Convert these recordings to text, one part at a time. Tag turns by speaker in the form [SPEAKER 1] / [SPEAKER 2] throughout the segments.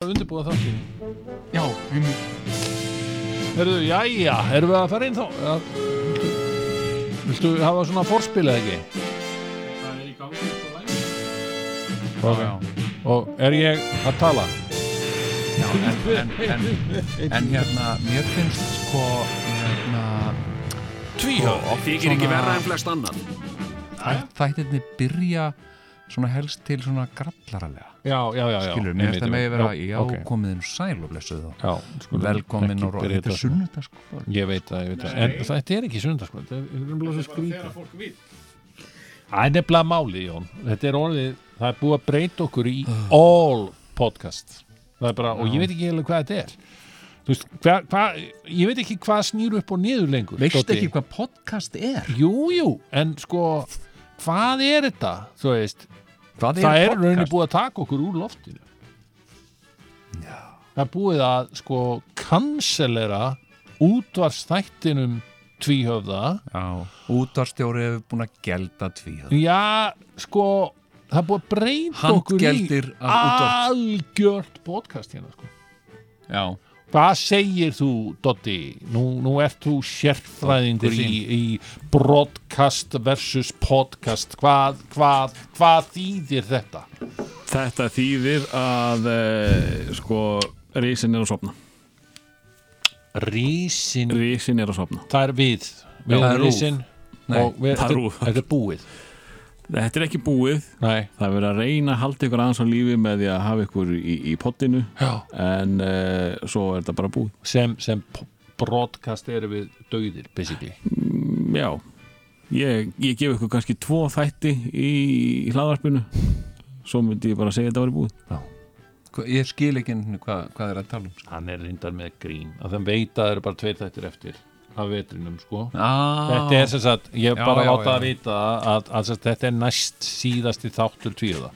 [SPEAKER 1] að undirbúa þáttin
[SPEAKER 2] Já, einmitt.
[SPEAKER 1] Herðu, jæja, erum við að fara inn þá? Ja. Viltu hafa svona forspil eða ekki?
[SPEAKER 2] Það er í gangi sko, upp á læmi.
[SPEAKER 1] Ok. Og er ég að tala?
[SPEAKER 2] Já, en, en, en, en hérna, mér finnst sko, hérna, sko,
[SPEAKER 1] Tvíhöf
[SPEAKER 2] oft
[SPEAKER 3] Þykir ekki verra en flest annan
[SPEAKER 2] þætt, þættirni byrja svona helst til svona grallaralega.
[SPEAKER 1] Já, já, já, já
[SPEAKER 2] Skilur, mér finnst það megi vera, já,
[SPEAKER 1] ok.
[SPEAKER 2] okay. komiðin sæl og blessuð og
[SPEAKER 1] Já, skulum
[SPEAKER 2] velkomin
[SPEAKER 1] ekki
[SPEAKER 2] og
[SPEAKER 1] byrja
[SPEAKER 2] þetta er sko.
[SPEAKER 1] þetta.
[SPEAKER 2] sunnudagsku.
[SPEAKER 1] Ég veit það, ég veit það En þetta er ekki söndag, sko Þetta er- er nefnilega svo skrýta
[SPEAKER 4] fólk vil
[SPEAKER 1] Það er nefnilega máli, Jón Þetta er orðið, það er búið að breyta okkur í
[SPEAKER 2] Ah.
[SPEAKER 1] all podcast Það er bara, og ég veit ekki heila hvað þetta er Þú veist, hva, hva, ég veit ekki hvað snýr upp og niður lengur
[SPEAKER 2] Veist
[SPEAKER 1] Doddi.
[SPEAKER 2] ekki hvað podcast er?
[SPEAKER 1] Jú, jú, en sko hvað er þetta, þú veist
[SPEAKER 2] Hvað
[SPEAKER 1] það er rauninni búið að taka okkur úr loftinu það er búið að sko kanselera útvarstættinum tvíhöfða
[SPEAKER 2] Já, útarstjóri hefur búin að gelda tvíð.
[SPEAKER 1] já, sko það er búið að breyta okkur í
[SPEAKER 2] Handgeldir af útvarp.
[SPEAKER 1] algjört podcast hérna sko
[SPEAKER 2] Já,
[SPEAKER 1] Hvað segir þú, Dotti? Nú, nú ert þú sérfræðingur í, í broadcast versus podcast. Hvað, hvað, hvað þýðir þetta?
[SPEAKER 4] Þetta þýðir að eh, sko Rísin er að sofna
[SPEAKER 1] Rísin.
[SPEAKER 4] Rísin er að sofna
[SPEAKER 1] Það er við. Við
[SPEAKER 2] það er
[SPEAKER 1] erum
[SPEAKER 2] RÚV.
[SPEAKER 1] rísin.
[SPEAKER 2] Nei,
[SPEAKER 1] og við,
[SPEAKER 4] það er RÚV.
[SPEAKER 1] Þetta er búið.
[SPEAKER 4] Þetta er ekki búið
[SPEAKER 1] Nei.
[SPEAKER 4] Það er verið að reyna að halda ykkur aðeins á lífi með því að hafa ykkur í, í pottinu
[SPEAKER 1] Já.
[SPEAKER 4] en uh, svo er þetta bara búið
[SPEAKER 1] Sem, sem p- broadcast erum við döðir, basically.
[SPEAKER 4] Já, ég, ég gef ykkur kannski tvo þætti í, í hlaðvarpinu svo myndi ég bara segja að þetta var búið
[SPEAKER 2] Hva- ég skil ekki einu sinni hvað, hvað er að tala um. sko.
[SPEAKER 1] Hann er reyndar með grín. Að þeim veit að það eru bara tveir þættir eftir af vetrinum, sko.
[SPEAKER 2] Ah,
[SPEAKER 1] Þetta er sem sagt, ég
[SPEAKER 2] Já,
[SPEAKER 1] bara
[SPEAKER 2] já,
[SPEAKER 1] láta
[SPEAKER 2] já.
[SPEAKER 1] að vita að, að, að þetta er næst síðasti þáttur tvíða.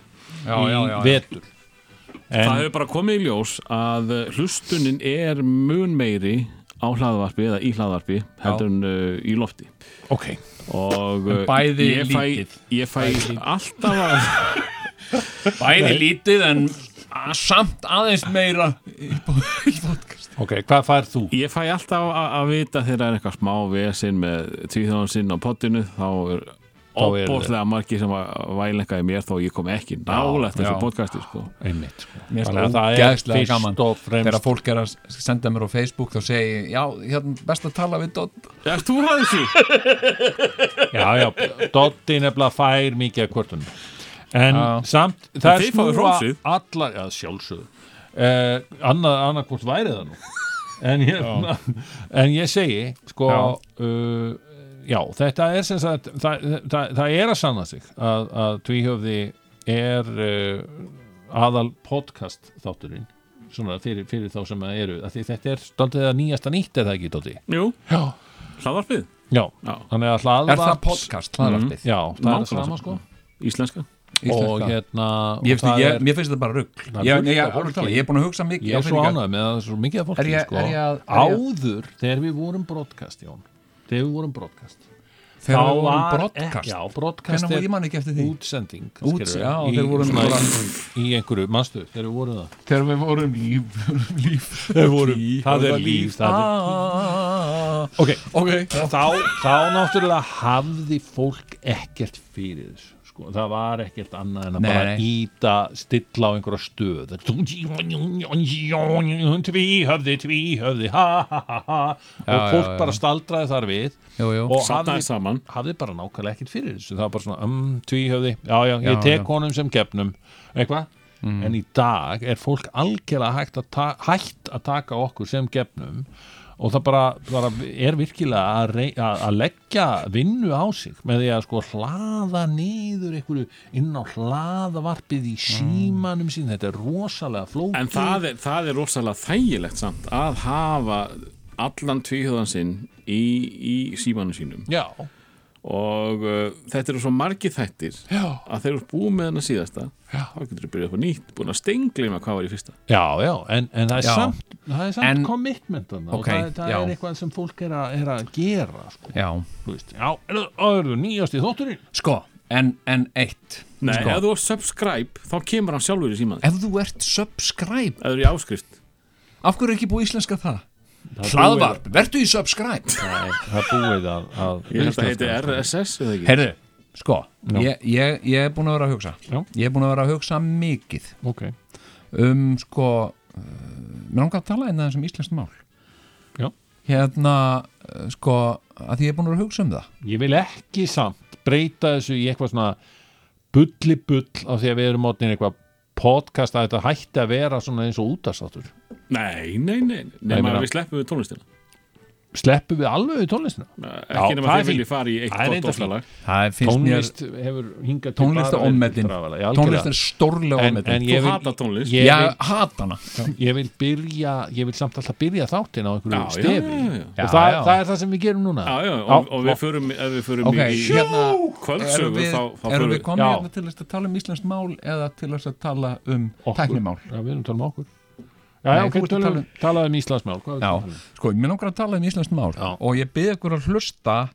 [SPEAKER 1] í
[SPEAKER 2] já, já, já, já.
[SPEAKER 1] vetur
[SPEAKER 4] Það
[SPEAKER 1] en,
[SPEAKER 4] hefur bara komið í ljós að eh, hlustunin er mun meiri á hlaðvarpi eða í hlaðvarpi heldur en uh, í lofti
[SPEAKER 1] ok,
[SPEAKER 4] og uh,
[SPEAKER 2] En bæði
[SPEAKER 4] ég fæ,
[SPEAKER 2] lítið.
[SPEAKER 4] ég fæ alltaf að
[SPEAKER 2] Bæði lítið en a- samt aðeins meira í podcast.
[SPEAKER 1] ok, hvað fær þú?
[SPEAKER 4] ég fæ alltaf að, að vita þegar það er eitthvað smá vesinn með tvíþjóðan sinn á pottinu þá er
[SPEAKER 1] eru
[SPEAKER 4] opbóðlega margi sem að vælenga í mér þó ég kom ekki nálægt
[SPEAKER 2] já.
[SPEAKER 4] þessu podcasti sko.
[SPEAKER 1] einmitt sko.
[SPEAKER 2] Mér
[SPEAKER 1] Þannig að það er
[SPEAKER 2] ógeðslega gaman
[SPEAKER 1] fyrst og
[SPEAKER 2] Þegar
[SPEAKER 1] fremst
[SPEAKER 2] fólk er að s- senda mér á Facebook þá segi ég, já, hérna, best að tala við Dodd.
[SPEAKER 4] Erst þú að þessu?
[SPEAKER 1] já, já, Dotti nefnilega fær mikið að kvörtun en
[SPEAKER 2] Já.
[SPEAKER 1] samt, það
[SPEAKER 4] þið fáið hrósið.
[SPEAKER 1] allar, já, sjálfsögðu eh, annað, annað hvort væri það nú en ég, en ég segi sko já. Uh, já, þetta er sem sagt það, það, það er að sanna sig að, að tvíhöfði er uh, aðal podcast þátturinn svona fyrir, fyrir þá sem að eru að því þetta er stoltið að nýjasta nýtt eða ekki, Dóti?
[SPEAKER 4] Jú,
[SPEAKER 1] Já.
[SPEAKER 4] hlaðvarpið
[SPEAKER 1] Já,
[SPEAKER 4] Já.
[SPEAKER 1] þannig að hlaðvarp
[SPEAKER 2] Er það podcast, Mm. hlaðarpið?
[SPEAKER 1] Mhm. Já, það er
[SPEAKER 4] Nákvæmlega
[SPEAKER 1] það sama sko
[SPEAKER 4] sama. Íslenska
[SPEAKER 1] og hérna og
[SPEAKER 2] Ég,
[SPEAKER 1] það
[SPEAKER 2] finnst, ég,
[SPEAKER 1] er-
[SPEAKER 2] mér finnst þetta bara rugg
[SPEAKER 1] Það er
[SPEAKER 2] ég,
[SPEAKER 1] fullt
[SPEAKER 2] ég,
[SPEAKER 1] af fólki.
[SPEAKER 2] ég, ég er búin að hugsa mikið
[SPEAKER 1] Ég er
[SPEAKER 2] á
[SPEAKER 1] svo
[SPEAKER 2] peninga.
[SPEAKER 1] ánægð með að það er svo mikið af fólki
[SPEAKER 2] Er ég-
[SPEAKER 1] sko.
[SPEAKER 2] er ég að- er ég-
[SPEAKER 1] Áður, þegar við vorum broadcast, Jón Þegar við vorum broadcast
[SPEAKER 2] Þegar við vorum
[SPEAKER 1] var-
[SPEAKER 2] broadcast
[SPEAKER 1] Já, broadcast
[SPEAKER 2] Hvernig var ég man ekki eftir því?
[SPEAKER 1] útsending
[SPEAKER 2] Út-
[SPEAKER 1] skilurðu,
[SPEAKER 2] já,
[SPEAKER 1] í,
[SPEAKER 2] þeir voru
[SPEAKER 1] svona,
[SPEAKER 2] bara-
[SPEAKER 1] í, í einhverju, manstu, þegar við vorum það
[SPEAKER 2] Þegar við vorum líf, vorum líf
[SPEAKER 1] Þeir voru, það er líf það er,
[SPEAKER 2] Ah,
[SPEAKER 1] Ok,
[SPEAKER 2] Ok,
[SPEAKER 1] þá, þá náttúrulega hafði fólk ekkert fyrir þessu sko. það var ekkert annað en að
[SPEAKER 2] Nei,
[SPEAKER 1] bara
[SPEAKER 2] nei.
[SPEAKER 1] íta stilla á einhverja stöð tví höfði, tví höfði ha ha ha ha og
[SPEAKER 2] já,
[SPEAKER 1] fólk
[SPEAKER 2] já.
[SPEAKER 1] bara staldraði þar við
[SPEAKER 2] Jú, jú.
[SPEAKER 1] og
[SPEAKER 4] Safnaði
[SPEAKER 1] hafði,
[SPEAKER 4] saman.
[SPEAKER 1] hafði bara nákvæmlega ekkert fyrir þessu það var bara svona, um, tví höfði já, já,
[SPEAKER 2] Já,
[SPEAKER 1] ég tek
[SPEAKER 2] já.
[SPEAKER 1] honum sem gefnum eitthvað En í dag er fólk algjörlega hægt að, ta- hægt að taka okkur sem gefnum og það bara, bara er virkilega að, rey- að, að leggja vinnu á sig með því að sko hlaða niður einhverju inn á hlaðavarpið í símanum sín, þetta er rosalega flókið.
[SPEAKER 4] En það er, það er rosalega þægilegt samt að hafa allan tvíhjóðan sinn í, í símanum sínum
[SPEAKER 1] Já,
[SPEAKER 4] og uh, þetta eru svo margi þættir
[SPEAKER 1] já,
[SPEAKER 4] að þeir eru búið með hennar síðasta
[SPEAKER 1] Já.
[SPEAKER 4] þá getur þú byrjað upp á nýtt, búin að stengleima hvað var í fyrsta
[SPEAKER 1] já, já, en, en það er
[SPEAKER 2] Já.
[SPEAKER 1] samt, það er samt en,
[SPEAKER 2] En-
[SPEAKER 1] commitment þarna
[SPEAKER 2] Ok,
[SPEAKER 1] og það, það
[SPEAKER 2] já.
[SPEAKER 1] er eitthvað sem fólk er, a, er að gera, sko,
[SPEAKER 2] Já
[SPEAKER 1] þú veist, já, er það, er það nýjast í þótturinn?
[SPEAKER 2] Sko, en, en eitt
[SPEAKER 4] Nei,
[SPEAKER 2] Sko.
[SPEAKER 4] ef þú er subscribe þá kemur hann sjálfur í síman
[SPEAKER 2] ef þú ert subscribe
[SPEAKER 4] ef þú er í áskrift
[SPEAKER 2] af hverju er ekki búið íslenska það?
[SPEAKER 1] Það er
[SPEAKER 2] hlaðvarp, verðu í subscribe
[SPEAKER 1] búið- Nei, Það er búið að, að
[SPEAKER 4] ég held að heiti RSS eða ekki
[SPEAKER 2] heyrðu, sko
[SPEAKER 1] Já.
[SPEAKER 2] ég, ég, ég er búin að vera að hugsa
[SPEAKER 1] Já.
[SPEAKER 2] ég er búin að vera að hugsa mikið
[SPEAKER 1] Ok,
[SPEAKER 2] um sko uh, mér langar að tala einn aðeins um íslenskt mál
[SPEAKER 1] Já.
[SPEAKER 2] hérna uh, sko að því ég er búin að vera að hugsa um það
[SPEAKER 1] ég vil ekki samt breyta þessu í eitthvað svona bulli bull af því að við erum mótin eitthvað podcast að þetta hætti að vera svona eins og útastáttur
[SPEAKER 4] nei, nei, nei,
[SPEAKER 1] Nei,
[SPEAKER 4] nei,
[SPEAKER 1] meina-
[SPEAKER 4] nei við sleppum við tónlistina
[SPEAKER 1] Sleppum við alveg við tónlistina
[SPEAKER 4] ekki
[SPEAKER 1] Já,
[SPEAKER 4] nema
[SPEAKER 1] það er
[SPEAKER 4] þið viljið
[SPEAKER 1] fínt.
[SPEAKER 4] fara í eitt
[SPEAKER 1] Það er
[SPEAKER 4] gott
[SPEAKER 1] reyndar
[SPEAKER 4] ofsalag
[SPEAKER 2] það er- finnst mér
[SPEAKER 1] Tónlist hefur hingað til
[SPEAKER 2] tónlist
[SPEAKER 1] bara
[SPEAKER 2] er
[SPEAKER 1] verið
[SPEAKER 2] ómetin
[SPEAKER 1] drafalega, já,
[SPEAKER 2] tónlist
[SPEAKER 1] algjörlega.
[SPEAKER 2] er stórlega
[SPEAKER 1] En, en
[SPEAKER 2] ómetin
[SPEAKER 1] ég
[SPEAKER 4] þú
[SPEAKER 1] vil,
[SPEAKER 4] hata tónlist
[SPEAKER 1] ég,
[SPEAKER 2] ég
[SPEAKER 1] vil,
[SPEAKER 2] hata hana
[SPEAKER 1] ég vil byrja ég vil samt alltaf byrja þáttin á einhverju
[SPEAKER 4] Já, já,
[SPEAKER 1] stefi
[SPEAKER 4] já, já.
[SPEAKER 1] og það,
[SPEAKER 2] Já, já.
[SPEAKER 1] það er það sem við gerum núna
[SPEAKER 4] já, já,
[SPEAKER 1] Já,
[SPEAKER 4] og, og við
[SPEAKER 1] og-
[SPEAKER 4] förum, ef við förum
[SPEAKER 2] ok,
[SPEAKER 4] í
[SPEAKER 2] hérna erum
[SPEAKER 4] kvöldsögu
[SPEAKER 2] við,
[SPEAKER 4] þá, þá
[SPEAKER 2] erum
[SPEAKER 4] förum
[SPEAKER 2] við
[SPEAKER 4] við
[SPEAKER 2] komið
[SPEAKER 1] Já.
[SPEAKER 2] hérna til þess að tala um íslenskt mál eða til þess að tala um
[SPEAKER 1] Okkur.
[SPEAKER 2] tæknimál
[SPEAKER 1] Já, við erum að tala um okkur Já, já,
[SPEAKER 2] Nei,
[SPEAKER 1] ok,
[SPEAKER 2] þú ert að
[SPEAKER 1] tölum-
[SPEAKER 2] tala um-
[SPEAKER 1] talaðu um Íslandsmál hvað
[SPEAKER 2] Já,
[SPEAKER 1] er það?
[SPEAKER 2] sko, mér langar að tala um íslenskt mál
[SPEAKER 1] Já.
[SPEAKER 2] og ég byrði ykkur að hlusta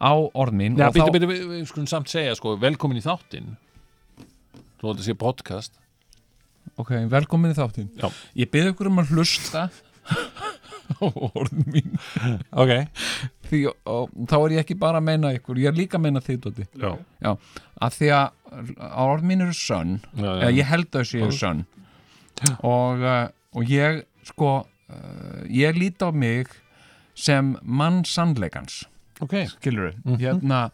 [SPEAKER 2] á orð mín
[SPEAKER 1] Já,
[SPEAKER 2] og
[SPEAKER 1] býttu,
[SPEAKER 2] þá-
[SPEAKER 1] býttu, við við skulum samt segja sko, velkomin í þáttinn Þú ætti að segja podcast
[SPEAKER 2] Ok, velkomin í þáttin
[SPEAKER 1] Já.
[SPEAKER 2] Ég byrði ykkur um að hlusta á orð mín
[SPEAKER 1] Ok
[SPEAKER 2] því, og, þá er ég ekki bara að meina ykkur ég er líka að meina þið, Dóti
[SPEAKER 1] Já,
[SPEAKER 2] Já, að því að að orð mín eru sönn
[SPEAKER 1] já,
[SPEAKER 2] eða ég held að þessi eru sönn og, uh, og ég sko uh, ég lít á mig sem mann sannleikans
[SPEAKER 1] Ok,
[SPEAKER 2] skilur við hérna,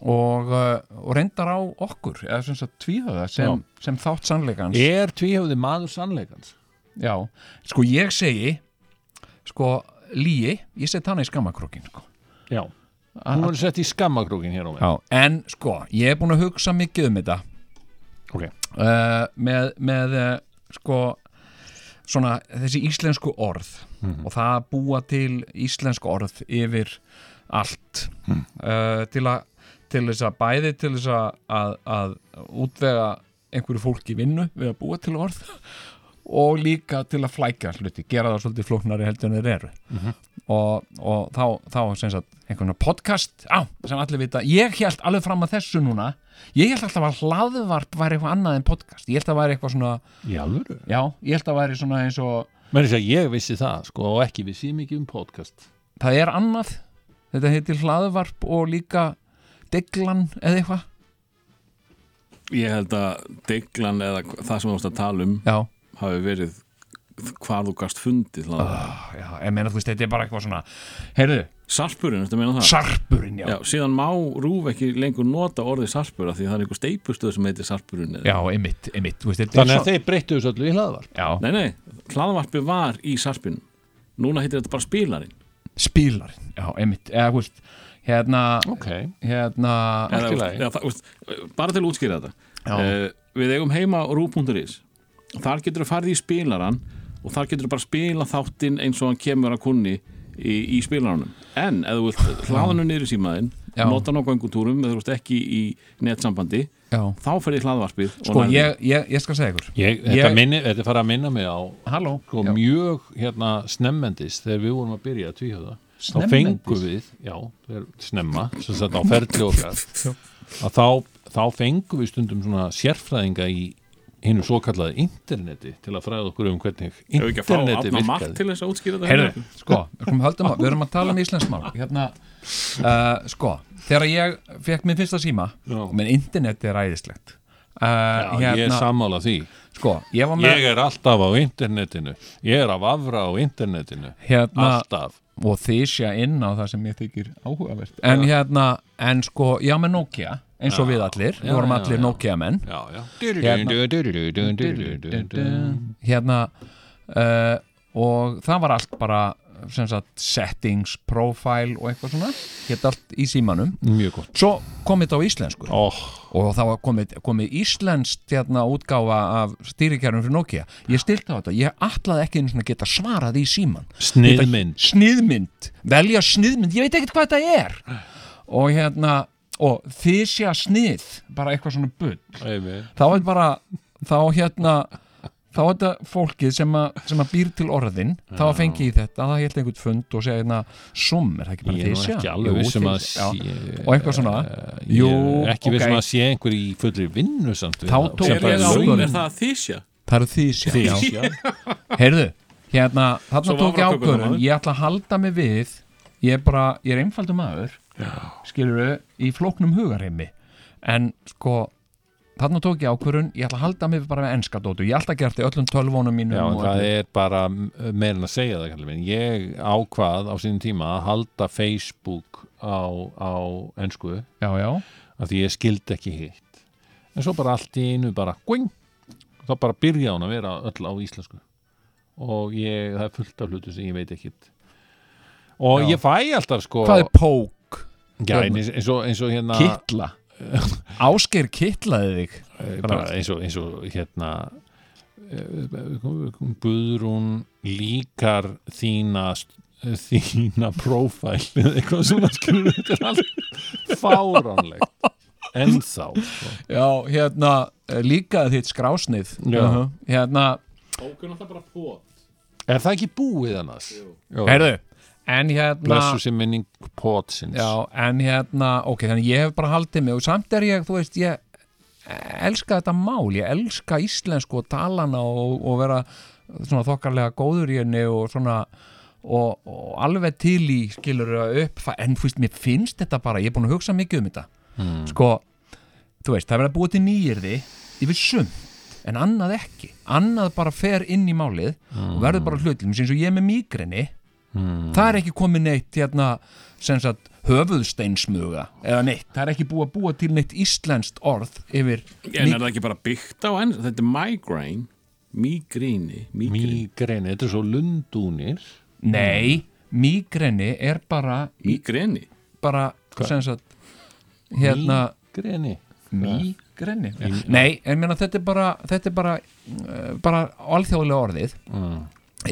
[SPEAKER 2] og, uh, og reyndar á okkur eða sem sagt tvíhöða sem, sem þátt sannleikans
[SPEAKER 1] er tvíhöfði maður sannleikans?
[SPEAKER 2] já, sko ég segi sko líi, ég seti hana í skammakrókin sko.
[SPEAKER 1] Já Hún verður sett í skammakrókin hér á mig
[SPEAKER 2] Já, en sko, ég er búin að hugsa mikið um þetta
[SPEAKER 1] Ok,
[SPEAKER 2] uh, með, með uh, sko svona þessi íslensku orð og það að búa til íslensku orð yfir allt uh, til að til þess að bæði til þess að, að, að útvega einhverju fólki vinnu við að búa til orð og líka til að flækja hluti, gera það svolítið flóknari heldur en þeir eru og, og þá, þá sem sagt einhvern veginn podcast á, sem allir vita, ég held alveg fram að þessu núna ég held alltaf að hlaðvarp væri eitthvað annað en podcast, ég held að væri eitthvað svona
[SPEAKER 1] í alvöru
[SPEAKER 2] já, ég held að væri svona eins og
[SPEAKER 1] Menni þess að ég vissi það, sko, og ekki vissi ég mikið um podcast
[SPEAKER 2] það er annað þetta heitir hlaðvarp og líka deglan eða eitthvað
[SPEAKER 4] ég held að deglan eða hva- það sem þú ást að tala um
[SPEAKER 2] já,
[SPEAKER 4] hafi verið hvar þú gast fundið
[SPEAKER 2] Ah.
[SPEAKER 4] uh.
[SPEAKER 2] já, ég meina þú veist, þetta er bara eitthvað svona heyrðu,
[SPEAKER 4] sarpurinn, þetta meina það
[SPEAKER 2] sarpurinn, já
[SPEAKER 4] Já, síðan má Rúf ekki lengur nota orðið sarpur af því það er einhver steipustöð sem heitir sarpurinn eða-
[SPEAKER 2] já, einmitt, einmitt, þú veist, þetta
[SPEAKER 1] Þannig að
[SPEAKER 2] er
[SPEAKER 1] þeir breyttu þessu öllu í hlaðvarp
[SPEAKER 2] svona já,
[SPEAKER 4] Nei, nei, hlaðvarpi var í sarpinum Núna heitir þetta bara spilarinn
[SPEAKER 2] spílarinn, já, einmitt eða, þú veist, hérna
[SPEAKER 1] Ok,
[SPEAKER 2] hérna,
[SPEAKER 1] Allt í
[SPEAKER 4] Eða,
[SPEAKER 1] lagi.
[SPEAKER 4] eða, það, veist, Bara til að útskýra þetta
[SPEAKER 2] Já.
[SPEAKER 4] Eh, Við eigum heima rúf.is Þar getur þú farið í spilarann og þar getur þú bara spila þáttinn eins og hann kemur að kunni í, í spilaranum En ef þú vilt hlaðanu niður í símaðinn
[SPEAKER 2] Já.
[SPEAKER 4] nota hann á göngutúrum eða þú veist ekki í netsambandi
[SPEAKER 2] já
[SPEAKER 4] þá fer ég hlaðvarpið og
[SPEAKER 2] sko,
[SPEAKER 4] nærðu.
[SPEAKER 2] ég, ég, ég skal segja ykkur
[SPEAKER 1] ég, þetta, minni, þetta er fara að minna mig á
[SPEAKER 2] halló,
[SPEAKER 1] sko,
[SPEAKER 2] já,
[SPEAKER 1] mjög hérna, snemmendis þegar við vorum að byrja að tvíhjóða þá
[SPEAKER 2] Snemmendis?
[SPEAKER 1] fengum við, já, þegar snemma sem sagt á ferli okkar að þá, þá fengum við stundum svona sérfræðinga í hinnu svo kallaði interneti til að fræða okkur um hvernig
[SPEAKER 4] Ef ekki að fá
[SPEAKER 1] interneti
[SPEAKER 4] Afna Mark
[SPEAKER 1] virkaði
[SPEAKER 4] til þess að útskýra þetta hérna.
[SPEAKER 2] Heyrðu, sko, við erum, höldum, að- við erum að tala um íslensmál hérna, uh, sko þegar ég fekk minn fyrsta síma
[SPEAKER 1] Já.
[SPEAKER 2] menn internet er æðislegt
[SPEAKER 1] Já,
[SPEAKER 2] uh,
[SPEAKER 1] ég er
[SPEAKER 2] hérna,
[SPEAKER 1] sammála því
[SPEAKER 2] sko, ég var með
[SPEAKER 1] ég er alltaf á internetinu ég er að vafra á internetinu
[SPEAKER 2] hérna,
[SPEAKER 1] alltaf
[SPEAKER 2] og þysja inn á það sem ég þykir áhugavert en hérna, en sko, ég var með Nokia eins og við allir, við
[SPEAKER 1] Já,
[SPEAKER 2] vorum
[SPEAKER 1] já,
[SPEAKER 2] allir
[SPEAKER 1] já.
[SPEAKER 2] Nokia menn
[SPEAKER 1] já, já.
[SPEAKER 2] hérna uh, og það var allt bara sem sagt, settings, profile og eitthvað svona, hérna allt í símanum
[SPEAKER 1] mjög gott
[SPEAKER 2] svo kom þetta á íslensku
[SPEAKER 1] oh,
[SPEAKER 2] og þá var komið, komið íslenskt hérna, útgáfa af stýrikerfum fyrir Nokia ég stilti á þetta, ég ætlaði ekki einu sinni að geta svarað í síman
[SPEAKER 1] sniðmynd
[SPEAKER 2] sniðmynd, velja sniðmynd ég veit ekkert hvað þetta er og hérna, og þið sé að snið bara eitthvað svona bull,
[SPEAKER 1] Einmitt.
[SPEAKER 2] þá er bara þá hérna þá er þetta fólkið sem að, sem að býr til orðin þá
[SPEAKER 1] Já.
[SPEAKER 2] fengi í þetta, það held einhvern fund og segja hérna, sum, er það ekki bara
[SPEAKER 1] Ég er nú
[SPEAKER 2] þysja?
[SPEAKER 1] ekki alveg vissum að
[SPEAKER 2] þysja, já.
[SPEAKER 1] sé,
[SPEAKER 2] Og eitthvað svona.
[SPEAKER 1] Eh,
[SPEAKER 2] Jú,
[SPEAKER 1] Ég er ekki vissum
[SPEAKER 2] ok.
[SPEAKER 1] að sé einhver í fullri vinnu samt við
[SPEAKER 2] Þá
[SPEAKER 1] það,
[SPEAKER 2] tók
[SPEAKER 1] sem
[SPEAKER 4] er,
[SPEAKER 1] bara
[SPEAKER 2] ég
[SPEAKER 4] er,
[SPEAKER 2] á-
[SPEAKER 1] laun-
[SPEAKER 4] sum,
[SPEAKER 2] lögum.
[SPEAKER 4] er það þísja?
[SPEAKER 2] það eru þysja,
[SPEAKER 1] Þysja.
[SPEAKER 2] já heyrðu, hérna,
[SPEAKER 4] Svo
[SPEAKER 2] þarna tók ég
[SPEAKER 4] vafrakökurnar,
[SPEAKER 2] ákvörðun
[SPEAKER 4] maður.
[SPEAKER 2] ég ætla að halda mig við ég er bara, ég er einfaldum maður skiluru, í flóknum hugarheimi en sko þarna tók ég ákvörðun, ég ætla að halda mig bara með enska dótu, ég ætla að gera þetta í öllum tölvónum mínum
[SPEAKER 1] Já, en
[SPEAKER 2] og
[SPEAKER 1] það
[SPEAKER 2] öllu.
[SPEAKER 1] er bara meira en að segja það kallar minn. Ég ákvað á sínum tíma að halda Facebook á, á ensku
[SPEAKER 2] já, já,
[SPEAKER 1] af því ég skildi ekki hitt en svo bara allt í einu bara going, þá bara byrja hún að vera öll á íslensku og ég, það er fullt af hlutu sem ég veit ekkit og
[SPEAKER 2] Já.
[SPEAKER 1] ég fæ alltaf sko
[SPEAKER 2] hvað er pók?
[SPEAKER 1] já, en eins, eins, og, eins og
[SPEAKER 2] Ah.
[SPEAKER 1] hérna
[SPEAKER 2] Kittla Ásgeir kittlaði þig
[SPEAKER 1] eh, bara, eins, og, eins og hérna eh, Guðrún líkar þína eh, þína prófæl eða eitthvað svona skilur þetta er allt fáránlegt ennþá sko.
[SPEAKER 2] Já, hérna, eh, líka þitt skrásnið
[SPEAKER 1] Já.
[SPEAKER 2] Mhm. Hérna,
[SPEAKER 4] Bókun alltaf bara pot
[SPEAKER 1] er það ekki búið annars? Jú.
[SPEAKER 2] heyrðu En hérna
[SPEAKER 1] blessu sem minning pótsins
[SPEAKER 2] Já, en hérna, ok, þannig ég hef bara haldið mig og samt er ég, þú veist, ég elska þetta mál, ég elska íslensku og talana og, og vera svona þokkarlega góður í henni og svona og, og alveg til í skilur að upp, en þú veist, mér finnst þetta bara, ég er búin að hugsa mikið um þetta sko, þú veist, það verður að búið til nýjirði yfir sumt en annað ekki, annað bara fer inn í málið og verður bara hlutlum eins og ég er með migrini það er ekki komið neitt hérna, sem sagt, höfuðsteinsmuga eða neitt, það er ekki búið að búa til neitt íslenskt orð yfir
[SPEAKER 4] En er það ekki bara byggt á enn? Þetta er migraine Migrini Migrini
[SPEAKER 1] mígreni, þetta er svo lundúnir
[SPEAKER 2] nei, migrini er bara,
[SPEAKER 4] Migrini
[SPEAKER 2] bara sem sagt, hérna
[SPEAKER 1] mígreni
[SPEAKER 2] Mígrenni Nei, en meina þetta er bara þetta er bara, uh, bara alþjóðlega orðið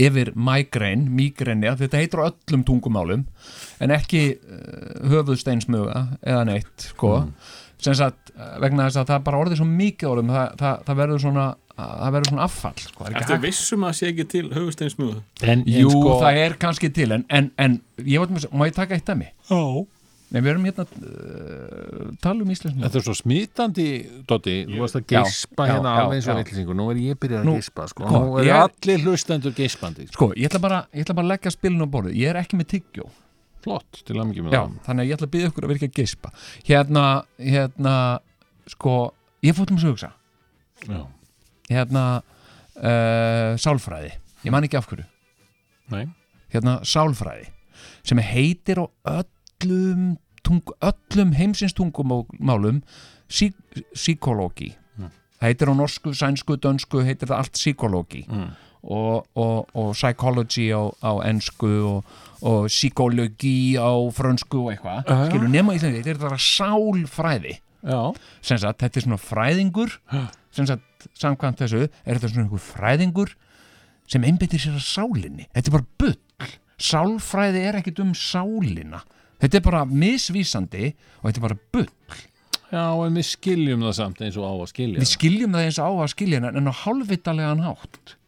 [SPEAKER 2] yfir migraine, mígrenni að þetta heitir á öllum tungumálum en ekki uh, höfuðsteinsmuga eða neitt, sko sem sagt, uh, vegna þess að það er bara orðið svo mikið orðum, það, það, það verður svona það verður svona affall, sko það er ekki
[SPEAKER 4] Ertu vissum að sé ekki til höfusteinsmöðu?
[SPEAKER 1] en, sko-
[SPEAKER 2] Jú, það er kannski til en, en, en ég var með, má ég taka eitt af mig?
[SPEAKER 1] já.
[SPEAKER 2] Nei, við erum hérna uh, tala um íslensmjög
[SPEAKER 1] þetta er svo smítandi Dotti, þú varst að
[SPEAKER 2] Já,
[SPEAKER 1] geispa
[SPEAKER 2] já,
[SPEAKER 1] hérna
[SPEAKER 2] já,
[SPEAKER 1] alveg eins og
[SPEAKER 2] já.
[SPEAKER 1] vitlisingur nú er ég byrjað
[SPEAKER 2] Nú,
[SPEAKER 1] að geispa sko.
[SPEAKER 2] kom,
[SPEAKER 1] nú er
[SPEAKER 2] ég-
[SPEAKER 1] allir hlustendur geispandi
[SPEAKER 2] Sko, ég ætla bara, ég ætla bara að leggja spilin á borðið. Ég er ekki með tyggjó.
[SPEAKER 1] flott, til að mikið með
[SPEAKER 2] Já, þannig að ég ætla að byggja ykkur að virka að geispa. Hérna, hérna, sko, ég fótt um að hugsa.
[SPEAKER 1] það já.
[SPEAKER 2] Hérna, uh, sálfræði. Ég man ekki af hverju.
[SPEAKER 1] Nei.
[SPEAKER 2] Hérna, sálfræði. Sem heitir á öllum, tung, öllum heimsins tungumálum sí, síkólógi. Það heitir á norsku, sænsku, dönsku, heitir það allt síkólógi.
[SPEAKER 1] Mm.
[SPEAKER 2] og, og, og psychology á, á ennsku og, og psykologi á frönsku og eitthvað
[SPEAKER 1] Já, já.
[SPEAKER 2] skilur nema í Íslandi, þetta er bara sálfræði
[SPEAKER 1] já,
[SPEAKER 2] sem sagt, þetta er svona fræðingur sem sagt, samkvæmt þessu er þetta svona einhver fræðingur sem einbyttir sér að sálinni þetta er bara bull, sálfræði er ekkit um sálina þetta er bara misvísandi og þetta er bara bull
[SPEAKER 1] já, en við skiljum það samt eins og á að skilja
[SPEAKER 2] við skiljum það eins og á að skilja en, en á hálfvitalegan hátt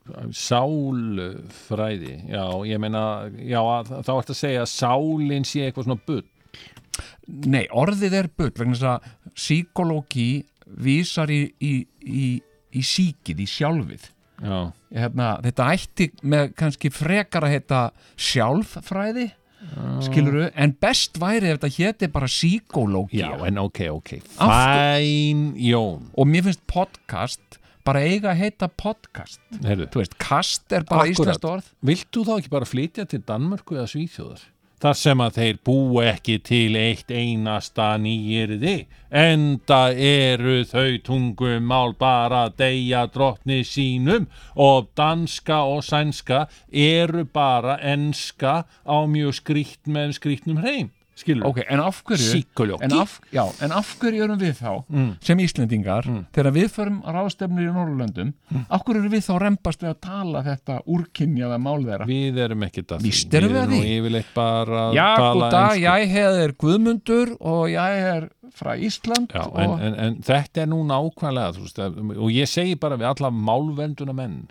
[SPEAKER 1] sálfræði já, ég meina, já, að- þá ert að segja að sálinn sé eitthvað svona bull
[SPEAKER 2] Nei, orðið er bull vegna þess að psíkológi vísar í, í, í, í síkið, í sjálfið.
[SPEAKER 1] já,
[SPEAKER 2] Hérna, þetta ætti með kannski frekar að heita sjálffræði, skiluru, en best væri ef þetta héti bara psíkológi.
[SPEAKER 1] já, en ok, ok
[SPEAKER 2] Aftur.
[SPEAKER 1] fæn, Jón
[SPEAKER 2] Og mér finnst podcast bara eiga að heita podcast.
[SPEAKER 1] Heyrðu,
[SPEAKER 2] Þú veist, kast er bara
[SPEAKER 1] Akkúrat.
[SPEAKER 2] íslenskt orð.
[SPEAKER 1] Viltu þá ekki bara flytja til Danmörku eða Svíþjóðar? Þar sem að þeir búa ekki til eitt einasta nýjirði. Enda eru þau tungumál bara að deyja drottni sínum og danska og sænska eru bara enska á mjög skrýtt með skrýttnum hreim. Skilur?
[SPEAKER 2] Ok, en af hverju
[SPEAKER 1] Psykologi.
[SPEAKER 2] en af, já, en af hverju erum við þá sem Íslendingar, þegar við förum á ráðstefnur í Norrlöndum, af hverju erum við þá rempast við að tala þetta úrkynjaða mál þeirra?
[SPEAKER 1] Við erum ekkert að
[SPEAKER 2] Víst erum við að
[SPEAKER 1] nú
[SPEAKER 2] því.
[SPEAKER 1] yfirleitt bara að
[SPEAKER 2] Já,
[SPEAKER 1] tala
[SPEAKER 2] góða,
[SPEAKER 1] ensku.
[SPEAKER 2] ég er Guðmundur og ég er frá Ísland
[SPEAKER 1] Já,
[SPEAKER 2] og
[SPEAKER 1] en, en, en þetta er nú nákvæmlega þú veist, að- og ég segi bara við alla málvenduna menn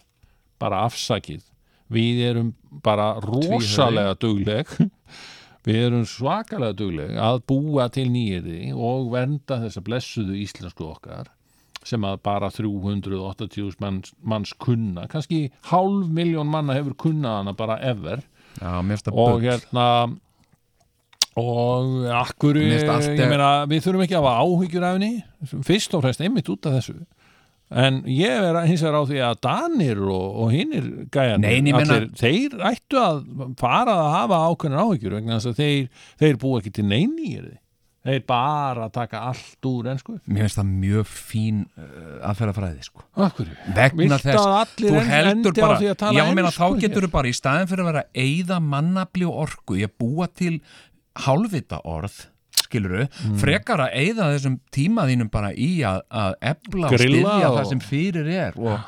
[SPEAKER 1] bara afsakið við erum bara rosalega dugleg við erum svakalega dugleg að búa til nýjirði og vernda þessa blessuðu íslensku okkar sem að bara 380 manns, manns kunna, kannski hálf miljón manna hefur kunnað hana bara ever
[SPEAKER 2] já, mér finnst það
[SPEAKER 1] og
[SPEAKER 2] bull
[SPEAKER 1] hérna og akkur
[SPEAKER 2] Mér finnst allt
[SPEAKER 1] ég
[SPEAKER 2] er-
[SPEAKER 1] meina, við þurfum ekki að hafa áhyggjur af henni fyrst og fremst einmitt út af þessu en ég er hins vegar á því að Danir og, og hinnir gæjar
[SPEAKER 2] Nei, en ég meina-
[SPEAKER 1] þeir ættu að fara að hafa ákveðnar áhyggjur vegna þess að þeir, þeir búa ekki til neini í þeir þeir bara taka allt úr ennsku
[SPEAKER 2] mér finnst það mjög fín uh, aðferðafræði sko
[SPEAKER 1] akkur
[SPEAKER 2] vegna
[SPEAKER 1] Viltu að
[SPEAKER 2] þess,
[SPEAKER 1] allir
[SPEAKER 2] þú
[SPEAKER 1] en-
[SPEAKER 2] heldur
[SPEAKER 1] endi á
[SPEAKER 2] bara
[SPEAKER 1] því að tala
[SPEAKER 2] já, meina,
[SPEAKER 1] ensku
[SPEAKER 2] þá
[SPEAKER 1] hér?
[SPEAKER 2] getur þú bara í staðin fyrir að vera að eyða mannafli og orku í að búa til hálfvita orð skiluru,
[SPEAKER 1] Mm.
[SPEAKER 2] frekar að eyða þessum tíma þínum bara í að, að ebla og
[SPEAKER 1] Grilla
[SPEAKER 2] styrja
[SPEAKER 1] og- Ah. Mm,
[SPEAKER 2] það sem fyrir er og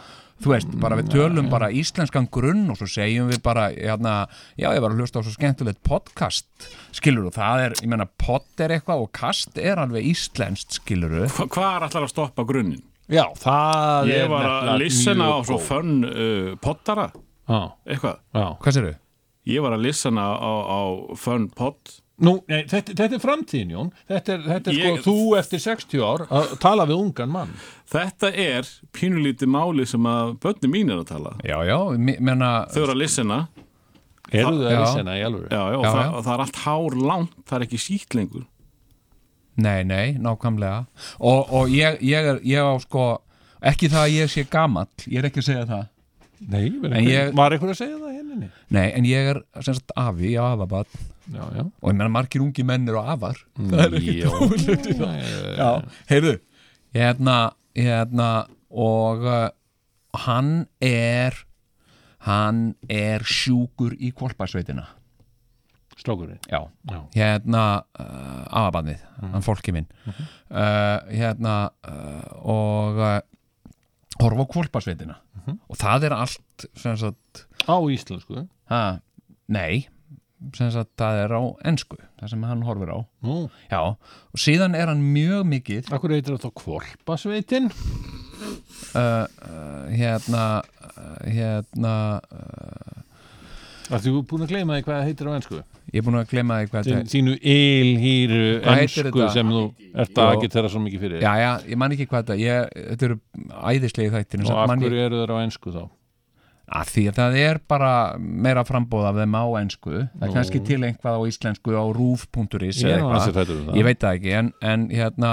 [SPEAKER 2] þú veist, bara við tölum bara íslenskan grunn og svo segjum við bara hérna, já, ég var að hlusta á svo skemmtilegt podcast, skiluru, það er ég meina, pod er eitthvað og kast er alveg íslenskt, skiluru
[SPEAKER 4] Hva, hvað er allar að stoppa grunnin?
[SPEAKER 1] já, það
[SPEAKER 4] Ég
[SPEAKER 1] er
[SPEAKER 4] var að
[SPEAKER 1] nefnilega
[SPEAKER 4] lissana á
[SPEAKER 1] mjög
[SPEAKER 4] svo
[SPEAKER 1] góð.
[SPEAKER 4] fönn uh, pottara,
[SPEAKER 1] já,
[SPEAKER 4] eitthvað.
[SPEAKER 1] já
[SPEAKER 2] hvað sérðu?
[SPEAKER 4] Ég var að lissana á, á fönn pott.
[SPEAKER 1] Nú, nei, þetta, þetta er framtíðin, Jón. Þetta er, þetta er
[SPEAKER 4] Ég-
[SPEAKER 1] sko þú eftir 60 ár að tala við ungan mann.
[SPEAKER 4] Þetta er pínulítið máli sem að börnum mín er að tala.
[SPEAKER 2] Já, já, mi- menna
[SPEAKER 4] Þau eru að lissana,
[SPEAKER 1] Eru þið að
[SPEAKER 2] Já.
[SPEAKER 1] lýsa hana í alvöru?
[SPEAKER 4] já, já, og
[SPEAKER 2] Já,
[SPEAKER 4] það,
[SPEAKER 2] já.
[SPEAKER 4] og það er allt hár langt, það er ekki sítt lengur.
[SPEAKER 2] Nei, nei, nákvæmlega og, og ég, ég, er, ég á sko ekki það að ég sé gamall ég er ekki að segja það
[SPEAKER 1] Nei, vel,
[SPEAKER 2] En
[SPEAKER 1] einhver,
[SPEAKER 2] ég-
[SPEAKER 1] var einhver að segja það hérna henninni?
[SPEAKER 2] Nei, en ég er sem sagt afi, ég á afabat
[SPEAKER 1] Já, já.
[SPEAKER 2] og ég menna margir ungi menn eru afar það er ekki tóðlögt í það Mm. Já, heyrðu hérna, hérna og uh, hann er hann er sjúkur í kvolpasveitina
[SPEAKER 1] Strákurinn.
[SPEAKER 2] Já,
[SPEAKER 1] Já.
[SPEAKER 2] hérna uh, afabannið,
[SPEAKER 1] Mhm.
[SPEAKER 2] hann fólki minn uh, hérna uh, og uh, horfa á kvolpasveitina
[SPEAKER 1] Mhm.
[SPEAKER 2] og það er allt sem sagt
[SPEAKER 1] Á íslensku.
[SPEAKER 2] ha, nei, sem sagt það er á ensku, það sem hann horfir á
[SPEAKER 1] Nú,
[SPEAKER 2] já, og síðan er hann mjög mikið
[SPEAKER 1] akkur heitir það þá kvolpasveitin?
[SPEAKER 2] uh, uh, hérna uh, hérna uh,
[SPEAKER 1] Það þú er búin að gleyma því hvað það heitir á ennsku.
[SPEAKER 2] ég er búin að glemma því hvað þetta
[SPEAKER 1] Þín, þínu ylhýru
[SPEAKER 2] Hvað heitir
[SPEAKER 1] ennsku
[SPEAKER 2] þetta?
[SPEAKER 1] sem þú ert að
[SPEAKER 2] Jó.
[SPEAKER 1] geta þeirra svo mikið fyrir.
[SPEAKER 2] Já, já, ég man ekki hvað þetta, ég, þetta eru æðislegi þættir en
[SPEAKER 1] og
[SPEAKER 2] samt
[SPEAKER 1] af
[SPEAKER 2] man ég-
[SPEAKER 1] hverju eru þeirra á ennsku þá?
[SPEAKER 2] að því að það er bara meira frambóð af þeim á ensku það er kannski til einhvað á íslensku á rúf.is
[SPEAKER 1] Ég
[SPEAKER 2] eða
[SPEAKER 1] er nú
[SPEAKER 2] eitthvað.
[SPEAKER 1] ansi hræddur um það.
[SPEAKER 2] ég veit það ekki en, en hérna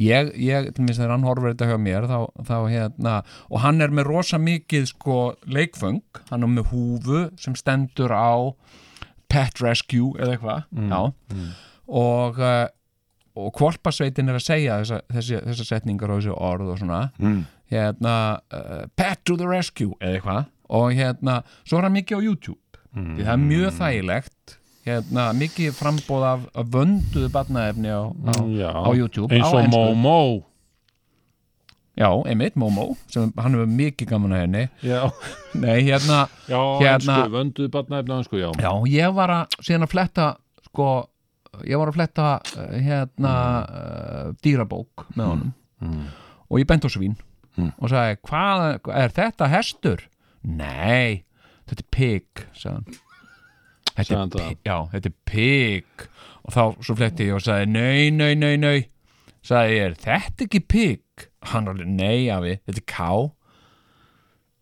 [SPEAKER 2] ég, ég til minnst þegar hann horfir þetta hjá mér þá, þá hérna, og hann er með rosa mikið sko leikföng hann er með húfu sem stendur á pet rescue eða eitthvað
[SPEAKER 1] Mm,
[SPEAKER 2] já og uh, og kvolpasveitin er að segja þessa, þessi, þessa setningar og þessi orð og svona mm. hérna uh, pet to the rescue eða eitthvað og hérna, svo er hann mikið á YouTube því það er mjög þægilegt hérna, mikið frambóð af, af vönduðu barnaefni á, á,
[SPEAKER 1] Já.
[SPEAKER 2] á YouTube
[SPEAKER 1] Eins
[SPEAKER 2] á
[SPEAKER 1] og
[SPEAKER 2] ensku.
[SPEAKER 1] Momo.
[SPEAKER 2] Já, einmitt, Momo, sem hann hefur mikið gaman að henni
[SPEAKER 1] Já,
[SPEAKER 2] Nei, hérna,
[SPEAKER 1] já
[SPEAKER 2] Hérna-
[SPEAKER 1] ennsku, vönduð barnaefna á ennsku, já.
[SPEAKER 2] já, ég var að síðan að fletta, sko ég var að fletta, uh, hérna uh, dýrabók með honum
[SPEAKER 1] Mm.
[SPEAKER 2] og ég bent á svín og sagði, hvað, er þetta hestur? Nei, þetta er pig sagðan
[SPEAKER 1] Sagði
[SPEAKER 2] þetta
[SPEAKER 1] hann
[SPEAKER 2] er,
[SPEAKER 1] það?
[SPEAKER 2] pi- já, þetta er pig og þá svo fletti ég og sagði nei, nei, nei, nei sagði ég, er þetta ekki pig? hann alveg, nei, afi, þetta er ká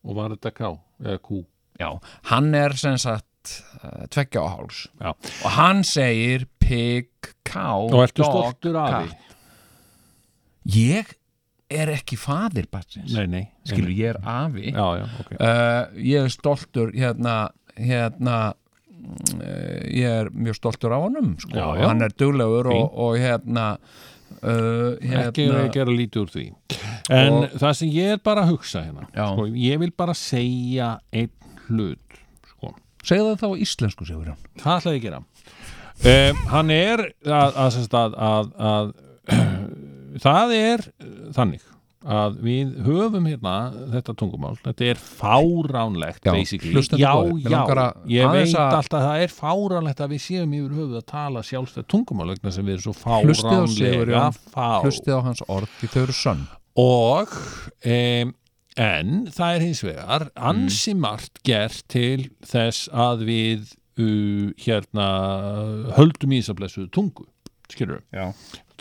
[SPEAKER 1] Og var þetta ká? Eða kú?
[SPEAKER 2] já, hann er sem sagt uh, tveggja og háls
[SPEAKER 1] Já.
[SPEAKER 2] og hann segir pig, cow,
[SPEAKER 1] Og ertu
[SPEAKER 2] dog,
[SPEAKER 1] stoltur af því?
[SPEAKER 2] cat. ég er ekki fadir batsins,
[SPEAKER 1] Nei, nei.
[SPEAKER 2] skilur, ég er afi
[SPEAKER 1] Já, já, ok.
[SPEAKER 2] uh, ég er stoltur hérna, hérna mm, eh, ég er mjög stoltur á honum sko.
[SPEAKER 1] Já, já.
[SPEAKER 2] og hann er duglegur
[SPEAKER 1] Fín.
[SPEAKER 2] og, og hérna uh,
[SPEAKER 1] Ekki er að
[SPEAKER 2] hérna
[SPEAKER 1] gera lítið úr því. En
[SPEAKER 2] Og-
[SPEAKER 1] það sem ég er bara að hugsa hérna,
[SPEAKER 2] Já.
[SPEAKER 1] sko, ég vil bara segja einn hlut, sko.
[SPEAKER 2] segðu það þá á íslensku Sigurjón
[SPEAKER 1] Það ætla ég að gera. Um, hann er að, að, sem sagt að, að, að það er eh, þannig að við höfum hérna þetta tungumál, þetta er fáránlegt
[SPEAKER 2] Já,
[SPEAKER 1] basically,
[SPEAKER 2] hlustandi
[SPEAKER 1] já,
[SPEAKER 2] góðir, mig
[SPEAKER 1] já
[SPEAKER 2] langar að
[SPEAKER 1] ég
[SPEAKER 2] aðeins
[SPEAKER 1] veit
[SPEAKER 2] að-
[SPEAKER 1] alltaf að það er fáránlegt að við séum yfir höfuð að tala sjálfstæð tungumál vegna sem við erum svo
[SPEAKER 2] hlustið á
[SPEAKER 1] fáránlega
[SPEAKER 2] Sigurjón
[SPEAKER 1] fá
[SPEAKER 2] hlustið á hans orð því þau eru sönn
[SPEAKER 1] og um, en það er hins vegar ansi margt gert til þess að við uh, hérna höldum í þess að blessuðu tungu skilur
[SPEAKER 2] já,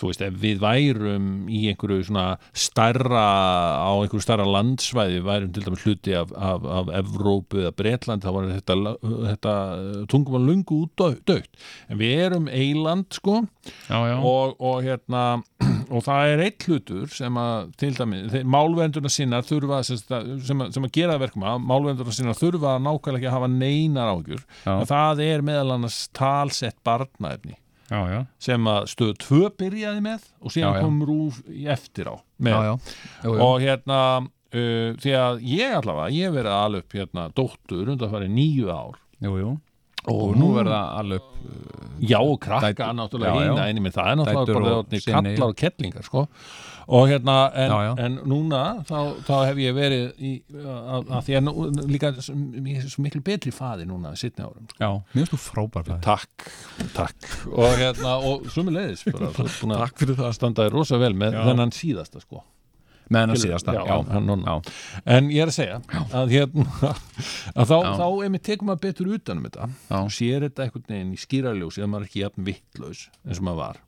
[SPEAKER 1] þú veist, ef við værum í einhverju svona stærra á einhverju stærra landsvæði, við værum til dæmis hluti af, af, af Evrópu eða Bretland þá var þetta, la- þetta tungum að lungu út dögt en við erum eiland sko
[SPEAKER 2] já, já.
[SPEAKER 1] og, og hérna og það er eitt hlutur sem að til dæmis, þeir, málvendurna sinna þurfa sem, sagt- sem, að- sem að gera það verkum að málvendurna sinna þurfa að nákvæmlega ekki að hafa neinar ágjur,
[SPEAKER 2] Já.
[SPEAKER 1] en það er meðal annars talsett barnaefni
[SPEAKER 2] já, já,
[SPEAKER 1] sem að stöð 2 byrjaði með og síðan
[SPEAKER 2] Já, já.
[SPEAKER 1] kom rúf í eftir á með.
[SPEAKER 2] já, já. Jú, jú.
[SPEAKER 1] og hérna uh, því að ég allavega, ég hef verið að ala upp hérna dóttur undan farið nýju ár
[SPEAKER 2] Jú, jú.
[SPEAKER 1] og
[SPEAKER 2] og nú verða alveg upp
[SPEAKER 1] já og krakka
[SPEAKER 2] Dætur-
[SPEAKER 1] náttúrulega
[SPEAKER 2] já, já.
[SPEAKER 1] hina einu með það er náttúrulega
[SPEAKER 2] Dætur
[SPEAKER 1] bara
[SPEAKER 2] og
[SPEAKER 1] orðnir
[SPEAKER 2] syni.
[SPEAKER 1] kallar og kettlingar sko. og hérna en,
[SPEAKER 2] Já, já.
[SPEAKER 1] en núna þá, þá hef ég verið í, að, að því að nú, líka s- ég er svo miklu betri faði núna sittni árum sko.
[SPEAKER 2] já, mér finnst þú frábær fræði
[SPEAKER 1] takk, takk og hérna, og sumulegis takk
[SPEAKER 2] fyrir það
[SPEAKER 1] standaði rosa vel með
[SPEAKER 2] Já.
[SPEAKER 1] þennan síðasta sko
[SPEAKER 2] með hennar síðasta,
[SPEAKER 1] já,
[SPEAKER 2] já,
[SPEAKER 1] hann núna.
[SPEAKER 2] já,
[SPEAKER 1] en ég er að segja að, hérna, að þá,
[SPEAKER 2] Já.
[SPEAKER 1] þá ef við tekum maður betur utanum þetta
[SPEAKER 2] Já.
[SPEAKER 1] og sér þetta einhvern veginn í skýraljósi að maður er ekki jafn vittlaus eins og maður var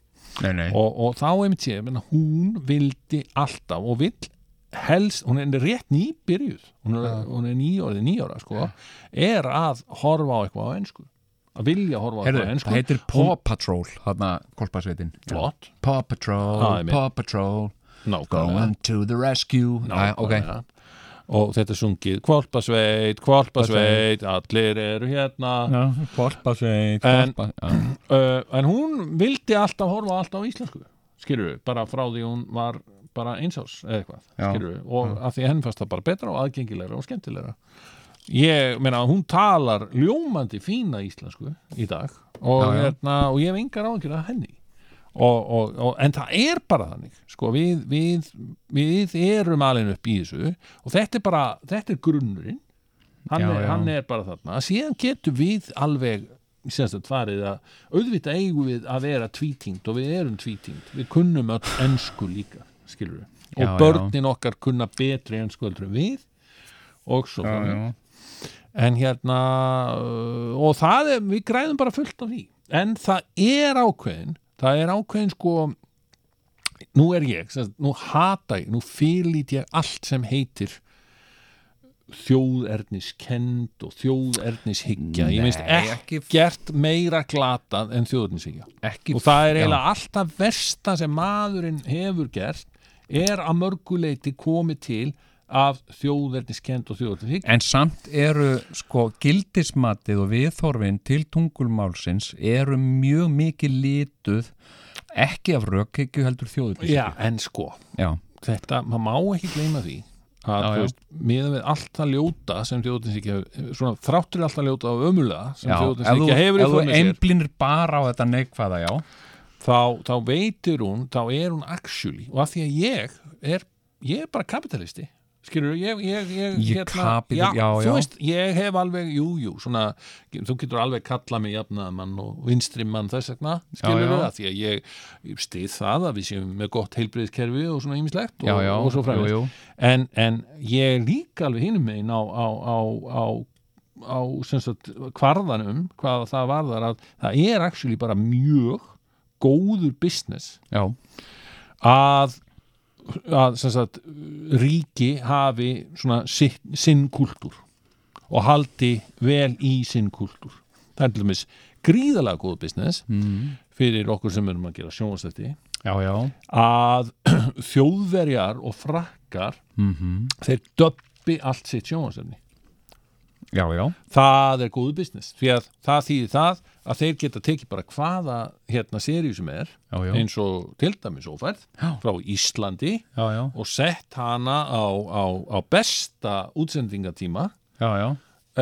[SPEAKER 2] nei, nei,
[SPEAKER 1] og, og þá ef við séum að hún vildi alltaf og vill helst, hún er rétt nýbyrjuð hún er, hún er nýjórið nýjóra sko, er að horfa á eitthvað á ensku að vilja horfa á
[SPEAKER 2] Heyrðu,
[SPEAKER 1] eitthvað á ensku
[SPEAKER 2] það heitir Paw Patrol hérna kolpasveitin
[SPEAKER 1] Flott.
[SPEAKER 2] Paw Patrol,
[SPEAKER 1] Það er mitt.
[SPEAKER 2] Paw Patrol
[SPEAKER 1] nákvæmlega
[SPEAKER 2] Going to the rescue Æ, ok,
[SPEAKER 1] Nákvæmlega. og þetta er sungið kvalpasveit, kvalpasveit allir eru hérna
[SPEAKER 2] kolpasveit
[SPEAKER 1] En-
[SPEAKER 2] já,
[SPEAKER 1] uh, en hún vildi alltaf horfa alltaf á íslensku skilur bara frá því hún var bara einsás eða eitthvað
[SPEAKER 2] Já.
[SPEAKER 1] skilur og að því henn fannst það bara betra og aðgengilegra og skemmtilegra ég meina hún talar ljómandi fína íslensku í dag og,
[SPEAKER 2] Já, já.
[SPEAKER 1] Hérna, og ég hef engar áhengjur að henni og, og, og, en það er bara þannig sko, við, við, við erum alveg upp í þessu og þetta er bara, þetta er grunnurinn hann,
[SPEAKER 2] Já,
[SPEAKER 1] er,
[SPEAKER 2] já.
[SPEAKER 1] hann er bara þarna síðan getum við alveg sérstætt farið að auðvitað eigum við að vera tvítingt og við erum tvítingt við kunnum öll ensku líka skilur við
[SPEAKER 2] Já,
[SPEAKER 1] og
[SPEAKER 2] já.
[SPEAKER 1] börnin okkar kunna betri ensku heldur en við og svo
[SPEAKER 2] já,
[SPEAKER 1] þannig
[SPEAKER 2] já.
[SPEAKER 1] en hérna uh, og það er, við græðum bara fullt af því en það er ákveðin það er ákveðin sko nú er ég, sem, sagt, nú hata ég nú fylít ég allt sem heitir þjóðerniskend og þjóðernishyggja ég minnst
[SPEAKER 2] Nei,
[SPEAKER 1] ekki gert meira glatað en þjóðernishyggja
[SPEAKER 2] ekki
[SPEAKER 1] og það er
[SPEAKER 2] já.
[SPEAKER 1] eiginlega alltaf versta sem maðurinn hefur gert er að mörguleiti komið til af þjóðerniskend og þjóðernishyggja
[SPEAKER 2] En samt eru sko gildismatið og viðhorfin til tungulmálsins eru mjög mikið lituð ekki af rökhyggju heldur þjóðupplýsing.
[SPEAKER 1] Já, en sko,
[SPEAKER 2] Já,
[SPEAKER 1] þetta, maður má ekki gleyma því að,
[SPEAKER 2] Já,
[SPEAKER 1] þú
[SPEAKER 2] já.
[SPEAKER 1] veist, miðan við allt það ljóta sem þjóðtinsíkja, svona þráttur allt það ljóta og ömulega sem
[SPEAKER 2] já. Ef þú,
[SPEAKER 1] þjóðtinsíkja hefur í
[SPEAKER 2] ef þú
[SPEAKER 1] för með sér,
[SPEAKER 2] einblínir bara á þetta neikvæða, já.
[SPEAKER 1] þá, þá veitir hún, þá er hún actually, og af því að ég er, ég er bara kapitalisti skilur, ég, ég, ég, hérna,
[SPEAKER 2] Ég kapital- já,
[SPEAKER 1] þú
[SPEAKER 2] já.
[SPEAKER 1] veist, ég hef alveg jú, jú, svona, þú getur alveg kallað mig jafnaðamann og vinstrimann þess vegna, skilur
[SPEAKER 2] já.
[SPEAKER 1] það, því að ég, ég stið það að við séum með gott heilbriðskerfi og svona ýmislegt og,
[SPEAKER 2] Já, já,
[SPEAKER 1] og svo fræðist
[SPEAKER 2] jú, jú.
[SPEAKER 1] en, en ég er líka alveg hinum megin á, á, á, á, á sem sagt, kvarðanum hvað það varðar að það er actually bara mjög góður business
[SPEAKER 2] Já,
[SPEAKER 1] að, að sem sagt, ríki hafi svona sitt, sinn kultúr og haldi vel í sinn kultúr það er til dæmis gríðalega góð business
[SPEAKER 2] mm.
[SPEAKER 1] fyrir okkur sem erum að gera sjónvastætti
[SPEAKER 2] já, já.
[SPEAKER 1] að þjóðverjar og frakkar
[SPEAKER 2] Mm
[SPEAKER 1] þeir döppi allt sitt sjónvarsefni
[SPEAKER 2] Já, já.
[SPEAKER 1] það er góðu business því að það þýðir það að þeir geta tekið bara hvaða hérna seríu sem er
[SPEAKER 2] Já, já.
[SPEAKER 1] eins og til dæmis ófærð
[SPEAKER 2] Já.
[SPEAKER 1] frá Íslandi
[SPEAKER 2] Já, já.
[SPEAKER 1] og sett hana á, á, á besta útsendingatíma
[SPEAKER 2] Já, já.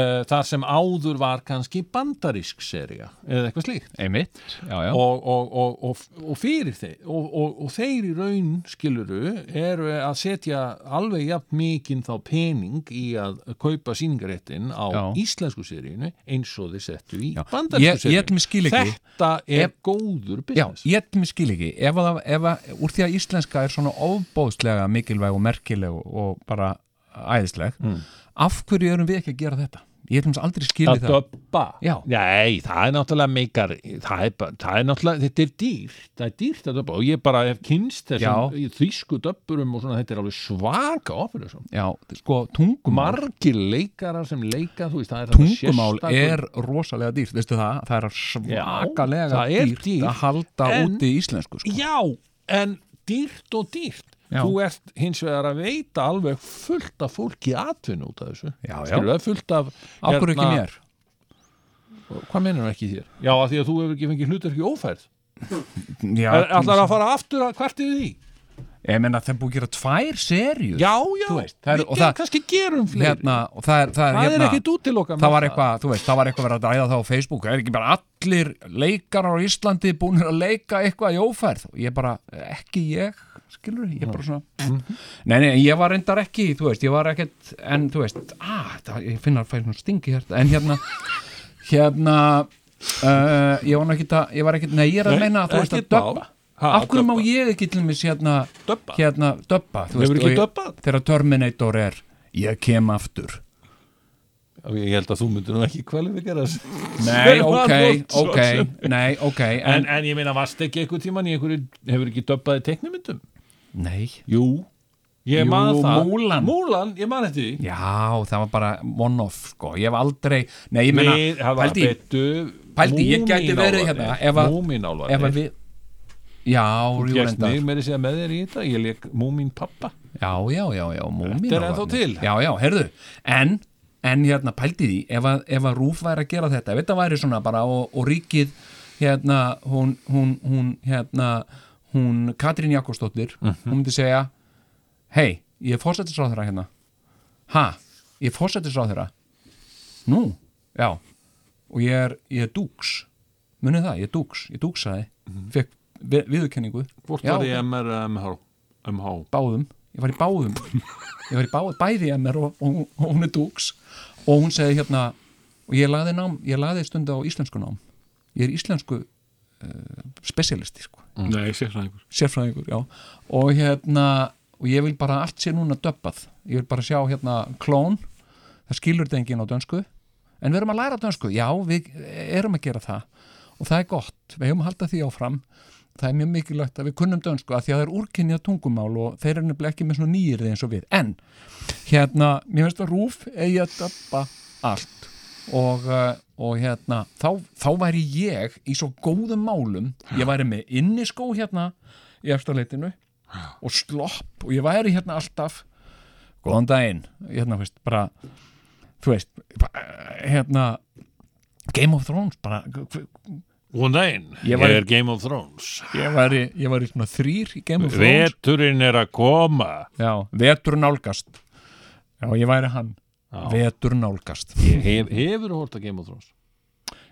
[SPEAKER 1] uh, þar sem áður var kannski bandarísk sería eða eitthvað slíkt
[SPEAKER 2] Einmitt. Já, já.
[SPEAKER 1] og, og, og, og, og fyrir þeir og, og, og þeir í raun skiluru eru að setja alveg jafn mikinn þá pening í að kaupa síningaréttin á
[SPEAKER 2] Já.
[SPEAKER 1] íslensku seríinu eins og þeir settu í
[SPEAKER 2] Já. Ég-
[SPEAKER 1] bandarísku
[SPEAKER 2] ég til mér skil
[SPEAKER 1] seríinu
[SPEAKER 2] ekki.
[SPEAKER 1] þetta er
[SPEAKER 2] Ef-
[SPEAKER 1] góður
[SPEAKER 2] Já,
[SPEAKER 1] business
[SPEAKER 2] ég til mér skil ekki, ef að, ef að, úr því að íslenska er svona ofbóðslega mikilvæg og merkileg og bara æðisleg
[SPEAKER 1] Mm.
[SPEAKER 2] af hverju erum við ekki að gera þetta? Ég hef aldrei skilið
[SPEAKER 1] að
[SPEAKER 2] það
[SPEAKER 1] döbba
[SPEAKER 2] Já.
[SPEAKER 1] Nei, það er náttúrulega meikar það er, bara- það er náttúrulega, þetta er dýrt það er dýrt að döbba og ég bara hef kynst þessum í þýsku döbburum og svona þetta er alveg svaka ofur
[SPEAKER 2] Já, sko, tungumál
[SPEAKER 1] margir leikarar sem leika þú veist, það er
[SPEAKER 2] tungumál
[SPEAKER 1] þetta
[SPEAKER 2] er rosalega dýrt, veistu það, það er svakalega
[SPEAKER 1] Já, það er
[SPEAKER 2] dýrt,
[SPEAKER 1] dýrt,
[SPEAKER 2] að halda
[SPEAKER 1] en-
[SPEAKER 2] úti í íslensku sko.
[SPEAKER 1] Já, en dýrt og dýrt
[SPEAKER 2] Já.
[SPEAKER 1] Þú ert hins vegar að veita alveg fullt af fólki atvinnu út af þessu
[SPEAKER 2] Já, já.
[SPEAKER 1] Skilur það fullt af hérna-
[SPEAKER 2] af hverju ekki mér?
[SPEAKER 1] Hvað mennum ekki þér? Já, af því að þú hefur ekki fengið hlutarki ófærð
[SPEAKER 2] Já,
[SPEAKER 1] Er allar að fara aftur að hvert yfir því?
[SPEAKER 2] ég menna það er búið að gera tvær serjur
[SPEAKER 1] Já, já,
[SPEAKER 2] veist, það er-
[SPEAKER 1] við
[SPEAKER 2] og
[SPEAKER 1] gerum
[SPEAKER 2] það-
[SPEAKER 1] kannski gerum fleiri
[SPEAKER 2] hérna, og það er, það er,
[SPEAKER 1] Það er
[SPEAKER 2] hérna,
[SPEAKER 1] ekkit útiloka
[SPEAKER 2] það var eitthvað, þú veist, það var eitthvað verið að ræða það á Facebook, er ekki bara allir leikarar á Íslandi búinir að leika eitthvað í ófærð og ég bara, ekki ég skilur, ég bara svona nei, nei, ég var reyndar ekki, þú veist, ég var ekkert en þú veist, að, það, ég finna að fæði svona stingi hérna, en hérna hérna uh, ég var nú ekkert að, ég var ekkert, nei, ég er að
[SPEAKER 1] Nei,
[SPEAKER 2] meina að þú veist að
[SPEAKER 1] ekkert mál.
[SPEAKER 2] döbba
[SPEAKER 1] Ha,
[SPEAKER 2] af hverju má
[SPEAKER 1] döbba.
[SPEAKER 2] ég ekki til mér hérna
[SPEAKER 1] Döbba.
[SPEAKER 2] hérna, döbba, þú
[SPEAKER 1] Hefur
[SPEAKER 2] veist,
[SPEAKER 1] ekki
[SPEAKER 2] og ég-
[SPEAKER 1] döbbað?
[SPEAKER 2] þegar Terminator er, ég kem aftur
[SPEAKER 1] Ég held að þú myndir nú ekki kvalifikera þessu
[SPEAKER 2] Nei,
[SPEAKER 1] Sverra
[SPEAKER 2] ok,
[SPEAKER 1] Loftsson
[SPEAKER 2] ok,
[SPEAKER 1] sem-
[SPEAKER 2] nei, ok
[SPEAKER 1] En,
[SPEAKER 2] en,
[SPEAKER 1] en ég meina, varst ekki einhver tíman í einhverju, hefur ekki döbbaði teiknumyndum?
[SPEAKER 2] Nei,
[SPEAKER 1] Jú Ég
[SPEAKER 2] Jú,
[SPEAKER 1] man það
[SPEAKER 2] Múlan.
[SPEAKER 1] Múlan, ég man þetta því
[SPEAKER 2] já, það var bara one-off, sko, ég hef aldrei Nei, ég meina,
[SPEAKER 1] Við hafa
[SPEAKER 2] pældi, í-
[SPEAKER 1] betu
[SPEAKER 2] pældi, ég gæti verið hérna ef að- ef að
[SPEAKER 1] Múminálvarnir
[SPEAKER 2] við Já, jú,
[SPEAKER 1] Gæst
[SPEAKER 2] reyndar
[SPEAKER 1] mig meiri segja með þér í þetta Ég leik Múmin pappa
[SPEAKER 2] Já, já, já, já, múmin
[SPEAKER 1] Þetta er ennþá til.
[SPEAKER 2] Já, já, heyrðu, en en hérna, pældi því, ef að, ef að Rúf væri að gera þetta, ef þetta væri svona bara og, og ríkið, hérna hún, hún, hún, hérna hún, Katrín Jakobsdóttir
[SPEAKER 1] Mhm.
[SPEAKER 2] hún myndi segja, hei ég er fórsetisráðherra hérna ha, ég er fórsetisráðherra nú, já og ég er, ég er dúks munið það, ég er dúks, ég dúksaði fekk vi, viðurkenningu
[SPEAKER 1] Mhm. Hvort
[SPEAKER 2] Já,
[SPEAKER 1] var ég MR MH MH
[SPEAKER 2] báðum, ég var í báðum ég var í báð, bæði MR og, og, og hún er dúks og hún segi hérna og ég laði, nám, ég laði stund á íslensku nám ég er íslensku uh, spesialisti sko,
[SPEAKER 4] Nei, sérfræðingur
[SPEAKER 2] sérfræðingur já. og hérna og ég vil bara að allt sé núna döbbað ég vil bara sjá hérna klón það skilur þetta enginn á dönsku en við erum að læra dönsku, já við erum að gera það og það er gott við hefum að halda því áfram það er mjög mikilvægt að við kunnum dönsku að því að það er úrkynjað tungumál og þeir eru nefnilega ekki með svona nýjirði eins og við en hérna, mér finnst að rúf eigi að döbba allt og, uh, og hérna þá, þá væri ég í svo góðum málum ég væri með inniskó hérna í eftirleitinu og slopp og ég væri hérna alltaf góðan daginn hérna, veist, bara, þú veist bara, hérna Game of Thrones bara,
[SPEAKER 1] Góðan daginn,
[SPEAKER 2] Ég var-
[SPEAKER 1] er Game of Thrones
[SPEAKER 2] ég væri, ég væri svona þrýr í Game of Thrones
[SPEAKER 1] Veturinn er að koma
[SPEAKER 2] já, vetur nálgast já, ég væri hann
[SPEAKER 1] Já.
[SPEAKER 2] vetur nálgast
[SPEAKER 1] Hef, Hefur þú hórt að Game of Thrones?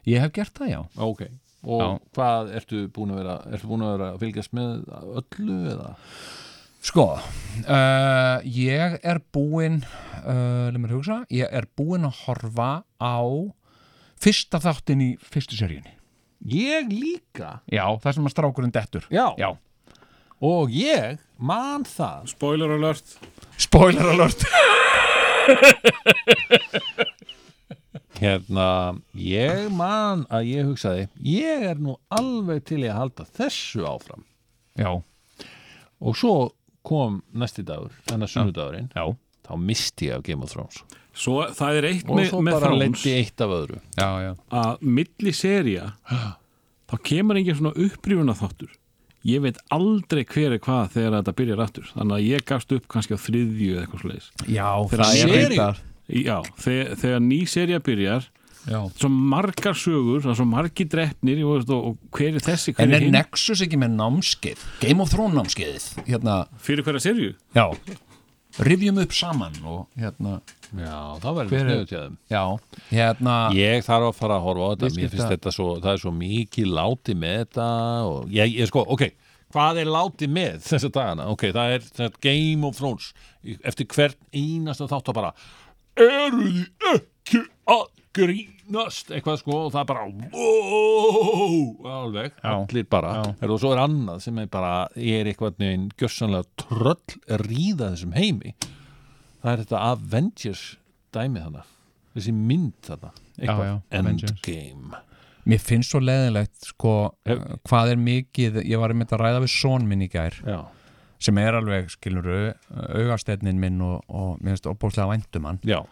[SPEAKER 2] ég hef gert það, já
[SPEAKER 1] Ok, og
[SPEAKER 2] Já.
[SPEAKER 1] hvað ertu búin að vera ertu búin að vera að fylgjast með öllu eða?
[SPEAKER 2] Sko, uh, ég er búinn, uh, leið mér hugsa, ég er búinn að horfa á fyrsta þáttin í fyrstu seríunni.
[SPEAKER 1] Ég líka
[SPEAKER 2] Já, það sem að strákurinn dettur.
[SPEAKER 1] Já,
[SPEAKER 2] Já.
[SPEAKER 1] og ég man það
[SPEAKER 4] Spoiler alert
[SPEAKER 2] Spoiler alert.
[SPEAKER 1] Hérna, ég man að ég hugsaði ég er nú alveg til í að halda þessu áfram
[SPEAKER 2] Já,
[SPEAKER 1] og svo kom næsti dagur, þannig að sunnudagurinn
[SPEAKER 2] já,
[SPEAKER 1] þá misti ég af Game of Thrones
[SPEAKER 4] Svo það er eitt
[SPEAKER 1] og
[SPEAKER 4] með,
[SPEAKER 1] svo
[SPEAKER 4] með
[SPEAKER 1] bara
[SPEAKER 4] Thrones
[SPEAKER 1] lendi eitt af öðru
[SPEAKER 2] já, já.
[SPEAKER 4] að milli seria þá kemur engin svona upprýfuna þáttur ég veit aldrei hver er hvað þegar þetta byrjar aftur þannig að ég gafst upp kannski á þriðju eða eitthvað slags
[SPEAKER 2] Já,
[SPEAKER 4] það er
[SPEAKER 1] Seríu?
[SPEAKER 2] reyndar.
[SPEAKER 4] já, þegar, þegar ný seria byrjar
[SPEAKER 2] Já.
[SPEAKER 4] svo margar sögur, það er svo margi drefnir og, veist, og, og hver er þessi, hver
[SPEAKER 2] En er
[SPEAKER 4] er hinn
[SPEAKER 2] Nexus ekki með námskeið? Game of Thrones námskeiðið, hérna.
[SPEAKER 4] fyrir hverja serju
[SPEAKER 2] Já. Rivjum upp saman og hérna.
[SPEAKER 1] Já, það var
[SPEAKER 2] Hver er-
[SPEAKER 1] sniðu til þeim
[SPEAKER 2] Já, hérna.
[SPEAKER 1] Ég þarf að fara að horfa á þetta
[SPEAKER 2] Viðskipta-
[SPEAKER 1] Mér finnst þetta svo, það er svo mikið láti með þetta og ég, ég sko, ok Hvað er láti með þessa dagana? Ok, það er það, Game of Thrones Í- eftir hvern einasta þátt að bara Eru þið ekki að grínast eitthvað sko og það er bara wow, alveg,
[SPEAKER 2] Já.
[SPEAKER 1] allir bara
[SPEAKER 2] Já.
[SPEAKER 1] er, og svo er annað sem er bara er eitthvað neginn gjössanlega tröll ríða þessum heimi það er þetta Avengers dæmi þarna þessi mynd þarna
[SPEAKER 2] já,
[SPEAKER 1] Eitthvað.
[SPEAKER 2] Avengers.
[SPEAKER 1] Endgame
[SPEAKER 2] Mér finnst svo leðilegt sko,
[SPEAKER 1] Hef-
[SPEAKER 2] uh, hvað er mikið, ég var einmitt að ræða við són minn í gær
[SPEAKER 1] já,
[SPEAKER 2] sem er alveg, skilur, augastegnin minn og, og mér finnst opbóðslega væntum hann
[SPEAKER 1] já,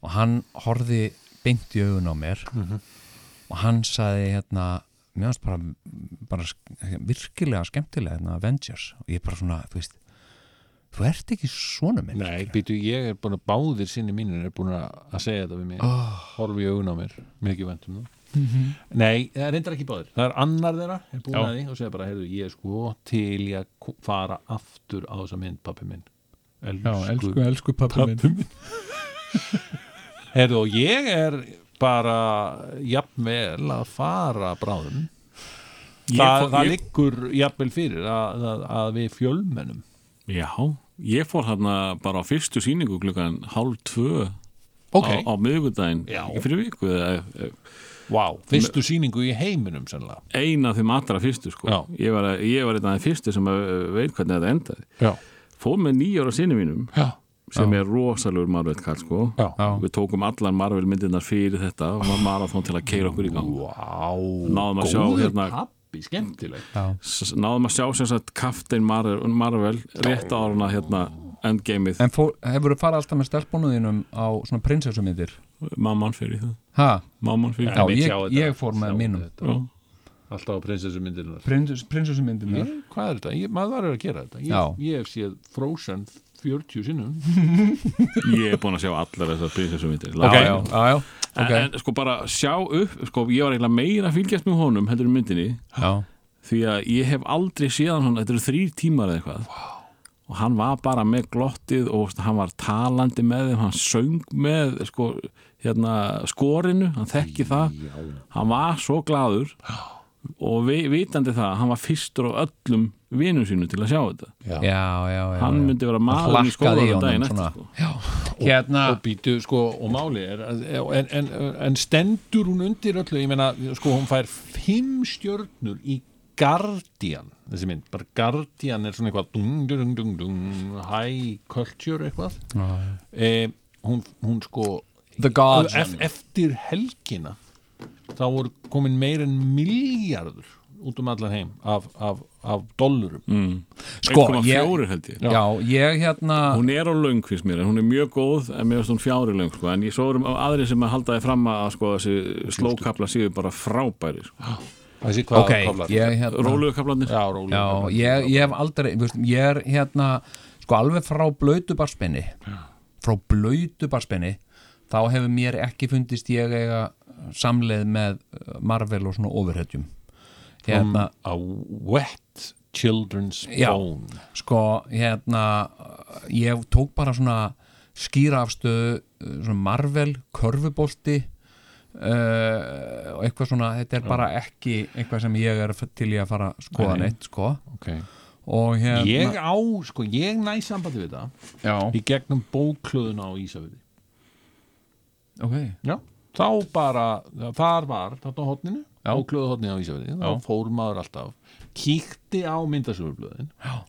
[SPEAKER 2] og hann horfi beint í augun á mér
[SPEAKER 4] Mhm.
[SPEAKER 2] og hann saði hérna mér finnst bara, bara sk- virkilega skemmtilega hérna Avengers og ég bara svona, þú veist þú ert ekki svona minn
[SPEAKER 1] nei, býtu ég er búin að báðir sinni mínir er búin að að segja þetta við mig oh.
[SPEAKER 2] Ah.
[SPEAKER 1] horfi í augun á mér, mikið vendum um það nei, það er reyndar ekki báðir það er annar þeirra, er búin
[SPEAKER 2] Mhm. Já.
[SPEAKER 1] að því og segja bara, heyrðu, ég er sko til ég að ko- fara aftur á þessa mynd, pappi minn
[SPEAKER 2] elsku pappi
[SPEAKER 1] minn Herðu og ég er bara jafnvel að fara bráðum
[SPEAKER 4] Ég
[SPEAKER 1] það,
[SPEAKER 4] fór-
[SPEAKER 1] það
[SPEAKER 4] ég-
[SPEAKER 1] liggur jafnvel fyrir að, að, að við fjölmennum
[SPEAKER 4] Já, ég fór hérna bara á fyrstu síningu klukkan hálf tvö
[SPEAKER 1] Ok.
[SPEAKER 4] á, á miðvikudaginn
[SPEAKER 1] Já.
[SPEAKER 4] Ekki fyrir viku eða- eh, eða-
[SPEAKER 1] wow. fyrstu sýningu í heiminum sennilega
[SPEAKER 4] eina af þeim allra fyrstu sko
[SPEAKER 1] Já.
[SPEAKER 4] ég var, að- ég var einn af þeim fyrstu sem að, eh, veit hvernig þetta endaði
[SPEAKER 1] já,
[SPEAKER 4] fór með nýjára sinni mínum
[SPEAKER 1] já,
[SPEAKER 4] sem er rosalur Marvel kall sko
[SPEAKER 1] já.
[SPEAKER 2] Já.
[SPEAKER 4] við tókum allar Marvel myndirnar fyrir þetta og var marathón til að keira okkur í gang
[SPEAKER 1] Wow,
[SPEAKER 4] Náðum að sjá hérna-
[SPEAKER 1] pappi, skemmtileg
[SPEAKER 2] já,
[SPEAKER 4] S- náðum að sjá sem sagt Captain Marvel, Marvel rétt áruna hérna endgameið
[SPEAKER 2] En fór, hefur þú farið alltaf með stelpunniðinum á svona prinsessumindir?
[SPEAKER 4] mamman fyrir það
[SPEAKER 2] Ha?
[SPEAKER 4] mamman fyrir
[SPEAKER 2] Já,
[SPEAKER 4] það
[SPEAKER 2] ég- ég fór með mínum.
[SPEAKER 1] Mm.
[SPEAKER 4] Já.
[SPEAKER 1] Alltaf á prinsessumindirinnar
[SPEAKER 2] Prins, prinsessumindirnar?
[SPEAKER 1] Hvað er þetta? Ég, maður verður að gera þetta Ég,
[SPEAKER 2] Já.
[SPEAKER 1] ég hef séð Frozen 40 sinnum
[SPEAKER 4] ég er búin að sjá allar þessar prinsessum myndir
[SPEAKER 2] Já,
[SPEAKER 4] Lá-
[SPEAKER 2] já, já, já.
[SPEAKER 4] En,
[SPEAKER 2] ok.
[SPEAKER 4] en sko bara sjá upp sko, ég var eiginlega meira að fylgjast með honum heldur um myndinni
[SPEAKER 2] já.
[SPEAKER 4] því að ég hef aldrei séðan hann þetta eru þrýr tímar eða eitthvað wow. og hann var bara með glottið og veist, hann var talandi með þeim hann söng með sko, hérna, skorinu, hann þekki það hann var svo gladur og vi, vitandi það hann var fyrstur á öllum vinum sínu til að sjá þetta
[SPEAKER 2] Já, já, já.
[SPEAKER 4] hann
[SPEAKER 2] já.
[SPEAKER 4] myndi vera maður í
[SPEAKER 2] hlakkaði í
[SPEAKER 4] skólanum
[SPEAKER 2] honum
[SPEAKER 4] daginn eftir
[SPEAKER 2] svona.
[SPEAKER 4] sko.
[SPEAKER 2] Hérna,
[SPEAKER 1] og býtu, sko, og máli er að- e, en, en, en stendur hún undir öllu ég meina, sko, hún fær fimm stjörnur í Guardian þessi mynd, bara Guardian er svona eitthvað dung, dung, dung, dung, high culture eitthvað e, hún, hún sko
[SPEAKER 2] The Gods.
[SPEAKER 1] ef, eftir helgina þá voru komin meir en miljardur út um allan heim af, af, af dollurum
[SPEAKER 4] mm.
[SPEAKER 2] Sko,
[SPEAKER 4] 1,4 held ég
[SPEAKER 2] já, ég hérna,
[SPEAKER 4] Hún er á löng fyrst mér, en hún er mjög góð en mér finnst hún fjári löng, sko, en ég svo erum aðri sem að halda þið fram að sko, þessi slókapla séu bara frábæri sko.
[SPEAKER 1] þessi hvað
[SPEAKER 2] ok,
[SPEAKER 1] kaflar?
[SPEAKER 2] ég hérna.
[SPEAKER 4] Róluðu kaplanir
[SPEAKER 1] já, rólu
[SPEAKER 2] Já, ég, ég hef aldrei, þú veist, ég er hérna, sko alveg frá blöytubarspenni, frá blöytubarspenni, þá hefur mér ekki fundist ég eiga samleið með uh, Marvel og svona overhættjum. Hérna,
[SPEAKER 1] a wet children's
[SPEAKER 2] Já.
[SPEAKER 1] bone
[SPEAKER 2] sko, hérna uh, ég tók bara svona skýra afstöðu, uh, svona Marvel körfubolti uh, og eitthvað svona, þetta er bara ekki eitthvað sem ég er f- til í að fara að skoða
[SPEAKER 1] Nei.
[SPEAKER 2] neitt, sko
[SPEAKER 1] okay.
[SPEAKER 2] og hérna,
[SPEAKER 1] ég á, sko, ég næ sambandi við það
[SPEAKER 2] já,
[SPEAKER 1] í gegnum bóklöðuna á Ísafjörði
[SPEAKER 2] ok
[SPEAKER 1] já, þá bara þar var, þarna á hotninu
[SPEAKER 2] Já.
[SPEAKER 1] bóklöðu hotninu á Ísafjörði, þá fór maður alltaf kíkti á myndasöfurblöðin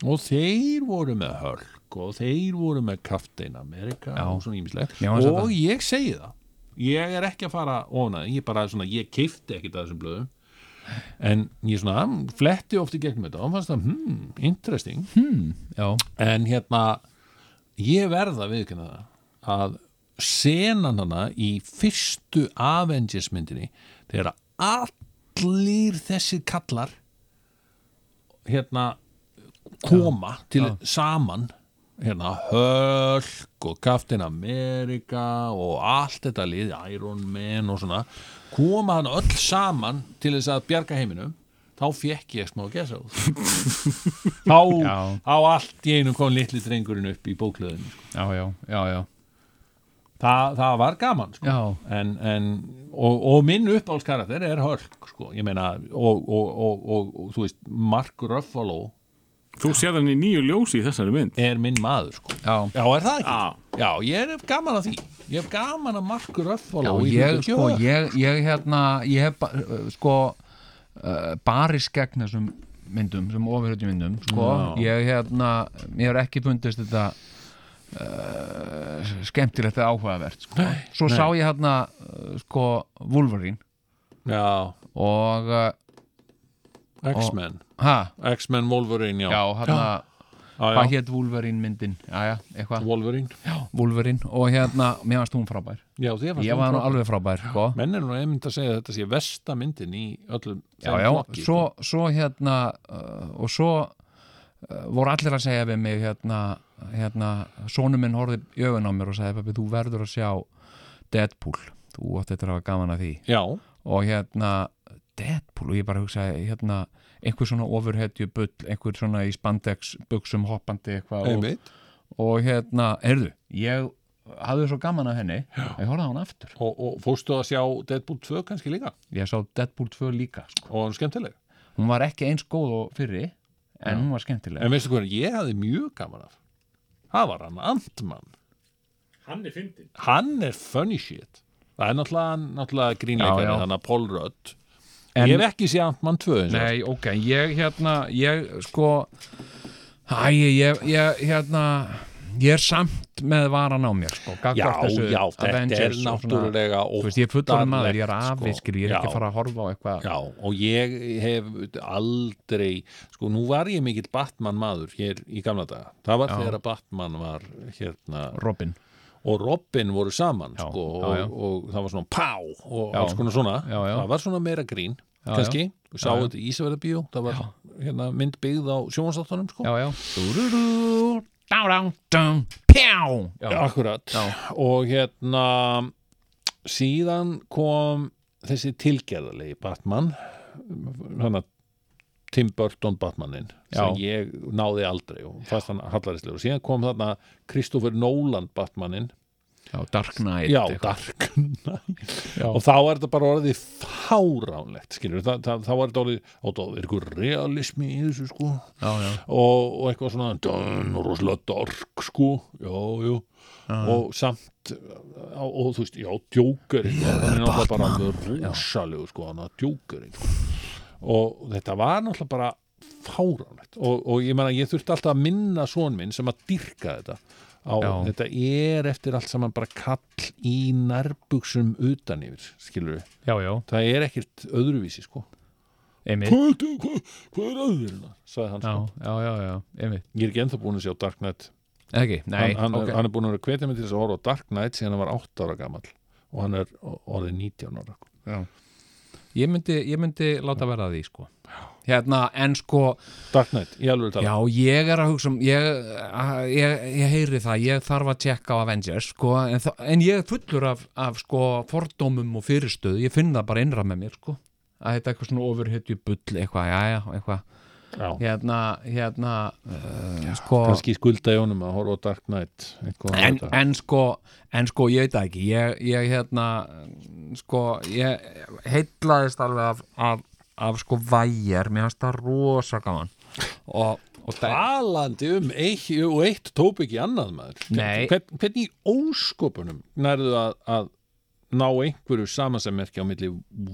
[SPEAKER 1] og þeir voru með hölk og þeir voru með Captain America
[SPEAKER 2] Já.
[SPEAKER 1] og svona ímislegt
[SPEAKER 2] Já, eins og
[SPEAKER 1] og
[SPEAKER 2] það.
[SPEAKER 1] ég segi það ég er ekki að fara ofna ég bara svona, ég kifti ekkit að þessum blöðum en ég svona mm, fletti ofti gegnum þetta og fannst það, hmm, interesting
[SPEAKER 2] já,
[SPEAKER 1] en hérna ég verða viðkynna það að senan hana í fyrstu Avengers myndinni þegar allir þessir kallar hérna koma til saman hérna Hulk og Captain America og allt þetta lið Iron Man og svona koma hann öll saman til þess að bjarga heiminum þá fekk ég smá gesa út
[SPEAKER 2] Já.
[SPEAKER 1] þá á allt í einu kom litli drengurinn upp í bóklöðinu sko.
[SPEAKER 2] já, já, já, já.
[SPEAKER 1] Þa, það var gaman sko.
[SPEAKER 2] Já.
[SPEAKER 1] en, en, og, og minn uppáhaldskarakter er Hulk sko. ég meina og, og, og, og, og þú veist Mark Ruffalo
[SPEAKER 4] Þú séð hann í nýju ljósi í þessari mynd
[SPEAKER 1] er minn maður sko.
[SPEAKER 2] Já.
[SPEAKER 1] er það ekki?
[SPEAKER 4] Já.
[SPEAKER 1] Já, ég er gaman að því ég hef gaman að Mark Ruffalo í
[SPEAKER 2] ég,
[SPEAKER 1] Luka
[SPEAKER 2] sko,
[SPEAKER 1] Jörg.
[SPEAKER 2] ég, ég hérna ég hef ba- uh, sko uh, barist gegn þessum myndum, þessum ofurhættjum myndum sko, ég hérna mér hefur ekki fundist þetta skemmtilegt eða áhugavert sko. svo sá ég hérna uh, sko Wolverine
[SPEAKER 1] já,
[SPEAKER 2] og uh,
[SPEAKER 1] X-Men
[SPEAKER 2] ha,
[SPEAKER 1] X-Men Wolverine, já,
[SPEAKER 2] já, hérna
[SPEAKER 1] já, já.
[SPEAKER 2] hvað hétt Wolverine myndin já, já, eitthvað,
[SPEAKER 1] Wolverine,
[SPEAKER 2] Wolverine og hérna, mér varst hún frábær
[SPEAKER 1] já, því að
[SPEAKER 2] ég var nú alveg frábær sko.
[SPEAKER 1] menn er nú einmitt að segja að þetta sé versta myndin í öllum
[SPEAKER 2] já,
[SPEAKER 1] þeim
[SPEAKER 2] já,
[SPEAKER 1] flokki,
[SPEAKER 2] svo, svo hérna uh, og svo uh, voru allir að segja við mig hérna, hérna sonu minn horfði í augun á mér og sagði pappi, þú verður að sjá Deadpool, þú átt þetta að hafa gaman að því
[SPEAKER 1] já,
[SPEAKER 2] og hérna Deadpool og ég bara hugsaði hérna einhver svona ofurhetju bull einhver svona í spandex buksum hoppandi eitthvað og,
[SPEAKER 1] einmitt
[SPEAKER 2] og hérna, heyrðu, ég hafði svo gaman að henni, ég horfði á hann aftur
[SPEAKER 1] og, og fórstu að sjá Deadpool 2 kannski líka
[SPEAKER 2] ég sá Deadpool 2 líka sko.
[SPEAKER 1] og hann skemmtileg
[SPEAKER 2] hún var ekki eins góð og fyrri en hún var skemmtileg
[SPEAKER 1] en veistu hvað, ég hafði mjög gaman af það var hann Ant-Man
[SPEAKER 4] Hann er fyndin
[SPEAKER 1] hann er funny shit það er náttúrulega, hann- náttúrulega
[SPEAKER 2] Já,
[SPEAKER 1] grínleikari
[SPEAKER 2] já.
[SPEAKER 1] hann að Paul Rudd
[SPEAKER 2] En-
[SPEAKER 1] ég hef ekki séð Ant-Man 2 eins og
[SPEAKER 2] nei, ok, ég hérna ég sko æ, ég, ég hérna ég er samt með varan á mér sko, gagnvart
[SPEAKER 1] Já,
[SPEAKER 2] þessu
[SPEAKER 1] já, þetta er
[SPEAKER 2] Avengers og svona-
[SPEAKER 1] náttúrulega
[SPEAKER 2] Þú veist, ég er fullorðin maður, ég er
[SPEAKER 1] óttalegt,
[SPEAKER 2] afi,
[SPEAKER 1] sko.
[SPEAKER 2] skil, ég er ekki
[SPEAKER 1] Já.
[SPEAKER 2] að fara að horfa á eitthvað
[SPEAKER 1] Já, og ég hef aldrei, sko, nú var ég mikill Batman maður hér í gamla daga. Það var þegar að Batman var hérna,
[SPEAKER 2] Robin.
[SPEAKER 1] og Robin voru saman,
[SPEAKER 2] Já,
[SPEAKER 1] sko,
[SPEAKER 2] já, já.
[SPEAKER 1] Og, og það var svona pá og alls konar svona.
[SPEAKER 2] já, já.
[SPEAKER 1] Það var svona meira grín,
[SPEAKER 2] Já,
[SPEAKER 1] kannski. Við sáum þetta í Ísverðabíó, það var hérna, mynd byggð á sjónvarsáttunum, sko.
[SPEAKER 2] Já, já. Dúrurú, dá, dá, dá, pjá. Já, já,
[SPEAKER 1] Akkurat. Og hérna, síðan kom þessi tilgerðalegi Batman, hann að Tim Burton Batmaninn sem ég náði aldrei og fast hann hallarislegur. Síðan kom þarna Kristoffer Nolan Batmaninn,
[SPEAKER 2] Dark Knight.
[SPEAKER 1] já,
[SPEAKER 2] eitthvað.
[SPEAKER 1] Dark Knight. Og þá er þetta bara orðið fáránlegt, skilur. Þa, það, þá er þetta orðið, og það er eitthvað realismi í þessu, sko.
[SPEAKER 2] Já, já.
[SPEAKER 1] Og, og eitthvað svona, dönn, og rosalega dark, sko. Já, já og samt og, og þú veist, já, djókurinn sko, hann er náttúrulega bara alveg rosalegu sko, hann að djókurinn sko. og þetta var náttúrulega bara fáránlegt og, og ég meina, ég þurfti alltaf að minna son minn sem að dyrka þetta á,
[SPEAKER 2] Já.
[SPEAKER 1] þetta er eftir allt saman bara kall í nærbuxum utan yfir, skilur við
[SPEAKER 2] Já, já.
[SPEAKER 1] það er ekkert öðruvísi, sko
[SPEAKER 2] Einmitt.
[SPEAKER 1] hvað, ertu- hvað, hvað er öðruna, sagði hann
[SPEAKER 2] Já,
[SPEAKER 1] sko.
[SPEAKER 2] já, já, já. Einmitt.
[SPEAKER 1] ég er ekki ennþá búin að sjá Dark Knight
[SPEAKER 2] Ekki, nei,
[SPEAKER 1] hann, hann,
[SPEAKER 2] ok.
[SPEAKER 1] er, hann er búin að vera hvetja mig til þess að horfa á Dark Knight síðan hann var 8 ára gamall og hann er o- orðið 19 ára
[SPEAKER 2] Ég myndi, ég myndi láta verða því, sko. Hérna, en sko,
[SPEAKER 1] Dark Knight, ég alveg tala
[SPEAKER 2] já, ég er að hugsa um, ég, að- ég, ég heyri það, ég þarf að tjekka á Avengers, sko, en, þa- en ég er fullur af, af, sko, fordómum og fyrirstöðu, ég finn það bara innra með mér, sko, að þetta er eitthvað svona ofurhetju bull, eitthvað, já, já, eitthvað,
[SPEAKER 1] já,
[SPEAKER 2] hérna, hérna uh, sko,
[SPEAKER 1] kannski skulda í honum að horfa á Dark Knight eitthvað
[SPEAKER 2] en,
[SPEAKER 1] þetta.
[SPEAKER 2] en sko en sko, ég veit það ekki ég, ég hérna, sko ég heitlaðist alveg af, af, af sko vægir mér fannst það rosa gaman og, og
[SPEAKER 1] Sko,
[SPEAKER 2] það,
[SPEAKER 1] talandi um eitt, og eitt tópik í annað maður
[SPEAKER 2] Nei.
[SPEAKER 1] Hvern, hvernig í ósköpunum nærðu að, að ná einhverju samansammerki á milli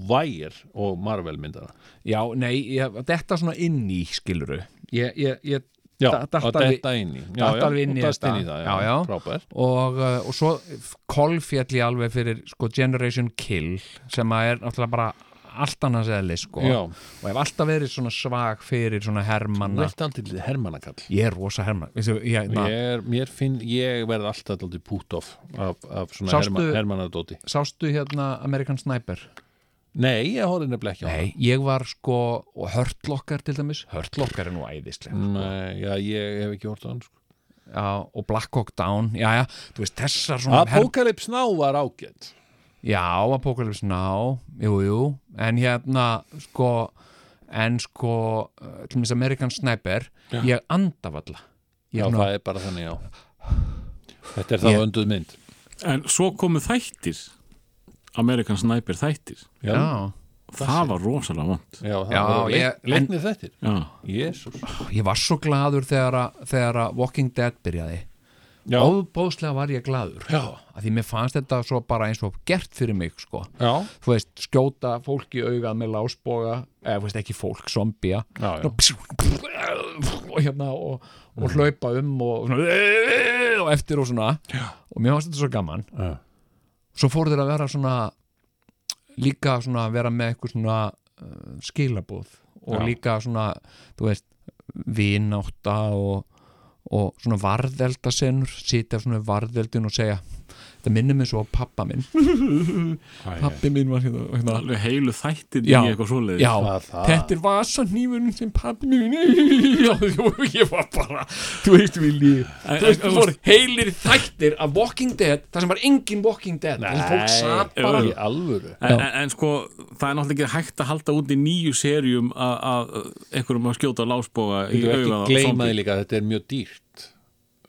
[SPEAKER 1] Wire og Marvel myndara
[SPEAKER 2] já, nei ég, þetta svona inn í skiluru ég, ég, ég
[SPEAKER 1] já,
[SPEAKER 2] da- datt
[SPEAKER 1] og
[SPEAKER 2] alveg-
[SPEAKER 1] þetta inn í já,
[SPEAKER 2] datt
[SPEAKER 1] já,
[SPEAKER 2] alveg inn í
[SPEAKER 1] og datt
[SPEAKER 2] þetta.
[SPEAKER 1] inn í það,
[SPEAKER 2] Já,
[SPEAKER 1] já,
[SPEAKER 2] já.
[SPEAKER 1] frábær
[SPEAKER 2] og, uh, og svo kolfjall ég alveg fyrir sko Generation Kill sem að er náttúrulega bara allt annars eðli sko
[SPEAKER 1] Já.
[SPEAKER 2] og hef alltaf verið svona svag fyrir svona
[SPEAKER 1] Þú
[SPEAKER 2] hermanna
[SPEAKER 1] ert aldrei hermannakall
[SPEAKER 2] ég er rosa hermann Vissu, ég, hérna, na,
[SPEAKER 1] Ég, er, mér finn, ég verð alltaf aldrei pút of af, af svona
[SPEAKER 2] Sástu-
[SPEAKER 1] herma, hermannadóti
[SPEAKER 2] sástu hérna American Sniper
[SPEAKER 1] Nei, ég horfði nefnilega ekki á
[SPEAKER 2] nei, ég var sko og hörtlokkar til dæmis, hörtlokkar er nú æðislega
[SPEAKER 1] hann Nei, já, ég hef ekki horfði á hann sko.
[SPEAKER 2] já, og Black Hawk Down já, já, þú veist, þessar svona her-
[SPEAKER 1] Apocalypse Now var ágætt
[SPEAKER 2] já, Apocalypse Now jú, jú, en hérna sko, en sko uh, til dæmis American Sniper ég andafalla
[SPEAKER 1] Já,
[SPEAKER 2] ég, svona-
[SPEAKER 1] það er bara þannig, já Þetta er það
[SPEAKER 2] Ég-
[SPEAKER 1] önduð mynd
[SPEAKER 4] En svo komu þættir Amerikan Sniper þættir
[SPEAKER 1] Já, já,
[SPEAKER 2] já,
[SPEAKER 4] Það var rosalega vond
[SPEAKER 1] það
[SPEAKER 2] Já,
[SPEAKER 1] var
[SPEAKER 2] ég-
[SPEAKER 1] leik, leiknir þettir
[SPEAKER 4] Já,
[SPEAKER 1] Jésús
[SPEAKER 2] ég var svo gladur þegar að, þegar að Walking Dead byrjaði
[SPEAKER 1] Já,
[SPEAKER 2] óbóðslega var ég gladur
[SPEAKER 1] já,
[SPEAKER 2] að því mér fannst þetta svo bara eins og gert fyrir mig sko,
[SPEAKER 1] já,
[SPEAKER 2] þú veist, skjóta fólk í augað með lásboga eða þú veist, ekki fólk, zombia
[SPEAKER 1] já, já.
[SPEAKER 2] og psjú, psjú, og hérna og, og hlaupa um og, svona, og eftir og svona og mér varst þetta svo gaman
[SPEAKER 1] Já.
[SPEAKER 2] svo fóru þeir að vera svona líka svona að vera með eitthvað svona uh, skilabúð og
[SPEAKER 1] Já.
[SPEAKER 2] líka svona, þú veist vinátta og, og svona varðeldasenur sitja svona varðeldin og segja það minnir mig svo á pappa minn
[SPEAKER 1] Æ,
[SPEAKER 2] pappi minn var hérna, hérna
[SPEAKER 4] alveg heilu þættin
[SPEAKER 2] Já.
[SPEAKER 4] í eitthvað svoleiðis
[SPEAKER 2] Já,
[SPEAKER 1] Hvað það?
[SPEAKER 2] þetta er vasanýfunum sem pappi minn Já, jú, ég var bara Þú veist, Vili Þú veist, þú voru heilir þættir af Walking Dead Það sem var engin Walking Dead Það sem fólk satt bara
[SPEAKER 1] Í alvöru
[SPEAKER 4] En, en, en sko, það er náttúrulega ekki hægt að halda út í nýju serjum að- að einhverjum að skjóta lásboga í
[SPEAKER 1] Þú ekki
[SPEAKER 4] augað á
[SPEAKER 1] gleyma
[SPEAKER 4] zombie.
[SPEAKER 1] því líka að þetta er mjög dýrt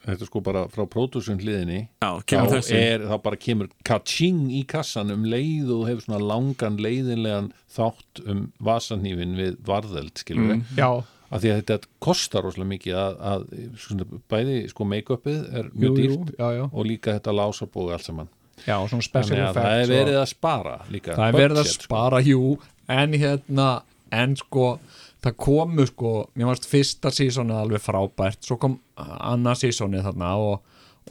[SPEAKER 1] Þetta er sko bara frá pródúsun hliðinni
[SPEAKER 4] Já,
[SPEAKER 1] þá,
[SPEAKER 4] kemur þessi
[SPEAKER 1] er, þá bara kemur kaching í kassan um leið og þú hefur svona langan leiðinlegan þátt um vasanýfin við varðeld skilur við
[SPEAKER 2] Já,
[SPEAKER 1] af því að þetta kostar rosalega mikið að, að svona, bæði sko make-upið er
[SPEAKER 2] jú,
[SPEAKER 1] mjög
[SPEAKER 2] jú,
[SPEAKER 1] dýrt
[SPEAKER 2] já, já
[SPEAKER 1] og líka þetta lásabóð allt saman
[SPEAKER 2] Já, svona special
[SPEAKER 1] þannig að það er
[SPEAKER 2] effects og-
[SPEAKER 1] verið að spara líka
[SPEAKER 2] Það er verið að
[SPEAKER 1] budget, sko.
[SPEAKER 2] spara, jú En hérna, en sko Það komu sko, mér varst fyrsta sísonið alveg frábært, svo kom annað sísonið þarna og,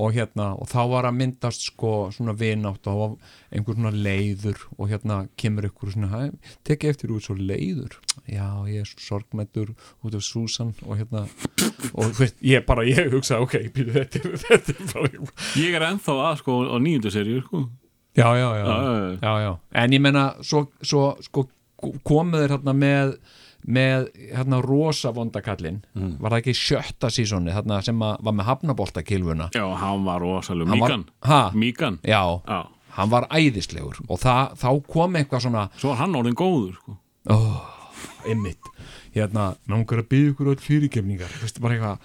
[SPEAKER 2] og hérna og þá var að myndast sko svona vinátt og þá var einhver svona leiður og hérna kemur ykkur svona "Hæ, tekið eftir út svo leiður já, ég er svo sorgmættur út af Susan og hérna og þú veist, ég bara, ég hugsaði, ok býtu, þetta, er- þetta er bara
[SPEAKER 4] Ég er ennþá að sko á nýjöndu serju sko.
[SPEAKER 2] já, já, já,
[SPEAKER 4] Já, já, já.
[SPEAKER 2] já, já. en ég meina svo, svo sko, komuð þeir hérna með með hérna rosa vondakallin var það ekki sjötta sísoni hérna, sem að, var með hafnaboltakilvuna
[SPEAKER 4] Já, hann var rosalega
[SPEAKER 2] Hann var-
[SPEAKER 4] Míkan
[SPEAKER 2] Ha?
[SPEAKER 4] Míkan
[SPEAKER 2] já,
[SPEAKER 4] Já.
[SPEAKER 2] hann var æðislegur og það, þá kom eitthvað svona
[SPEAKER 4] Svo var hann orðin góður sko.
[SPEAKER 2] einmitt, hérna, náttúrulega að byggja ykkur öll fyrirgefningar, veistu bara eitthvað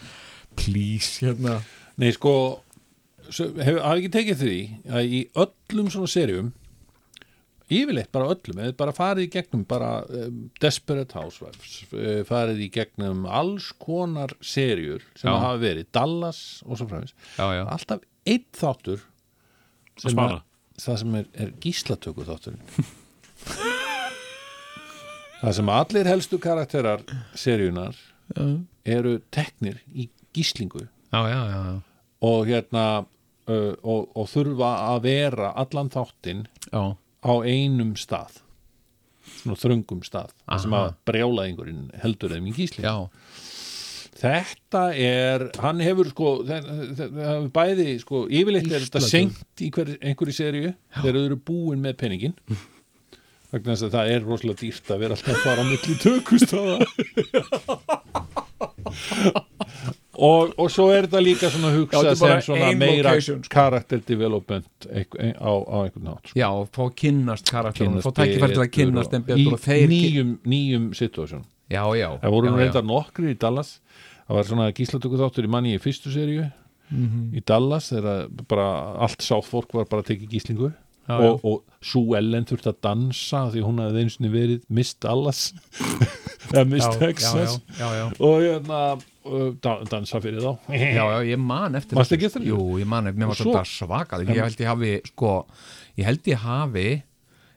[SPEAKER 2] please, hérna
[SPEAKER 1] Nei, sko, svo- hef- hafi ekki tekið því að í öllum svona serjum yfirleitt bara öllum, eða bara farið í gegnum bara um, Desperate Housewives eh, farið í gegnum alls konar serjur sem
[SPEAKER 2] Já.
[SPEAKER 1] hafa verið Dallas og svo fræmis
[SPEAKER 2] já, já,
[SPEAKER 1] alltaf einn þáttur
[SPEAKER 4] Að
[SPEAKER 1] sem
[SPEAKER 4] spara
[SPEAKER 1] það sem er, er gíslatöku þátturinn það sem allir helstu karakterar serjunar eru teknir í gíslingu
[SPEAKER 2] já, já, já,
[SPEAKER 1] og hérna uh, og, og þurfa að vera allan þáttinn
[SPEAKER 2] já.
[SPEAKER 1] á einum stað svona þröngum stað Aha. sem að brjálaðingurinn heldur þeim í gísli
[SPEAKER 2] já,
[SPEAKER 1] þetta er, hann hefur sko það hefur bæði sko yfirleitt er þetta
[SPEAKER 2] Gíslatöku.
[SPEAKER 1] senkt í hver, einhverju serju þegar þau eru búin með peningin vegna þess að það er rosalega dýrt að vera alltaf að fara á milli tökustafa og, og svo er þetta líka svona
[SPEAKER 2] Já,
[SPEAKER 1] hugsa
[SPEAKER 2] þetta er bara
[SPEAKER 1] sem svona
[SPEAKER 2] ein
[SPEAKER 1] meira
[SPEAKER 2] location, sko.
[SPEAKER 1] character development einhver, ein, á, á einhvern sko. nátt
[SPEAKER 2] já, og fá að kynnast karakterunum, fá tækifæri til að kynnast þeim betur og
[SPEAKER 1] í
[SPEAKER 2] þeir
[SPEAKER 1] nýjum, nýjum situasjón
[SPEAKER 2] já, já,
[SPEAKER 1] það voru nú
[SPEAKER 2] já, já.
[SPEAKER 1] reyndar nokkri í Dallas það var svona gíslatöku þáttur í manni í fyrstu serju
[SPEAKER 2] Mhm.
[SPEAKER 1] í Dallas þegar bara allt sáfólk var bara að tekið gíslingu
[SPEAKER 2] Já,
[SPEAKER 1] og, og Sue Ellen þurfti að dansa af því hún hafði einu sinni verið Miss Dallas eða Miss Texas
[SPEAKER 2] já, já, já,
[SPEAKER 1] og hérna uh, da- dansa fyrir þá
[SPEAKER 2] já, já, ég man eftir
[SPEAKER 1] Varstu
[SPEAKER 2] þessu.
[SPEAKER 1] ekki eftir því?
[SPEAKER 2] Jú, ég man eftir, mér
[SPEAKER 1] Og
[SPEAKER 2] var
[SPEAKER 1] svo-
[SPEAKER 2] þetta svakað ég held ég hafi, sko ég held ég hafi,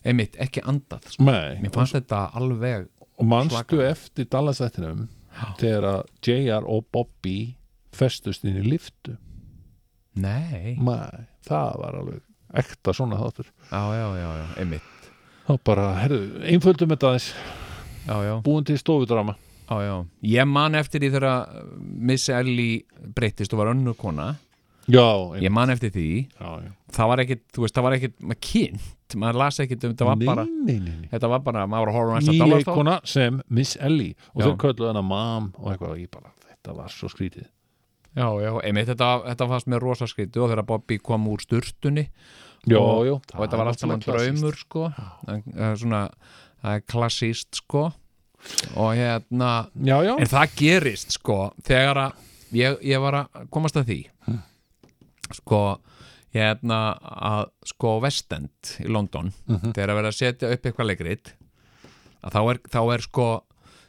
[SPEAKER 2] einmitt, ekki andað sko.
[SPEAKER 1] Nei,
[SPEAKER 2] mér fannst þetta alveg
[SPEAKER 1] og manstu
[SPEAKER 2] Svakalega.
[SPEAKER 1] eftir Dallas þættinum þegar að JR og Bobby festust inn í liftu
[SPEAKER 2] nei,
[SPEAKER 1] Nei, það var alveg ekta svona þáttur
[SPEAKER 2] já, já, já, já, einmitt
[SPEAKER 1] þá bara, herðu, einföldum þetta aðeins
[SPEAKER 2] já, já,
[SPEAKER 1] búin til stofudrama
[SPEAKER 2] já, já, ég man eftir því þegar uh, Miss Ellie breyttist og var önnur kona,
[SPEAKER 1] já,
[SPEAKER 2] ég man eftir því
[SPEAKER 1] já, já.
[SPEAKER 2] það var ekkit, þú veist, það var ekkit maður kynnt, maður las ekkit um, þetta var bara
[SPEAKER 1] nei, nei, nei.
[SPEAKER 2] þetta var bara, maður var að horfa á næsta dalastátt
[SPEAKER 1] nýleikona sem Miss Ellie og
[SPEAKER 2] Já.
[SPEAKER 1] þau kölluðu hana mam og eitthvað og ég bara, þetta var svo skrítið
[SPEAKER 2] já, já, einmitt, þetta, þetta fannst mér rosa skrítu og þegar Bobby kom úr sturtunni
[SPEAKER 1] já,
[SPEAKER 2] og,
[SPEAKER 1] já,
[SPEAKER 2] og þetta var allt saman draumur sko En, eh, svona það er klassíst sko og hérna
[SPEAKER 1] já, já,
[SPEAKER 2] en það gerist sko þegar að ég, ég var að komast að því
[SPEAKER 1] Hm.
[SPEAKER 2] sko hérna að sko Vestend í London
[SPEAKER 1] Mhm.
[SPEAKER 2] þegar að vera að setja upp eitthvað leikrit að þá er, þá er sko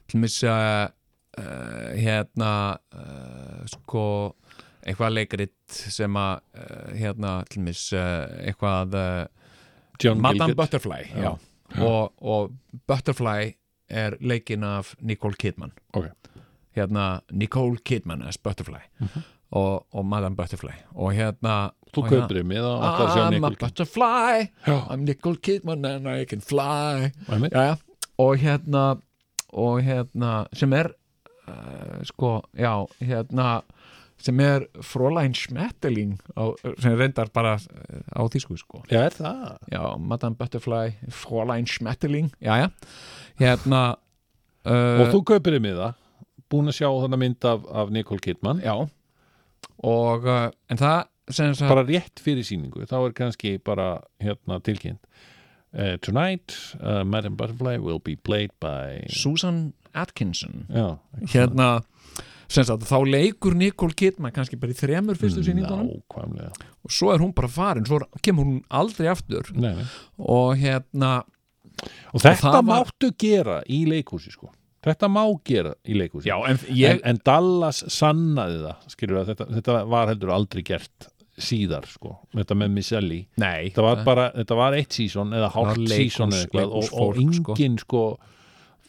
[SPEAKER 2] til mis að uh, hérna uh, sko eitthvað leikrit sem að uh, hérna til mis uh, eitthvað uh,
[SPEAKER 1] John
[SPEAKER 2] Madame
[SPEAKER 1] Gilgit
[SPEAKER 2] Butterfly já. Og, og Butterfly er leikin af Nicole Kidman
[SPEAKER 1] Ok.
[SPEAKER 2] hérna Nicole Kidman as Butterfly og, og Madame Butterfly og hérna
[SPEAKER 1] Mhm. Þú
[SPEAKER 2] og hérna,
[SPEAKER 1] kaupir þig miða og ætlar að sjá
[SPEAKER 2] I'm a
[SPEAKER 1] Nicole Kidman.
[SPEAKER 2] butterfly
[SPEAKER 1] Já.
[SPEAKER 2] I'm Nicole Kidman and I can fly
[SPEAKER 1] Einmitt.
[SPEAKER 2] já, já. og hérna og hérna sem er uh, sko, já, hérna sem er Fräulein Schmetterling á, sem reyndar bara eh, á þýsku sko
[SPEAKER 1] Já, er það?
[SPEAKER 2] já, Madame Butterfly, Fräulein Schmetterling já, já, hérna uh,
[SPEAKER 1] Og þú kaupir þig miða búin að sjá þarna mynd af, af Nicole Kidman
[SPEAKER 2] já og, uh, en það sem sagt,
[SPEAKER 1] bara rétt fyrir sýningu þá er kannski bara hérna tilkynnt uh, Tonight uh, Madame Butterfly will be played by
[SPEAKER 2] Susan Atkinson
[SPEAKER 1] Já,
[SPEAKER 2] hérna sem sagt, þá leikur Nicole Kidman kannski bara í þremur fyrstu sýningunum
[SPEAKER 1] nákvæmlega
[SPEAKER 2] og svo er hún bara farin, svo kemur hún aldrei aftur
[SPEAKER 1] nei, nei.
[SPEAKER 2] og hérna
[SPEAKER 1] og þetta
[SPEAKER 2] það var-
[SPEAKER 1] máttu gera í leikhúsi sko Þetta má gera í leikhúsi
[SPEAKER 2] en
[SPEAKER 1] en, en Dallas sannaði það skilur við að þetta, þetta var heldur aldrei gert síðar sko, þetta með Misselli
[SPEAKER 2] nei,
[SPEAKER 1] þetta var bara, þetta var eitt sísón eða hálft
[SPEAKER 2] leikhús-
[SPEAKER 1] sísón eða eitthvað og, og
[SPEAKER 2] leikhúsfólk, sko.
[SPEAKER 1] enginn sko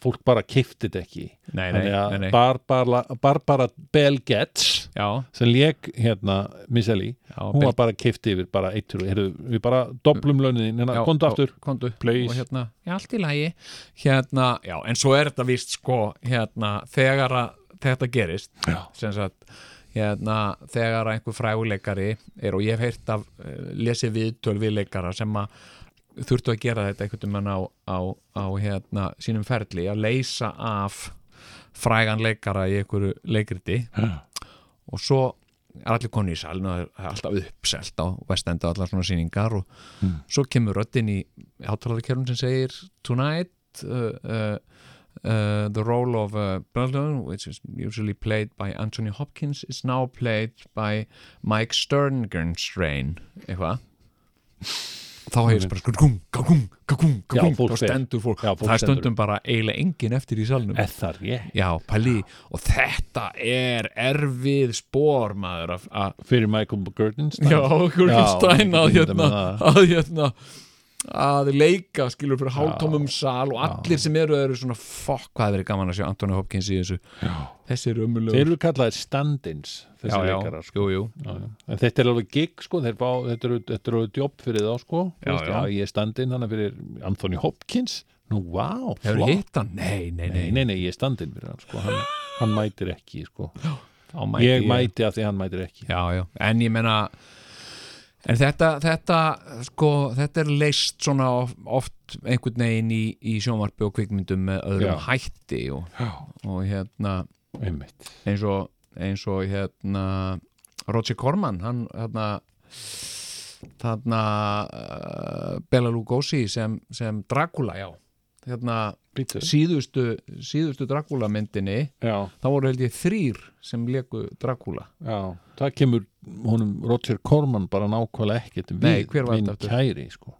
[SPEAKER 1] fólk bara kifti þetta ekki
[SPEAKER 2] Nei, nei,
[SPEAKER 1] Þannig að
[SPEAKER 2] nei, nei.
[SPEAKER 1] Barbara, Barbara Bel Getz
[SPEAKER 2] já,
[SPEAKER 1] sem lék hérna Misselli,
[SPEAKER 2] já
[SPEAKER 1] hún var bara kifti yfir bara eitt og heyrðu, við bara
[SPEAKER 2] Mm.
[SPEAKER 1] doblum launin hérna, kontu aftur,
[SPEAKER 2] kondu og
[SPEAKER 1] please
[SPEAKER 2] hérna, já, allt í lagi hérna, já, en svo er þetta víst sko, hérna, þegar að þetta gerist
[SPEAKER 1] Já.
[SPEAKER 2] sem sagt, hérna, þegar að einhver fræguleikari er og ég hef heyrt af eh, lesið viðtöl við leikara sem að þurftu að gera þetta einhvern veginn á, á, á hérna, sínum ferli að leysa af frægan leikara í einhverju leikriti
[SPEAKER 1] Já.
[SPEAKER 2] og svo er allir konu í salin og það er alltaf uppselt á vestenda og allar svona sýningar og svo kemur röddin í hátalarkerfum sem segir Tonight uh, uh, uh, the role of uh, Brandon which is usually played by Anthony Hopkins is now played by Mike Sterngenstrain eitthvað þá hefðis bara sko, skur gung, gung, gung,
[SPEAKER 1] Já,
[SPEAKER 2] gung
[SPEAKER 1] fólk
[SPEAKER 2] þá
[SPEAKER 1] fer.
[SPEAKER 2] stendur fólk,
[SPEAKER 1] Já, fólk
[SPEAKER 2] það
[SPEAKER 1] stendur.
[SPEAKER 2] stundum bara eiginlega engin eftir í salnum
[SPEAKER 1] Er það rétt?
[SPEAKER 2] Já, pæli, og þetta er erfið spór maður að, að
[SPEAKER 1] Fyrir Michael Gerdenstein
[SPEAKER 2] Já, Gurkenstein
[SPEAKER 1] Já, ég
[SPEAKER 2] að,
[SPEAKER 1] get
[SPEAKER 2] hérna,
[SPEAKER 1] ímyndað mér það.
[SPEAKER 2] að hérna að leika, skilur fyrir hálftómum sal og allir sem eru eru svona fokk, hvað það verið gaman að sjá Antoni Hopkins í þessu já. þessi er
[SPEAKER 1] Þeir
[SPEAKER 2] ömulegur
[SPEAKER 1] eru kallaðir stand-ins þessi
[SPEAKER 2] já,
[SPEAKER 1] leikarar sko.
[SPEAKER 2] jú, jú.
[SPEAKER 1] Já, já. En þetta er alveg gig sko, þeir fá, þetta eru, þetta eru jobb fyrir þá sko Þú
[SPEAKER 2] Já,
[SPEAKER 1] veist,
[SPEAKER 2] já.
[SPEAKER 1] ég er stand-in hana fyrir Anthony Hopkins Nú, vá,
[SPEAKER 2] Hefur
[SPEAKER 1] flott.
[SPEAKER 2] hitt hann? Nei, nei, nei,
[SPEAKER 1] Nei, nei, nei, ég er stand-in fyrir hann sko Hann, hann mætir ekki sko
[SPEAKER 2] Þá mæti
[SPEAKER 1] Ég mæti af því hann mætir ekki
[SPEAKER 2] Já, já, en ég meina En þetta, þetta, sko, þetta er leist svona of- oft einhvern veginn í, í sjónvarpi og kvikmyndum með öðrum
[SPEAKER 1] Já.
[SPEAKER 2] hætti og, og hérna
[SPEAKER 1] Einmitt
[SPEAKER 2] eins og, eins og hérna Roger Corman hann hérna þarna uh, Bela Lugosi sem, sem Dracula já hérna
[SPEAKER 1] Bítur
[SPEAKER 2] síðustu, síðustu Dracula myndinni
[SPEAKER 1] Já,
[SPEAKER 2] þá voru held ég þrýr sem leku Dracula
[SPEAKER 1] já, það kemur honum Roger Corman bara nákvæmlega ekkert við
[SPEAKER 2] Nei, hver var
[SPEAKER 1] minn
[SPEAKER 2] þetta aftur?
[SPEAKER 1] kæri sko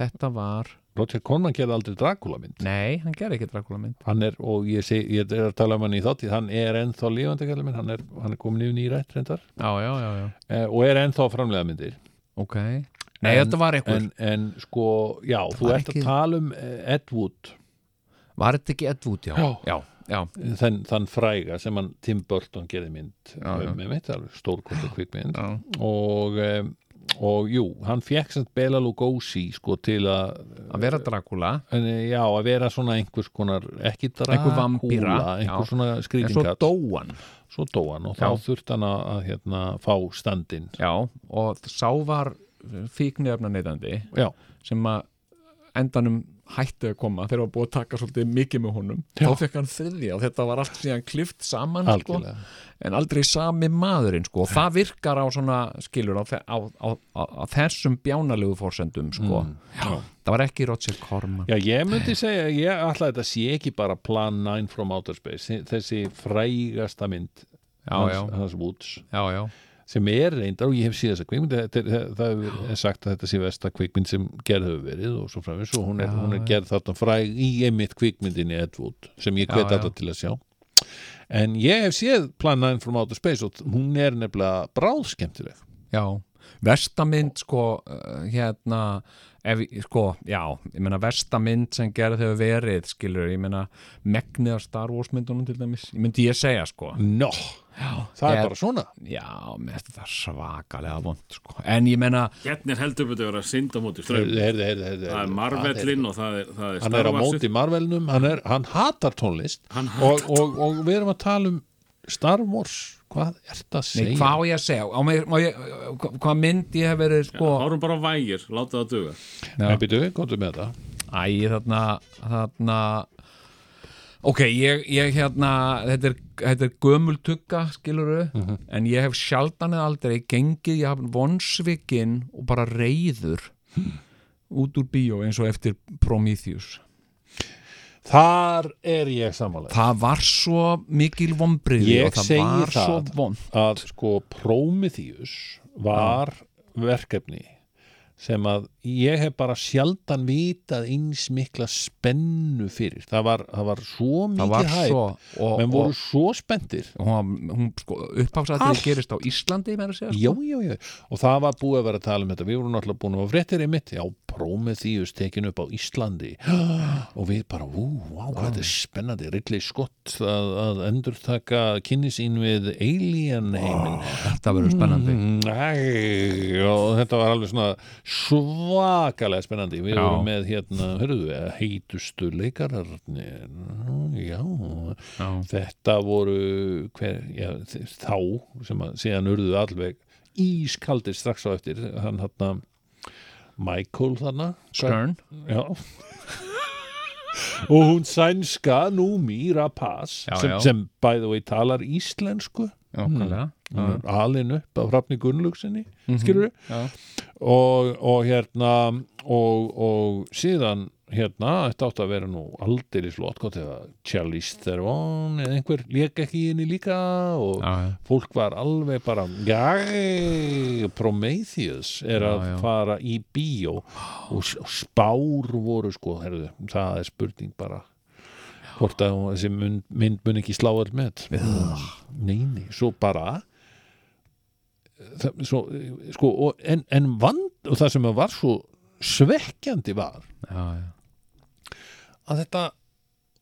[SPEAKER 2] þetta var,
[SPEAKER 1] Roger Corman gerði aldrei Dracula mynd
[SPEAKER 2] nei hann gerði ekki Dracula mynd
[SPEAKER 1] hann er, og ég, seg, ég er að tala um hann í þáttið hann er ennþá lífandi kallið minn hann er, hann er komin yfir nýrætt reyndar
[SPEAKER 2] já, já, já, já,
[SPEAKER 1] eh, og er ennþá framlega myndir
[SPEAKER 2] ok nei,
[SPEAKER 1] En-
[SPEAKER 2] þetta var einhver,
[SPEAKER 1] en, en sko, já, þú
[SPEAKER 2] var
[SPEAKER 1] ert
[SPEAKER 2] ekki-
[SPEAKER 1] að tala um eh, Ed Wood
[SPEAKER 2] var þetta ekki Edwood, já
[SPEAKER 1] Já.
[SPEAKER 2] já, já,
[SPEAKER 1] þann, eh, þann fræga sem hann Tim Burton gerði mynd
[SPEAKER 2] Já, já.
[SPEAKER 1] með mitt, alveg stórkosta kvikmynd
[SPEAKER 2] já.
[SPEAKER 1] og, eh, og jú, hann fekk samt Bela Lugosi sko til að
[SPEAKER 2] að vera Dracula
[SPEAKER 1] en, eh, já, að vera svona einhvers konar ekki
[SPEAKER 2] Einhver
[SPEAKER 1] drakúla,
[SPEAKER 2] vampíra, já.
[SPEAKER 1] einhver svona
[SPEAKER 2] en svo
[SPEAKER 1] skrýtingat
[SPEAKER 2] dóan
[SPEAKER 1] svo dó hann og
[SPEAKER 2] Já.
[SPEAKER 1] þá þurft hann að, að hérna, fá standin
[SPEAKER 2] Já, og sá var fíknefna neytandi
[SPEAKER 1] já,
[SPEAKER 2] sem að endanum hætti að koma þegar var búið að taka svolítið mikið með honum þá fekk hann þriðja og þetta var allt síðan klift saman sko,
[SPEAKER 1] algjörlega
[SPEAKER 2] en aldrei sami maðurinn sko, og það virkar á svona skilur á, þe- á, á, á, á þessum bjánalegu fórsendum sko.
[SPEAKER 1] Mm. já.
[SPEAKER 2] það var ekki Roger Corman
[SPEAKER 1] já, ég myndi segja, ég ætla að þetta sé ekki bara Plan 9 from Outer Space þi- þessi frægasta mynd
[SPEAKER 2] Já,
[SPEAKER 1] hans,
[SPEAKER 2] já.
[SPEAKER 1] hans Woods
[SPEAKER 2] já, já,
[SPEAKER 1] sem er reyndar og ég hef séð þessa kvikmynd þetta er- það, það er sagt að þetta sé vesta kvikmynd sem gerð hefur verið og svo framins og hún er, hún er gerð þarna fræg í einmitt kvikmyndinni Edwood sem ég hvet
[SPEAKER 2] Já,
[SPEAKER 1] alltaf til að sjá um en ég hef séð Plan 9 from Outer Space og hún er nefnilega bráðskemmtileg
[SPEAKER 2] já Vestamind sko uh, hérna ef, sko, já, ég meina vestamind sem gerði þegar verið, skilur ég meina megnið af Star Wars myndunum til dæmis, ég myndi ég segja sko
[SPEAKER 1] No, það
[SPEAKER 2] ég-
[SPEAKER 1] er bara svona
[SPEAKER 2] já, mér finnst það svakalega vond sko, en ég meina
[SPEAKER 4] Hérna er heldur betur að vera synda móti strömm.
[SPEAKER 1] Heyrðu, heyrðu, heyrðu, heyrðu.
[SPEAKER 4] Það er marvellin og það er, það er
[SPEAKER 1] Hann er á
[SPEAKER 4] Star Warsið.
[SPEAKER 1] móti Marvelnum, hann, er, hann hatar tónlist
[SPEAKER 4] Hann
[SPEAKER 1] og, og, og við erum að tala um Star Wars, hvað er það að
[SPEAKER 2] Nei,
[SPEAKER 1] segja?
[SPEAKER 2] hvað á ég að segja, á, mig, má ég, hva- hvað mynd ég hef verið sko
[SPEAKER 4] Hárum bara á vægir, láta það duga.
[SPEAKER 1] Nei, býtu, komdu með það
[SPEAKER 2] Æ, þarna, þarna Ok, ég, ég hérna þetta er, þetta er gömultugga skiluru,
[SPEAKER 1] Mhm.
[SPEAKER 2] en ég hef sjaldan eða aldrei gengið, ég haf vonsvikinn og bara reyður út úr bíó eins og eftir Prometheus.
[SPEAKER 1] Þar er ég samanlega
[SPEAKER 2] Það var svo mikil vombriði
[SPEAKER 1] Ég
[SPEAKER 2] og það
[SPEAKER 1] segi
[SPEAKER 2] var
[SPEAKER 1] það.
[SPEAKER 2] svo von
[SPEAKER 1] að sko Prometheus var verkefni sem að ég hef bara sjaldan vitað eins mikla spennu fyrir það var, það var svo
[SPEAKER 2] það var
[SPEAKER 1] mikið hæp
[SPEAKER 2] svo og,
[SPEAKER 1] menn voru
[SPEAKER 2] og,
[SPEAKER 1] svo spendir
[SPEAKER 2] og hún, hún sko,
[SPEAKER 1] Allt.
[SPEAKER 2] upphásaðið gerist á Íslandi meira að segja, sko.
[SPEAKER 1] já, já, já, og það var búið að vera að tala um þetta við vorum náttúrulega búin að vera fréttir í mitt já, Prometheus tekin upp á Íslandi og við bara, ú, vá, hvað þetta er spennandi Ridley Scott að, að endurtaka kynni sín við Alien heiminn
[SPEAKER 2] þetta verður spennandi
[SPEAKER 1] Æ, og þetta var alveg svona svakalega spennandi við
[SPEAKER 2] Já.
[SPEAKER 1] vorum með hérna, hörðu heitustu leikararnir Nú, já,
[SPEAKER 2] Já.
[SPEAKER 1] þetta voru hver, já, þ- þá sem að síðan urðu alveg ískaldir strax á eftir hann hann Michael þarna
[SPEAKER 2] Stern
[SPEAKER 1] Já Og hún sænska Númi Rapace
[SPEAKER 2] Já,
[SPEAKER 1] sem,
[SPEAKER 2] já.
[SPEAKER 1] sem by the way talar íslensku
[SPEAKER 2] Nákvæmlega
[SPEAKER 1] hún er alin upp af hrafni Gunnlaugsinni mm skilur
[SPEAKER 2] Mhm. Já.
[SPEAKER 1] og, og hérna og, og síðan hérna, þetta átti að vera nú aldeilis flott, gott eða Charlize Theron eða einhver lék ekki í henni líka og
[SPEAKER 2] Já, já.
[SPEAKER 1] fólk var alveg bara "Jæ, Prometheus er að
[SPEAKER 2] já.
[SPEAKER 1] fara í bíó og, s- og spár voru sko, herðu, það er spurning bara hvort að hún- þessi mynd, mynd mun ekki slá all með nei, nei, svo bara það, svo, eh, sko, og, en, en vand og það sem var svo svekkjandi var
[SPEAKER 2] já, já.
[SPEAKER 1] að þetta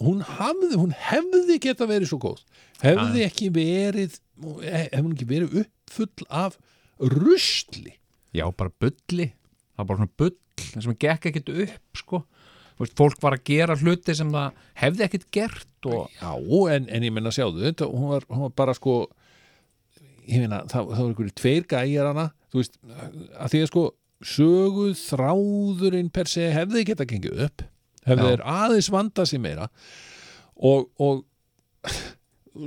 [SPEAKER 1] hún, hafði, hún hefði geta verið svo góð hefði ekki verið eh, hefði hún ekki verið uppfull af rusli
[SPEAKER 2] já, bara bulli það var bara svona bull það sem gekk ekkert upp sko. Þú veist, fólk var að gera hluti sem það hefði ekkert gert og
[SPEAKER 1] já, en, en ég menna sjáðu þetta, hún, var, hún var bara sko ég meina, það, það var einhverju tveir gæjar hana þú veist, að því að sko sögu þráðurinn per se hefði geta gengið upp hefði
[SPEAKER 2] Já.
[SPEAKER 1] þeir aðeins vanda sér meira og, og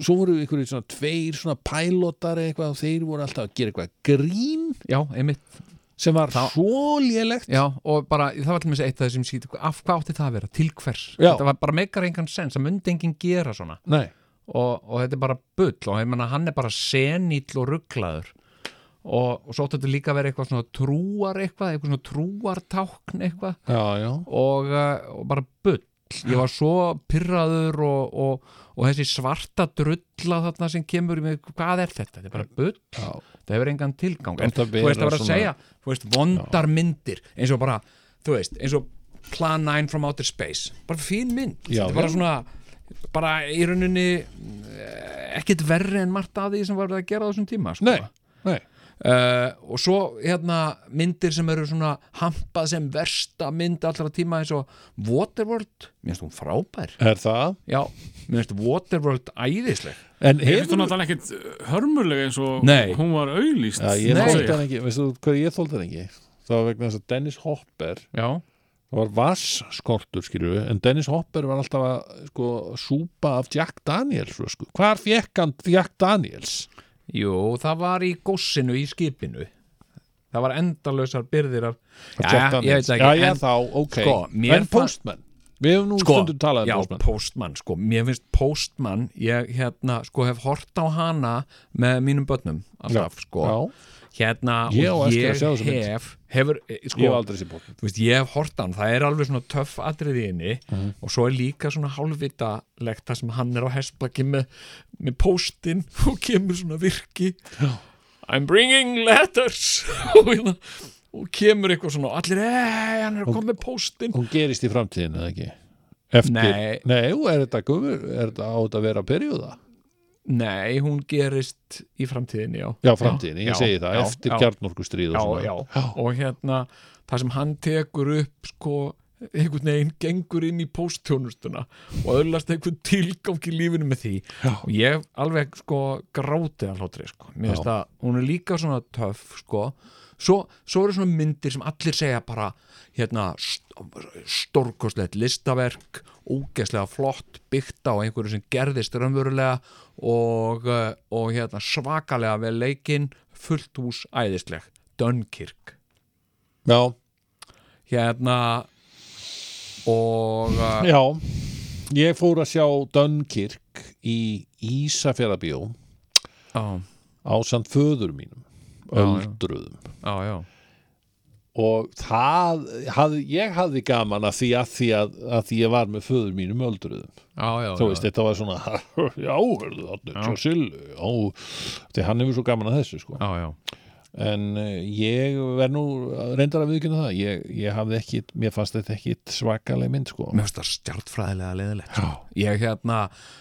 [SPEAKER 1] svo voru einhverju svona tveir svona pælotar eitthvað og þeir voru alltaf að gera eitthvað grín
[SPEAKER 2] já, einmitt
[SPEAKER 1] sem var
[SPEAKER 2] Þá-
[SPEAKER 1] svo lélegt
[SPEAKER 2] já, og bara, það var allmest eitt af þessum síð af hvað átti það að vera, til hvers
[SPEAKER 1] Já.
[SPEAKER 2] þetta var bara meikar engan sens, það myndi enginn gera svona
[SPEAKER 1] Nei,
[SPEAKER 2] og, og þetta er bara bull og ég menna hann er bara senill og rugglaður og, og svo átti þetta líka að vera eitthvað svona trúar eitthvað, eitthvað svona trúartákn eitthvað
[SPEAKER 1] já, já
[SPEAKER 2] og, uh, og bara bull ég var svo pyrraður og, og, og þessi svarta drulla þarna sem kemur í mig, hvað er þetta? Þetta er bara bull,
[SPEAKER 1] Já,
[SPEAKER 2] það hefur engan tilgang en
[SPEAKER 1] Þetta
[SPEAKER 2] þú veist
[SPEAKER 1] vera
[SPEAKER 2] að vera að
[SPEAKER 1] svona-
[SPEAKER 2] segja, þú veist, vondar myndir eins og bara, þú veist, eins og Plan 9 from Outer Space, bara fín mynd
[SPEAKER 1] Já,
[SPEAKER 2] þetta er bara
[SPEAKER 1] já.
[SPEAKER 2] svona bara í rauninni eh, ekkert verri en margt af því sem var verið að gera á þessum tíma sko.
[SPEAKER 1] nei, nei
[SPEAKER 2] Uh, og svo hérna myndir sem eru svona hampað sem versta mynd allra tíma eins og Waterworld, minnst hún frábær
[SPEAKER 1] Er það?
[SPEAKER 2] já, minnst Waterworld æðisleg
[SPEAKER 1] En
[SPEAKER 4] Ég finnst
[SPEAKER 1] hefur
[SPEAKER 4] hún náttúrulega ekkit hörmulega eins og
[SPEAKER 2] Nei.
[SPEAKER 4] hún var auðlýst.
[SPEAKER 1] Já, ég
[SPEAKER 2] Nei.
[SPEAKER 1] þóldi hann ekki, veistu þú hvað ég þóldi hann ekki? Það var vegna þess að Dennis Hopper
[SPEAKER 2] já,
[SPEAKER 1] það var vassskortur skilju en Dennis Hopper var alltaf að sko, súpa af Jack Daniels sko. hvar fekk hann Jack Daniels?
[SPEAKER 2] jú, það var í góssinu í skipinu það var endalausar byrðir af
[SPEAKER 1] Af Jack
[SPEAKER 2] já, ég
[SPEAKER 1] Daniels.
[SPEAKER 2] veit það ekki
[SPEAKER 1] já, já,
[SPEAKER 2] en,
[SPEAKER 1] þá, ok
[SPEAKER 2] sko, mér
[SPEAKER 1] En
[SPEAKER 2] fa-
[SPEAKER 1] Postman, við hefum nú stundum talað
[SPEAKER 2] já,
[SPEAKER 1] um Postman
[SPEAKER 2] Postman, sko, mér finnst Postman ég hérna, sko, hef hort á hana með mínum börnum alltaf, sko
[SPEAKER 1] Já,
[SPEAKER 2] hérna
[SPEAKER 1] Ég á
[SPEAKER 2] og
[SPEAKER 1] eftir að
[SPEAKER 2] ég
[SPEAKER 1] sjá þessa mynd.
[SPEAKER 2] hef hefur, eh,
[SPEAKER 1] ég hef
[SPEAKER 2] sko,
[SPEAKER 1] aldrei sér Postman
[SPEAKER 2] þú veist, ég hef hort hann það er alveg svona töff atriði inni og svo er líka svona hálfvitalegt það sem hann er á hessplaki með, með póstinn og kemur svona virki Æ, I'm bringing letters og, hérna, og kemur eitthvað svona og allir, ei, hann er að koma með póstinn
[SPEAKER 1] hún gerist í framtíðinu eða ekki Eftir,
[SPEAKER 2] Nei.
[SPEAKER 1] jú, er þetta gumur, er þetta á þetta að vera perjóða?
[SPEAKER 2] Nei, hún gerist í framtíðinni, já
[SPEAKER 1] Já, framtíðinu, ég
[SPEAKER 2] já,
[SPEAKER 1] segi það,
[SPEAKER 2] já,
[SPEAKER 1] eftir
[SPEAKER 2] já.
[SPEAKER 1] kjarnorkustríð og
[SPEAKER 2] já,
[SPEAKER 1] svona
[SPEAKER 2] já. og hérna það sem hann tekur upp sko einhvern veginn gengur inn í póstþjónustuna og öðlast einhvern tilgang í lífinu með því já. og ég alveg sko grátið að hlátri sko, mér finnst að hún er líka svona töff sko svo, svo eru svona myndir sem allir segja bara hérna st- stórkostlegt listaverk ógeðslega flott, byggt á einhverju sem gerðist raunverulega og, eh, og hérna svakalega vel leikinn, fullt hús æðisleg, Dunkirk
[SPEAKER 1] já,
[SPEAKER 2] hérna og eh,
[SPEAKER 1] já Ég fór að sjá Dunkirk í Ísafjörðabíó
[SPEAKER 2] já,
[SPEAKER 1] á samt föður mínum
[SPEAKER 2] já.
[SPEAKER 1] öldruðum
[SPEAKER 2] já, já,
[SPEAKER 1] og það, hafði, ég hafði gaman að því að því að, að því ég var með föður mínum öldruðum
[SPEAKER 2] já, já,
[SPEAKER 1] þú
[SPEAKER 2] já.
[SPEAKER 1] veist, þetta var svona já, hörðu þarna, Churchill já, því hann hefur svo gaman að þessu sko.
[SPEAKER 2] já, já,
[SPEAKER 1] en uh, ég verð nú reyndar að viðkynna það ég, ég hafði ekki, mér fannst þetta ekki svakaleg mynd sko.
[SPEAKER 2] mér finnst það stjartfræðilega leðilegt sko. ég hérna,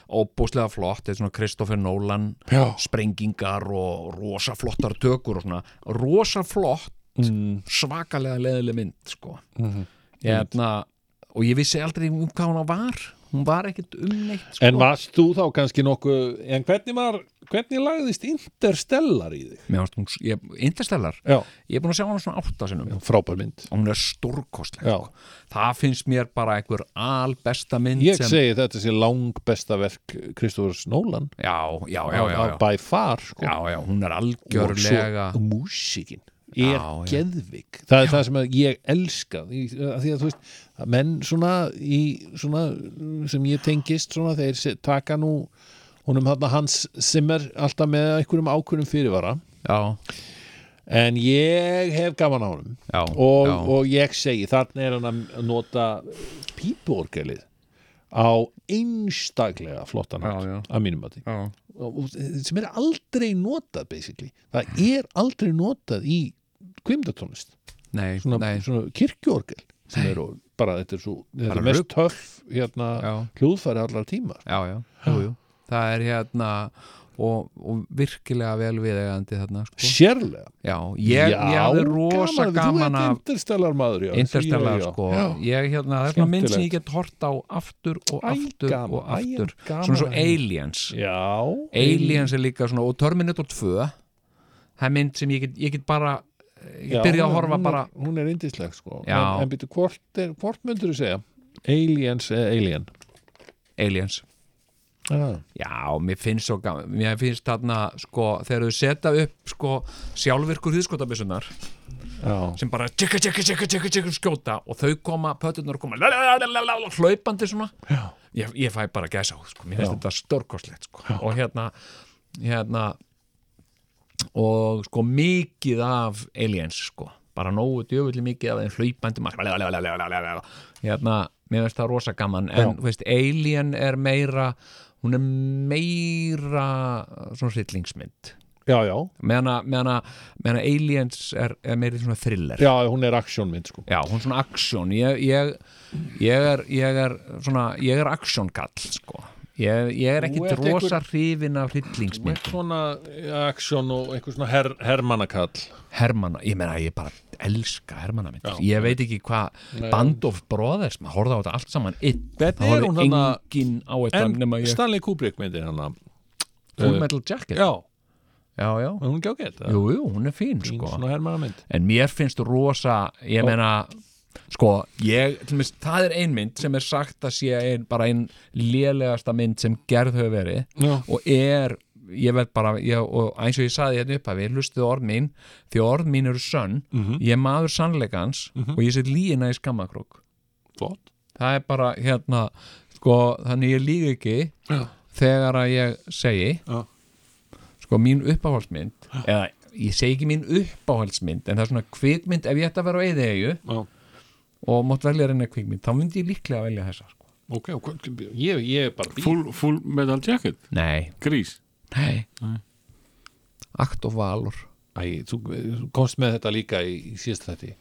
[SPEAKER 2] óbúslega flott þetta er svona Kristoffer Nolan
[SPEAKER 1] já,
[SPEAKER 2] sprengingar og rosa flottar tökur og svona, rosa flott
[SPEAKER 1] Mm.
[SPEAKER 2] svakalega leðileg mynd sko. hérna, og ég vissi aldrei um hvað hún var hún var ekkert um neitt sko.
[SPEAKER 1] en varst þú þá kannski nokkuð, en hvernig var hvernig lagðist Interstellar í þig?
[SPEAKER 2] Mér varst hún, ég, Interstellar,
[SPEAKER 1] Já,
[SPEAKER 2] ég er búin að sjá hana svona átta sinnum
[SPEAKER 1] frábær mynd
[SPEAKER 2] og hún er stórkostleg
[SPEAKER 1] Já.
[SPEAKER 2] sko. það finnst mér bara einhver albesta mynd
[SPEAKER 1] Ég
[SPEAKER 2] sem,
[SPEAKER 1] segi þetta sé langbesta verk Kristofurs Nólan
[SPEAKER 2] já, já, já, já, já.
[SPEAKER 1] by far sko.
[SPEAKER 2] já, já, hún er algjörlega
[SPEAKER 1] og svo músikin er
[SPEAKER 2] Já, já.
[SPEAKER 1] geðvik það er það sem að ég elska því að því að þú veist að menn svona, í, svona mm, sem ég tengist svona þeir se- taka nú honum þarna hans simmer alltaf með einhverjum ákvörnum fyrirvara
[SPEAKER 2] já,
[SPEAKER 1] en ég hef gaman á honum
[SPEAKER 2] já,
[SPEAKER 1] og,
[SPEAKER 2] já.
[SPEAKER 1] og ég segi þarna er hann að nota pípuorgelið á einstaklega flottan hátt,
[SPEAKER 2] Já, já.
[SPEAKER 1] að mínum að því
[SPEAKER 2] já.
[SPEAKER 1] og- og- sem er aldrei notað basically, það er aldrei notað í kvimdatónlist
[SPEAKER 2] Nei,
[SPEAKER 1] svona,
[SPEAKER 2] nei,
[SPEAKER 1] svona kirkjuorgel sem eru bara, þetta er svo þetta
[SPEAKER 2] Bara
[SPEAKER 1] er mest
[SPEAKER 2] rugl.
[SPEAKER 1] töff hérna,
[SPEAKER 2] já,
[SPEAKER 1] hljóðfæri allar tímar
[SPEAKER 2] já, já, jú, jú. það er hérna og, og virkilega vel viðegandi þarna sko.
[SPEAKER 1] sérlega,
[SPEAKER 2] já, ég, ég hafði rosa gaman
[SPEAKER 1] þú ert
[SPEAKER 2] af
[SPEAKER 1] interstellar maður já,
[SPEAKER 2] Interstellar
[SPEAKER 1] já, já.
[SPEAKER 2] sko
[SPEAKER 1] já.
[SPEAKER 2] ég hérna, það er svona mynd sem
[SPEAKER 1] Skemmtilegt.
[SPEAKER 2] ég get hort á aftur og
[SPEAKER 1] Æ,
[SPEAKER 2] aftur
[SPEAKER 1] gaman,
[SPEAKER 2] og
[SPEAKER 1] æ,
[SPEAKER 2] aftur
[SPEAKER 1] gaman
[SPEAKER 2] svona svo
[SPEAKER 1] að henni.
[SPEAKER 2] Aliens
[SPEAKER 1] já,
[SPEAKER 2] Aliens er líka svona og Terminator 2 það er mynd sem ég get, ég get bara ég
[SPEAKER 1] Já, Mm.
[SPEAKER 2] get
[SPEAKER 1] hún
[SPEAKER 2] byrjað að
[SPEAKER 1] er-
[SPEAKER 2] horfa
[SPEAKER 1] hún er-
[SPEAKER 2] bara
[SPEAKER 1] hún er indisleg sko,
[SPEAKER 2] Já.
[SPEAKER 1] en, en býtu hvort, er- hvort myndur þú segja aliens eða alien
[SPEAKER 2] Aliens
[SPEAKER 1] já,
[SPEAKER 2] Já, mér finnst svo gaman Mér finnst þarna, sko, þegar þau setja upp sko, sjálfvirkur hýðskotabissunar
[SPEAKER 1] já.
[SPEAKER 2] sem bara tjekka, tjekka, tjekka, tjekka, tjekka skjóta og þau koma, pötunar koma la, la, la, la, la, la, hlaupandi svona
[SPEAKER 1] Já.
[SPEAKER 2] ég, ég fæ bara gæsa á, sko, mér
[SPEAKER 1] Já.
[SPEAKER 2] finnst þetta stórkostlegt sko. og hérna, hérna og sko mikið af aliens sko, bara nógu djöfulli mikið af þeim hlaupandi maður, la, la, la, la, la, la, la, la. hérna, mér finnst það rosa gaman en, þú veist, alien er meira hún er meira svona hryllingsmynd
[SPEAKER 1] já, já,
[SPEAKER 2] meðan að- meðan að meðan að aliens er, er meiri svona thriller
[SPEAKER 1] já, hún er aksjónmynd sko
[SPEAKER 2] Já, hún er svona aksjón ég, ég, ég, er, ég er svona ég er aksjónkall sko. ég, ég er
[SPEAKER 1] Þú
[SPEAKER 2] ekkit
[SPEAKER 1] ert
[SPEAKER 2] rosa
[SPEAKER 1] einhver-
[SPEAKER 2] hrifin af
[SPEAKER 1] með
[SPEAKER 2] hryllingsmynd
[SPEAKER 1] svona aksjón og einhver svona her, hermannakall
[SPEAKER 2] Hermanna, ég meina ég bara elska Hermanna mynd ég veit ekki hvað Band of Brothers, maður horfði á þetta allt saman einn,
[SPEAKER 1] Hvernig
[SPEAKER 2] það
[SPEAKER 1] er hún þarna-
[SPEAKER 2] engin á þetta
[SPEAKER 1] en
[SPEAKER 2] nema ég
[SPEAKER 1] Stanley Kubrick myndir Eh, hann
[SPEAKER 2] Full Metal Jacket,
[SPEAKER 1] já,
[SPEAKER 2] já, já
[SPEAKER 1] var hún ekki ágætt
[SPEAKER 2] Jú, jú, hún er fín
[SPEAKER 1] Fín
[SPEAKER 2] sko
[SPEAKER 1] svona hermannamynd
[SPEAKER 2] en mér finnst rosa ég meina sko, ég, til mér, það er ein mynd sem er sagt að sé ein, bara ein lélegasta mynd sem gerð hefur verið
[SPEAKER 1] Já.
[SPEAKER 2] og er, ég veit bara ég, og eins og ég saði hérna upp að við hlustuðu orð mín, því orð mín eru sönn ég er maður sannleikans og ég set líina í skammakrók
[SPEAKER 1] flott
[SPEAKER 2] það er bara hérna sko, þannig ég líka ekki
[SPEAKER 1] Já.
[SPEAKER 2] þegar að ég segi
[SPEAKER 1] Já.
[SPEAKER 2] sko mín uppáhaldsmynd eða ég segi ekki mín uppáhaldsmynd en það er svona kvikmynd ef ég ætti að vera á eðeigju
[SPEAKER 1] já.
[SPEAKER 2] og mátt velja reyna kvikmynd þá myndi ég líklega velja þessa sko.
[SPEAKER 1] ok, og hvað- ég, ég er bara bíl
[SPEAKER 4] full, full metal jacket,
[SPEAKER 2] nei,
[SPEAKER 4] grís
[SPEAKER 2] nei Akt og Valor
[SPEAKER 1] Æ, þú þú komst með þetta líka í, í síðast þetta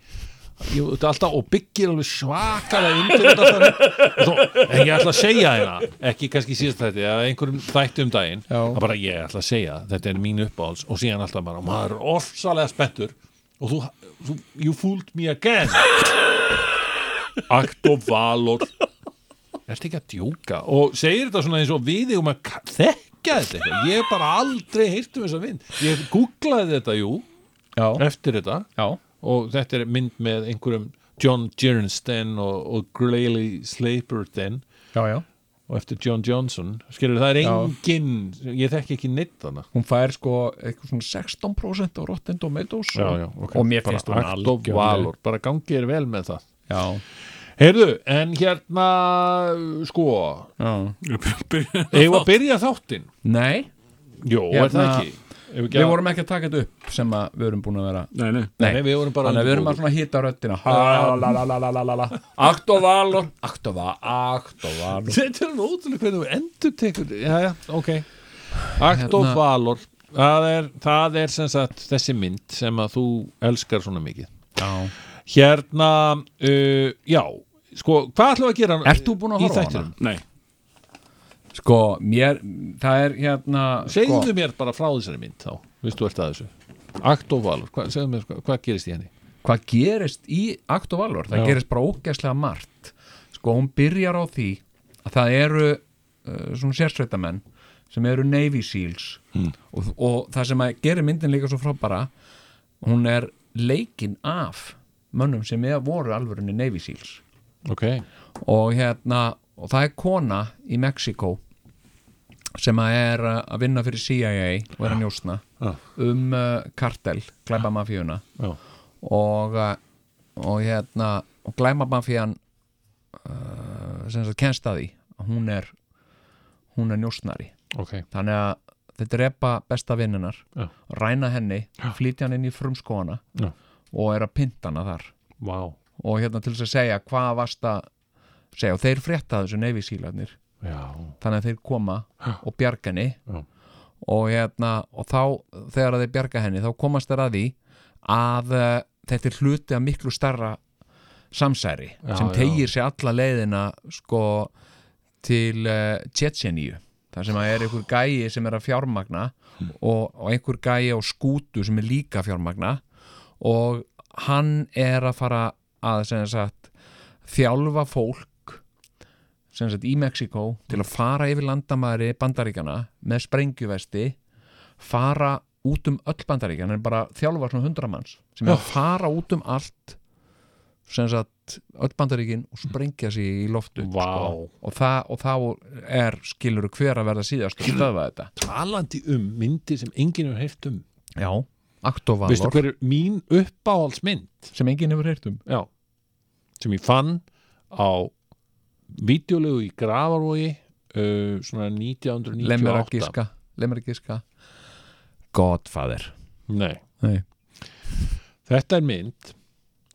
[SPEAKER 1] Jú, þetta er alltaf og byggir alveg svakalega undir þetta alltaf Þó, en ég ætla að segja hérna ekki kannski í síðast þetta, eða einhverjum þætti um daginn
[SPEAKER 2] Já.
[SPEAKER 1] að bara ég ætla að segja, þetta er mín uppáhalds og síðan alltaf bara, maður er ofsalega spenntur og þú, þú you fooled me again Akt og valor Ertu ekki að djóka? Og segir þetta svona eins og við eigum að ka- þekkja þetta eitthvað. Ég hef bara aldrei heyrt um þessa mynd. Ég googlaði þetta, jú,
[SPEAKER 2] já,
[SPEAKER 1] eftir þetta
[SPEAKER 2] já,
[SPEAKER 1] og þetta er mynd með einhverjum John Jernsten og, og Grayley Slaperden
[SPEAKER 2] já, já
[SPEAKER 1] og eftir John Johnson. Skilur, það er
[SPEAKER 2] Já.
[SPEAKER 1] engin, ég þekki ekki neitt þarna.
[SPEAKER 2] hún fær sko eitthvað svona 16% á Rotten Tomatoes
[SPEAKER 1] Já,
[SPEAKER 2] og,
[SPEAKER 1] já, ok.
[SPEAKER 2] og mér
[SPEAKER 1] Bara
[SPEAKER 2] finnst hún
[SPEAKER 1] akt og
[SPEAKER 2] algjörlega-
[SPEAKER 1] valor, bara gangi er vel með það.
[SPEAKER 2] já,
[SPEAKER 1] Heyrðu, en hérna, sko,
[SPEAKER 2] já.
[SPEAKER 1] eigum að byrja þáttinn?
[SPEAKER 2] nei,
[SPEAKER 1] Jó, er það
[SPEAKER 2] Hérna,
[SPEAKER 1] ekki? Ef ekki
[SPEAKER 2] við
[SPEAKER 1] að-
[SPEAKER 2] vorum ekki að taka þetta upp sem að við erum búin að vera
[SPEAKER 4] Nei, nei
[SPEAKER 1] Nei, við vorum bara
[SPEAKER 2] Þannig að við erum að svona hýta röddina Halalalalala. Akt og valor Akt og va- akt og valor
[SPEAKER 1] Þetta er ótrúlega hvernig við endur tekur Já, já, ok Akt og
[SPEAKER 2] Hérna-
[SPEAKER 1] Valor það er, það er sem sagt þessi mynd sem að þú elskar svona mikið
[SPEAKER 2] Já.
[SPEAKER 1] Hérna, uh, já Sko, hvað ætlum við að gera
[SPEAKER 2] Ert þú búin að
[SPEAKER 1] í
[SPEAKER 2] horfa á
[SPEAKER 1] þættinum?
[SPEAKER 2] hana?
[SPEAKER 4] Nei,
[SPEAKER 2] Sko, mér, það er hérna
[SPEAKER 1] Segðu
[SPEAKER 2] sko,
[SPEAKER 1] mér bara frá þessari mynd þá Vistu ert að þessu Akt og Valor, hvað, segðu mér hvað, hvað gerist í henni?
[SPEAKER 2] Hvað gerist í akt og valor? Það
[SPEAKER 1] Já.
[SPEAKER 2] gerist bara ógæslega margt Sko, hún byrjar á því að það eru uh, svona sérsveitamenn sem eru Navy Seals
[SPEAKER 1] Hmm.
[SPEAKER 2] og, og það sem að gerir myndin líka svo frábara hún er leikinn af mönnum sem eða voru alvörinni Navy Seals
[SPEAKER 1] Ok,
[SPEAKER 2] og hérna og það er kona í Mexiko sem að er uh, að vinna fyrir CIA og er að njósna
[SPEAKER 1] Já.
[SPEAKER 2] um uh, kartel, glæpa mafíuna
[SPEAKER 1] já,
[SPEAKER 2] og, uh, og hérna og glæpa mafían uh, sem sagt kennst að því að hún er hún er njósnari
[SPEAKER 1] ok
[SPEAKER 2] þannig að þeir drepa besta vinnunar
[SPEAKER 1] Já.
[SPEAKER 2] ræna henni, flytja hann inn í frumskóana
[SPEAKER 1] Já.
[SPEAKER 2] og er að pynta hana þar
[SPEAKER 1] Vá
[SPEAKER 2] og hérna til þess að segja hvað varst að segja og þeir frétta þessu neifisílarnir
[SPEAKER 1] Já,
[SPEAKER 2] þannig að þeir koma og bjarga henni
[SPEAKER 1] Já.
[SPEAKER 2] og hérna og þá þegar að þeir bjarga henni þá komast þeir að því að uh, þetta er hluti af miklu starra samsæri
[SPEAKER 1] Já,
[SPEAKER 2] sem
[SPEAKER 1] já.
[SPEAKER 2] tegir sig alla leiðina sko til uh, Tjetseníu þar sem að er einhver gæi sem er að fjármagna
[SPEAKER 1] Hmm.
[SPEAKER 2] og, og einhver gæi á skútu sem er líka að fjármagna og hann er að fara að sem sagt þjálfa fólk sem sagt í Mexiko til að fara yfir landamæri bandaríkana með sprengjuvesti fara út um öll bandaríkana en bara þjálfa svona hundra manns sem er að fara út um allt sem sagt öll bandaríkin og sprengja sig í loftu
[SPEAKER 1] Vá.
[SPEAKER 2] og, það, og þá er skilur hver að verða síðast og stöðva þetta
[SPEAKER 1] talandi um myndir sem enginn hefur heyrt um
[SPEAKER 2] Já, aktovalor
[SPEAKER 1] Veistu hver er mín uppáhaldsmynd?
[SPEAKER 2] sem enginn hefur heyrt um
[SPEAKER 1] Já. sem ég fann á videolegu í Grafarvogi uh, svona
[SPEAKER 2] Lemmer
[SPEAKER 1] 1998
[SPEAKER 2] að gíska Lemmer að gíska Godfather
[SPEAKER 1] Nei.
[SPEAKER 2] Nei.
[SPEAKER 1] þetta er mynd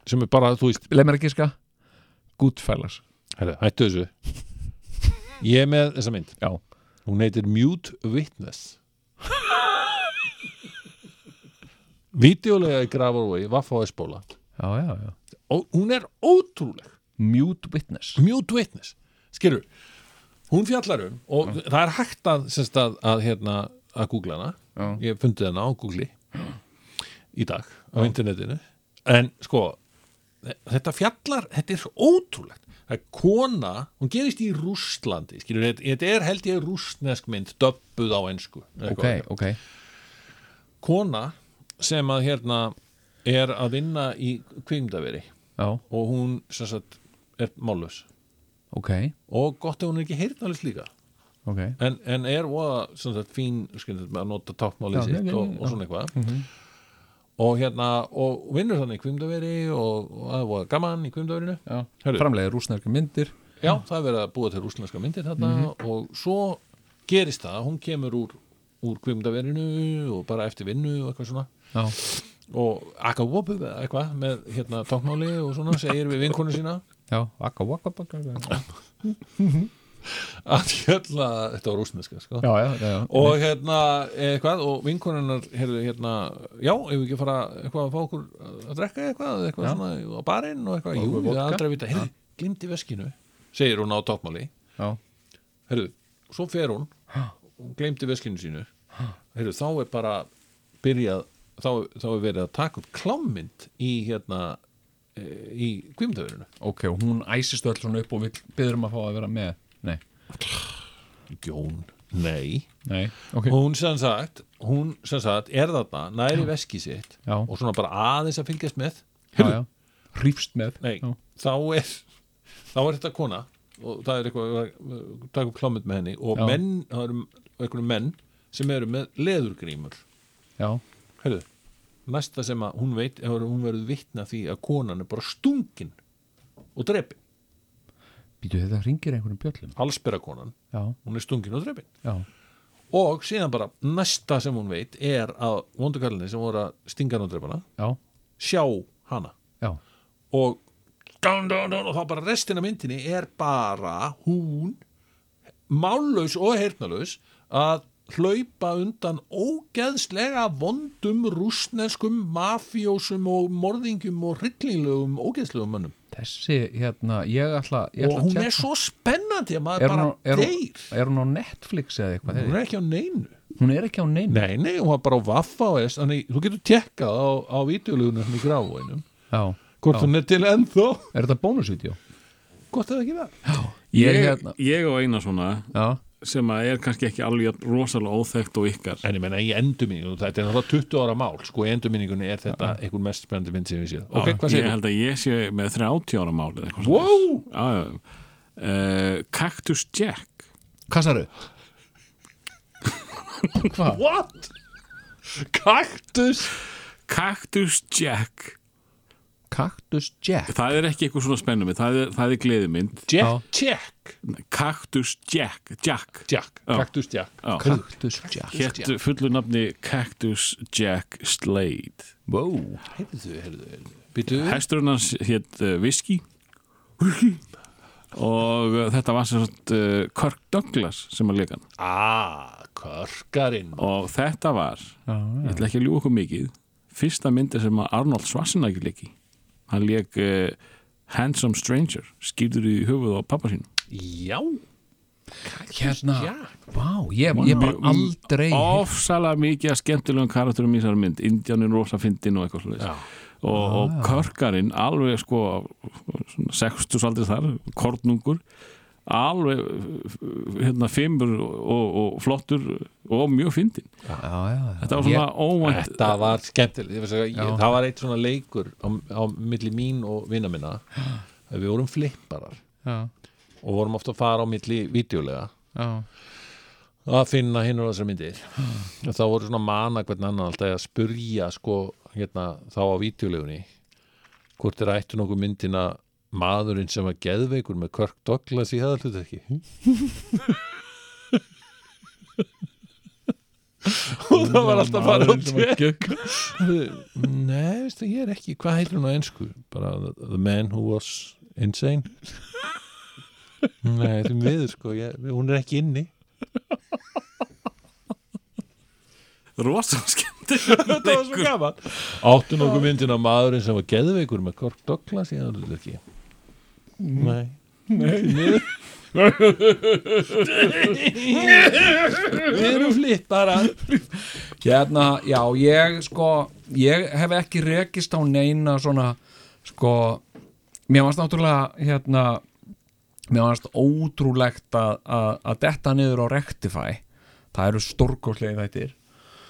[SPEAKER 1] sem er bara, þú veist,
[SPEAKER 2] Lemmer að gíska Goodfellas
[SPEAKER 1] herri, hættu þessu ég er með þessa mynd
[SPEAKER 2] Já.
[SPEAKER 1] hún heitir Mute Witness videolega í Grafarvogi Vaffa og Espóla
[SPEAKER 2] Já, já, já
[SPEAKER 1] og hún er ótrúleg
[SPEAKER 2] Mute Witness
[SPEAKER 1] Mute Witness, skilur hún fjallar um og það er hægt að, semst að, að hérna að googla hana,
[SPEAKER 2] Já.
[SPEAKER 1] ég fundi hana á googli í dag á internetinu, en sko þetta fjallar, þetta er svo ótrúlegt það er kona, hún gerist í Rússlandi, skilur, þetta- þetta er held ég rússnesk mynd, döbbuð á ensku eða
[SPEAKER 2] Ok,
[SPEAKER 1] eitthvað.
[SPEAKER 2] ok
[SPEAKER 1] kona sem að hérna er að vinna í kvímdaveri
[SPEAKER 2] Já,
[SPEAKER 1] og hún sem sagt er mállös
[SPEAKER 2] ok,
[SPEAKER 1] og gott ef hún er ekki heyrnalist líka
[SPEAKER 2] ok
[SPEAKER 1] en, en er voða sem sagt, fín skynið, með að nota
[SPEAKER 2] Já,
[SPEAKER 1] tákmálið
[SPEAKER 2] já,
[SPEAKER 1] sitt
[SPEAKER 2] já,
[SPEAKER 1] og,
[SPEAKER 2] já. Mhm.
[SPEAKER 1] og svona eitthvað og hérna og vinnur þannig í kvimdaveri og, og það er voða gaman í kvimdaverinu
[SPEAKER 2] Já.
[SPEAKER 1] Hörru.
[SPEAKER 2] Framlega rúsnarka myndir
[SPEAKER 1] já, það er verið að búa til rúslenska myndir þarna
[SPEAKER 2] Mhm.
[SPEAKER 1] og svo gerist það, hún kemur úr úr kvimdaverinu og bara eftir vinnu og eitthvað svona
[SPEAKER 2] Já,
[SPEAKER 1] og akawopu eða eitthvað með hérna tákmáli og svona segir við vinkonu sína
[SPEAKER 2] já, akka, waka, waka
[SPEAKER 1] að hérna, þetta var rúsneska sko.
[SPEAKER 2] já, já, já, já.
[SPEAKER 1] og hérna, eitthvað og vinkoninnar, heyrðu, hérna já, ef við ekki fara eitthvað að fá okkur að drekka eitthvað, eitthvað svona á barinn og eitthvað, jú,
[SPEAKER 2] okkur
[SPEAKER 1] við
[SPEAKER 2] vodka.
[SPEAKER 1] aldrei vita heyrðu, glimti veskinu, segir hún á tókmáli
[SPEAKER 2] já.
[SPEAKER 1] heyrðu, svo fer hún hún glemdi veskinu sínu heyrðu, þá er bara byrjað þá, þá er verið að taka upp klámynd í hérna eh, í kvimtöfurinu
[SPEAKER 2] ok, og hún æsist öll svona upp og við byrðum að fá að vera með nei,
[SPEAKER 1] Jón, nei
[SPEAKER 2] nei, ok
[SPEAKER 1] hún sem sagt, hún sem sagt er þarna, næri veski sitt
[SPEAKER 2] Já.
[SPEAKER 1] og svona bara aðeins að fylgjast með
[SPEAKER 2] já, já. hrýfst með
[SPEAKER 1] nei,
[SPEAKER 2] já,
[SPEAKER 1] þá er þá er þetta kona og það er eitthvað að taka upp klámynd með henni og
[SPEAKER 2] Já.
[SPEAKER 1] menn, það eru einhverjum menn sem eru með leðurgrímur
[SPEAKER 2] já,
[SPEAKER 1] Heyrðu, næsta sem að hún veit er að hún verður vitna því að konan er bara stungin og drepin
[SPEAKER 2] býtu þetta ringir einhverjum bjöllum
[SPEAKER 1] allsbera konan,
[SPEAKER 2] já,
[SPEAKER 1] hún er stungin og drepin
[SPEAKER 2] já,
[SPEAKER 1] og síðan bara næsta sem hún veit er að vondukallinni sem voru að stinga hann og drepana
[SPEAKER 2] já,
[SPEAKER 1] sjá hana
[SPEAKER 2] já
[SPEAKER 1] og, dun, dun, dun, og þá bara restin af myndinni er bara hún mállaus og heyrnalaus að hlaupa undan ógeðslega vondum rúsneskum mafjósum og morðingum og hryllilegum ógeðslegum mönnum
[SPEAKER 2] þessi, hérna, ég ætla, ég ætla
[SPEAKER 1] og
[SPEAKER 2] að
[SPEAKER 1] hún
[SPEAKER 2] tjekka-
[SPEAKER 1] er svo spennandi að maður
[SPEAKER 2] er hún,
[SPEAKER 1] bara
[SPEAKER 2] á, er, hún,
[SPEAKER 1] deyr
[SPEAKER 2] er hún á Netflix eða eitthvað
[SPEAKER 1] hún
[SPEAKER 2] hún er,
[SPEAKER 1] er ekki á neinu
[SPEAKER 2] hún er ekki á neinu
[SPEAKER 1] nei, nei, hún var bara á vaffa og þess þannig, þú getur tjekkað á, á vítjulegunum í gráinum,
[SPEAKER 2] já.
[SPEAKER 1] hvort hún er til ennþó
[SPEAKER 2] er þetta bónusvídeó?
[SPEAKER 1] hvort það ekki það
[SPEAKER 2] Ég,
[SPEAKER 4] ég,
[SPEAKER 2] hérna-
[SPEAKER 4] ég og eina svona
[SPEAKER 2] já,
[SPEAKER 4] sem að er kannski ekki alveg jafn rosalega óþekkt og ykkar
[SPEAKER 1] En ég menna í endurminningu, þetta er náttúrulega 20 ára mál sko, í endurminningunni er þetta einhver mest spennandi mynd sem við séð. Ok, hvað
[SPEAKER 4] ég
[SPEAKER 1] segir þú?
[SPEAKER 4] held að ég sé með 30 ára málið eitthvað svona.
[SPEAKER 1] Wow!
[SPEAKER 4] Já, já. Eh, Cactus Jack
[SPEAKER 2] hvað særu? hvað?
[SPEAKER 1] What? Kaktus?
[SPEAKER 4] Cactus Jack
[SPEAKER 2] Cactus Jack
[SPEAKER 4] það er ekki eitthvað svona spennum það er, það er gleðimynd
[SPEAKER 1] Jack, Jack,
[SPEAKER 4] Cactus Jack, Jack
[SPEAKER 1] Jack,
[SPEAKER 4] Já.
[SPEAKER 1] Kaktus Jack.
[SPEAKER 4] Já.
[SPEAKER 2] Cactus Jack
[SPEAKER 4] hétt fullu nafni Cactus Jack Slade
[SPEAKER 2] wow.
[SPEAKER 1] Heyrðu, heyrðu, heyrðu. Býtu?
[SPEAKER 4] Hesturinn hans hétt uh, Whisky og uh, þetta var sem sagt uh, Kirk Douglas sem að leika hann
[SPEAKER 1] Ah, körkarinn.
[SPEAKER 4] og þetta var,
[SPEAKER 2] já,
[SPEAKER 4] ég ætla ekki að ljúka okkur mikið fyrsta myndi sem að Arnold Schwarzenegger leiki hann leik uh, Handsome Stranger skýrður í höfuð á pappa sín
[SPEAKER 1] Já,
[SPEAKER 2] hérna,
[SPEAKER 1] Jack.
[SPEAKER 2] vá, ég, ég bara aldrei
[SPEAKER 4] ofsalega mikið að skemmtilegum karakterum í þessari mynd, Indianin rosa fyndin og eitthvað svolítið
[SPEAKER 1] Já.
[SPEAKER 4] og, og
[SPEAKER 2] Ah.
[SPEAKER 4] körkarinn alveg sko svona 60 aldrei þar, kornungur alveg hérna fimmur og, og flottur og mjög fyndin
[SPEAKER 2] já, já, já.
[SPEAKER 4] þetta var svona óvænt
[SPEAKER 1] Þetta var skemmtileg Ég- ég-
[SPEAKER 2] Já.
[SPEAKER 1] Það var eitt svona leikur á, á milli mín og vina minna Við vorum flipparar
[SPEAKER 2] já,
[SPEAKER 1] og vorum ofta að fara á milli vídeolega
[SPEAKER 2] já,
[SPEAKER 1] að finna hinn og þessar myndir og þá voru svona mana hvernig annan alltaf að spurja sko hérna þá á vítjulegunni hvort er ættu nokkuð myndina maðurinn sem var geðveikur með Kirk Douglas í heðalut ekki og það var alltaf bara
[SPEAKER 2] Maðurinn sem var
[SPEAKER 1] Nei, veistu, ég er ekki, hvað heitir hún á ensku? Bara the, the man who was insane Nei, því miður sko, ég, hún er ekki inni
[SPEAKER 4] rosa skemmtileg
[SPEAKER 1] þetta var svo gaman áttu nokkuð myndin af maðurinn sem var geðveikur með Kirk Douglas í aðlut ekki nei nei við erum flitt bara
[SPEAKER 2] Hérna, já, ég sko ég hef ekki rekist á neina svona, sko mér varst náttúrulega, hérna mér varst ótrúlegt að, að, að detta niður á Rectify það eru stórkoslega þættir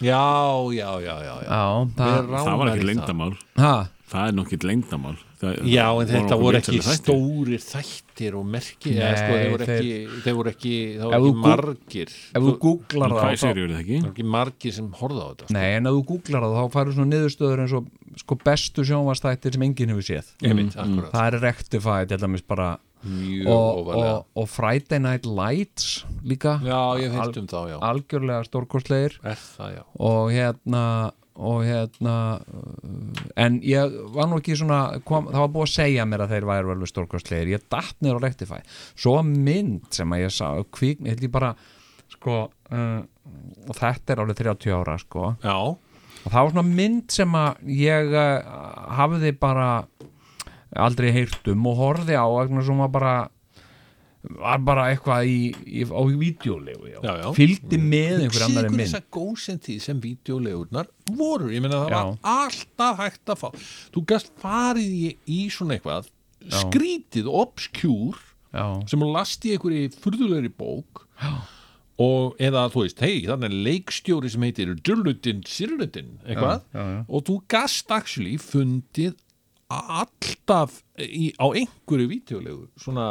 [SPEAKER 1] já, já, já, já, já.
[SPEAKER 2] Já,
[SPEAKER 1] Við
[SPEAKER 2] það,
[SPEAKER 1] ránar
[SPEAKER 4] það var
[SPEAKER 1] í
[SPEAKER 4] ekkert leyndamál
[SPEAKER 2] ha,
[SPEAKER 4] það er nokkið leyndamál það,
[SPEAKER 1] Já, en þetta voru ekki
[SPEAKER 4] vinsælir þættir.
[SPEAKER 1] stórir þættir og merkir, eða sko,
[SPEAKER 2] Nei,
[SPEAKER 1] þeir voru
[SPEAKER 2] þeir-
[SPEAKER 1] ekki, þeir voru ekki, það voru
[SPEAKER 2] Ef þú
[SPEAKER 1] ekki
[SPEAKER 2] gú-
[SPEAKER 1] margir,
[SPEAKER 2] ef þú googlar
[SPEAKER 4] hvað
[SPEAKER 2] það
[SPEAKER 4] er
[SPEAKER 2] þá,
[SPEAKER 4] serið verið ekki?
[SPEAKER 1] það voru ekki margir sem horfða á þetta.
[SPEAKER 2] Nei, en ef þú googlar það þá færðu svona niðurstöður eins og sko bestu sjónvastættir sem enginn hefur séð
[SPEAKER 1] Einmitt, Mm. akkurat.
[SPEAKER 2] það er Rectify, til dæmis bara
[SPEAKER 1] Mjög
[SPEAKER 2] og,
[SPEAKER 1] ofalega.
[SPEAKER 2] og, og Friday Night Lights líka
[SPEAKER 1] Já, ég hef heilt um þá, já.
[SPEAKER 2] algjörlega stórkostleir
[SPEAKER 1] Er það, já.
[SPEAKER 2] og hérna og hérna uh, en ég var nú ekki svona kom, það var búið að segja mér að þeir væri alveg stórkostlegir, ég datt niður á Rectify svo var mynd sem að ég sá kvík, ég held ég bara sko, uh, og þetta er alveg 30 ára sko,
[SPEAKER 1] já,
[SPEAKER 2] og það var svona mynd sem að ég uh, hafði bara aldrei heyrt um og horfði á vegna sem var bara var bara eitthvað í, í, á vídeolegu já.
[SPEAKER 1] Já, já. Mm.
[SPEAKER 2] fylgdi með einhver
[SPEAKER 1] Hugsið
[SPEAKER 2] annari
[SPEAKER 1] ykkur
[SPEAKER 2] mynd
[SPEAKER 1] þess að góðsinn tíð sem videolegurnar voru, ég meina það
[SPEAKER 2] Já.
[SPEAKER 1] var alltaf hægt að fá þú gast farið í, í svona eitthvað skrítið, obskjúr
[SPEAKER 2] já,
[SPEAKER 1] sem hún lasti í einhverju furðulegri bók og eða þú veist, hei, þannig er leikstjóri sem heitir Dullutin Sirlutin eitthvað,
[SPEAKER 2] Já, já, já.
[SPEAKER 1] og þú gast actually fundið alltaf í, á einhverju vítjulegu, svona,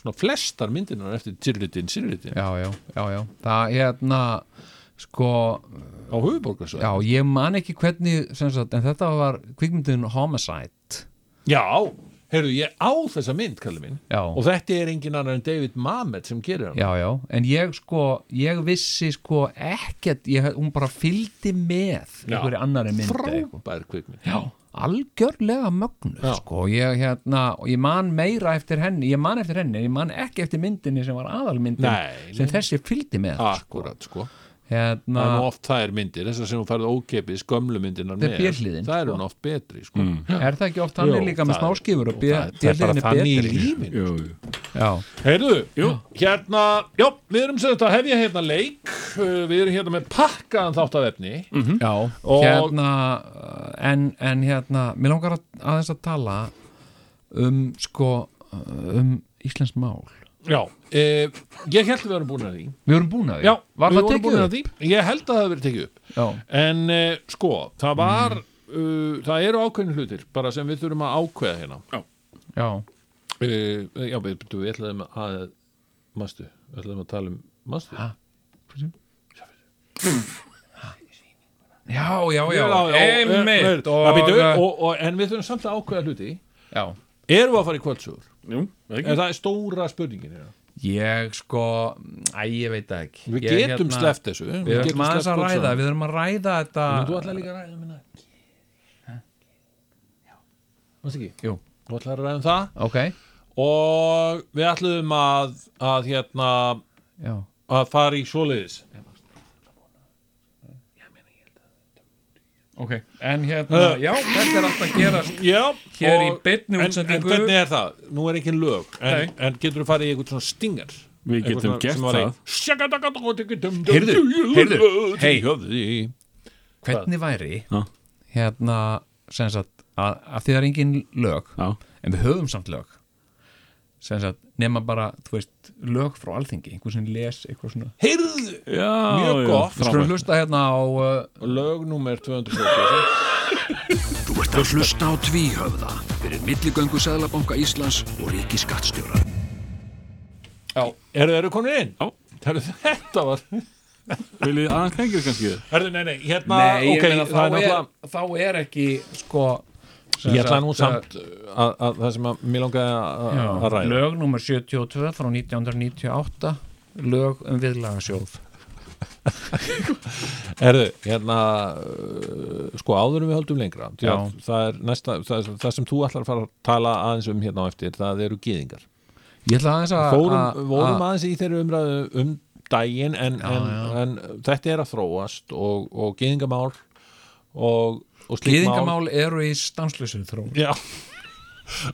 [SPEAKER 1] svona flestar myndinar eftir Sirlutin Sirlutin
[SPEAKER 2] já, já, já, já. það hérna sko,
[SPEAKER 1] á höfuborgarsvæð
[SPEAKER 2] já, ég man ekki hvernig sem sagt, en þetta var kvikmyndin Homicide
[SPEAKER 1] Já, heyrðu, ég á þessa mynd, kalli minn
[SPEAKER 2] Já.
[SPEAKER 1] og þetta er engin annar en David Mamet sem gerir hann
[SPEAKER 2] já, já, en ég sko ég vissi sko ekkert ég, hún bara fylgdi með
[SPEAKER 1] Já.
[SPEAKER 2] einhverju annari mynd eða eitthvað.
[SPEAKER 1] frábær kvikmynd Já,
[SPEAKER 2] algjörlega mögnu
[SPEAKER 1] Já.
[SPEAKER 2] sko, ég hérna og ég man meira eftir henni, ég man eftir henni en ég man ekki eftir myndinni sem var aðalmyndin
[SPEAKER 1] Nei,
[SPEAKER 2] sem þessi fylgdi með
[SPEAKER 1] akkurat, sko
[SPEAKER 2] hérna,
[SPEAKER 1] Það er nú oft þær myndir, þessar sem hún færði ókeipis gömlu myndirnar
[SPEAKER 2] Þetta er B-hliðin,
[SPEAKER 1] Það er hún oft betri sko.
[SPEAKER 2] er það ekki oft hann er
[SPEAKER 1] Jú,
[SPEAKER 2] líka með
[SPEAKER 1] það-
[SPEAKER 2] smáskifur og
[SPEAKER 1] Það, það er bara
[SPEAKER 2] bjöðliðin er
[SPEAKER 1] þannig í
[SPEAKER 2] betri sko.
[SPEAKER 1] lífin
[SPEAKER 4] jú, jú.
[SPEAKER 2] já,
[SPEAKER 1] Heyrðu, jú, hérna Jó, við erum sem þetta hefja hérna leik uh, Við erum hérna með pakkaðan þátt af efni
[SPEAKER 2] já
[SPEAKER 1] Og-
[SPEAKER 2] hérna, en, en hérna mér langar að, aðeins að tala um sko um Íslands mál
[SPEAKER 1] Já, uh, ég held við erum búin að því
[SPEAKER 2] við vorum búin að því,
[SPEAKER 1] Já,
[SPEAKER 2] var
[SPEAKER 1] við vorum
[SPEAKER 2] það
[SPEAKER 1] búin
[SPEAKER 2] tekið
[SPEAKER 1] að því Ég held að það hafi verið tekið upp
[SPEAKER 2] já,
[SPEAKER 1] En uh, sko, það var uh, Það eru ákveðin hlutir bara sem við þurfum að ákveða hérna
[SPEAKER 2] já,
[SPEAKER 1] uh, Já, við, við ætlaðum að Mastu, við ætlaðum að tala um Mastu
[SPEAKER 2] Ha? já, já, já,
[SPEAKER 1] Já, já,
[SPEAKER 2] einmitt
[SPEAKER 1] einmitt. Já, býtu, og, og, en við þurfum samt að ákveða hluti
[SPEAKER 2] já
[SPEAKER 1] erum við að fara í kvöldsögur?
[SPEAKER 4] Jú, það
[SPEAKER 1] en það er stóra spurningin hérna.
[SPEAKER 2] Ég sko, æ, ég veit það ekki
[SPEAKER 1] við
[SPEAKER 2] ég, hérna-
[SPEAKER 1] getum sleppt þessu
[SPEAKER 2] Við erum aðeins að ræða,
[SPEAKER 1] við...
[SPEAKER 2] við erum að ræða þetta
[SPEAKER 1] þú ætlaði líka að ræða minna Mást ekki?
[SPEAKER 2] Jú,
[SPEAKER 1] Þú ætlaði að ræða um það
[SPEAKER 2] ok,
[SPEAKER 1] og við ætluðum að að hérna
[SPEAKER 2] já
[SPEAKER 1] að fara í svoleiðis
[SPEAKER 2] Ok, en hérna, já, þetta er alltaf að gerast
[SPEAKER 1] Já,
[SPEAKER 2] Hér í
[SPEAKER 1] og-
[SPEAKER 2] beinni
[SPEAKER 1] en-
[SPEAKER 2] útsendingu.
[SPEAKER 1] En hvernig er það? Nú er ekki lög En, en getur þú farið í eitthvað svona stingar?
[SPEAKER 4] Við
[SPEAKER 1] Eitthvað
[SPEAKER 4] getum
[SPEAKER 1] svona
[SPEAKER 4] gert
[SPEAKER 1] sem var í-
[SPEAKER 4] það.
[SPEAKER 1] Heyrðu, heyrðu
[SPEAKER 2] hey.
[SPEAKER 1] Hei
[SPEAKER 2] Hvernig væri,
[SPEAKER 4] Já.
[SPEAKER 2] hérna, sem sagt, að, að því það er engin lög
[SPEAKER 4] Já.
[SPEAKER 2] En við höfum samt lög Sem sagt, nema bara, þú veist, lög frá alþingi Einhver sem les, eitthvað svona
[SPEAKER 1] Heyrðu
[SPEAKER 4] Já,
[SPEAKER 1] Mjög
[SPEAKER 4] já,
[SPEAKER 1] gott.
[SPEAKER 2] Við skulum hlusta hérna á uh,
[SPEAKER 1] Lög númer 246
[SPEAKER 3] Þú ert að hlusta á tvíhöfða fyrir milligöngu Sæðlabanka Íslands og Ríkiskattstjóra.
[SPEAKER 1] Já Eru þeirra konur inn?
[SPEAKER 4] Já.
[SPEAKER 1] Heyrðu, þetta var
[SPEAKER 4] Viljið aðeins lengri kannski
[SPEAKER 1] Heyrðu, nei, nei Hérna
[SPEAKER 2] Nei, ég
[SPEAKER 1] ok, það
[SPEAKER 2] meina
[SPEAKER 1] er
[SPEAKER 2] þá er,
[SPEAKER 1] náttúrulega-
[SPEAKER 2] þá er ekki sko sem
[SPEAKER 1] Ég ætla
[SPEAKER 2] sagt,
[SPEAKER 1] nú samt að, að það sem að mér langaði að-
[SPEAKER 2] uh, já,
[SPEAKER 1] að- að ræða
[SPEAKER 2] Lög nummer 72 frá 1998 Lög um viðlagasjóð
[SPEAKER 1] Herðu, hérna uh, sko áður en við höldum lengra því að
[SPEAKER 2] Já.
[SPEAKER 1] það er næsta, það, það sem þú ætlar að fara að tala aðeins um hérna á eftir það eru gýðingar
[SPEAKER 2] Ég ætla aðeins að
[SPEAKER 1] Fórum,
[SPEAKER 2] að-
[SPEAKER 1] vorum
[SPEAKER 2] að-
[SPEAKER 1] aðeins í þeirri umræðu um daginn en, en, en þetta er að þróast og, og gýðingamál og, og slík mál
[SPEAKER 2] Gýðingamál eru í stanslösu þróun
[SPEAKER 1] Já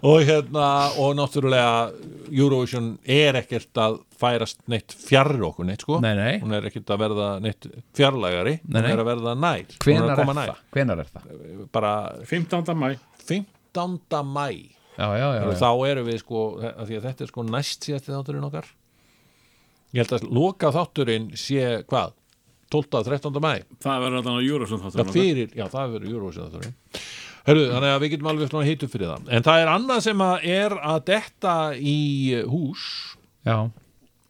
[SPEAKER 1] og hérna og náttúrulega Eurovision er ekkert að færast neitt fjarr okkur neitt sko
[SPEAKER 2] Nei, nei.
[SPEAKER 1] hún er ekkert að verða neitt fjarlægari
[SPEAKER 2] Nei, nei.
[SPEAKER 1] hún er að verða nær hún er
[SPEAKER 2] Hvenar
[SPEAKER 1] að
[SPEAKER 2] er,
[SPEAKER 1] koma nær
[SPEAKER 2] það? Hvenar er það?
[SPEAKER 1] bara
[SPEAKER 4] 15. mæ
[SPEAKER 1] 15. mæ
[SPEAKER 2] Já, já, já,
[SPEAKER 1] og
[SPEAKER 2] já.
[SPEAKER 1] þá erum við sko að því að þetta er sko næst síðasti þátturinn okkar ég held að loka þátturinn sé hvað 12. að 13. mæ
[SPEAKER 4] Það verður alltaf á Júrasund
[SPEAKER 1] það fyrir, já það verður Eurovision þátturinn Hörru, þannig að við getum alveg svona heitu fyrir það en það er annað sem að er að detta í hús
[SPEAKER 2] já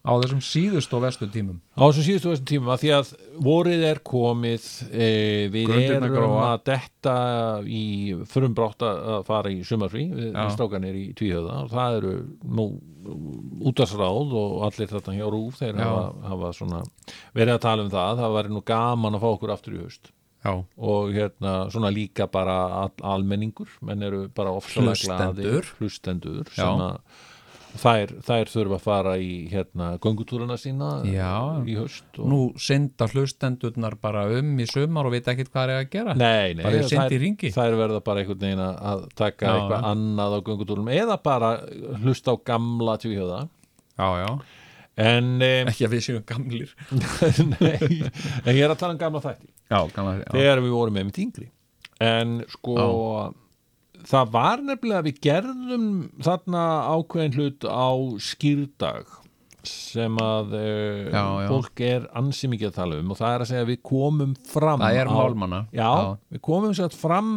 [SPEAKER 2] Á þessum síðust og vestu tímum
[SPEAKER 1] á þessum síðustu þessum tíma því að vorið er komið e, við erum
[SPEAKER 2] Grundirnar gróa.
[SPEAKER 1] að detta í frumbrátt að að fara í sumarfrí við
[SPEAKER 2] Já.
[SPEAKER 1] við strákanir í tvíhöða og það eru nú útarsráð og allir þetta hjá rúf þeir
[SPEAKER 2] Já.
[SPEAKER 1] hafa, hafa svona verið að tala um það það væri nú gaman að fá okkur aftur í haust
[SPEAKER 2] já,
[SPEAKER 1] og hérna svona líka bara al almenningur menn eru bara ofsalega glaðir,
[SPEAKER 2] Hlustendur.
[SPEAKER 1] hlustendur
[SPEAKER 2] Já.
[SPEAKER 1] sem að þær, þær þurfa að fara í hérna göngutúrana sína
[SPEAKER 2] Já.
[SPEAKER 1] í haust og...
[SPEAKER 2] nú synda hlustendurnar bara um í sumar og vita ekkit hvað er að gera
[SPEAKER 1] Nei, nei,
[SPEAKER 2] Bara eru send í ringi.
[SPEAKER 1] þær verða bara einhvern veginn að- að taka
[SPEAKER 2] Já,
[SPEAKER 1] eitthvað
[SPEAKER 2] já.
[SPEAKER 1] annað á göngutúrum eða bara hlusta á gamla tvíhjóða
[SPEAKER 2] já, já,
[SPEAKER 1] en, um,
[SPEAKER 2] ekki að við séum gamlir
[SPEAKER 1] nei, en ég er að tala um gamla þætti
[SPEAKER 2] já, gamlar já,
[SPEAKER 1] þegar við vorum einmitt yngri en sko það var nefnilega að við gerðum þarna ákveðin hlut á skýrdag sem að uh,
[SPEAKER 2] Já, já.
[SPEAKER 1] fólk er ansi mikið að tala um og það er að segja að við komum fram
[SPEAKER 2] það er
[SPEAKER 1] á-
[SPEAKER 2] málmanna
[SPEAKER 1] já, við komum sér fram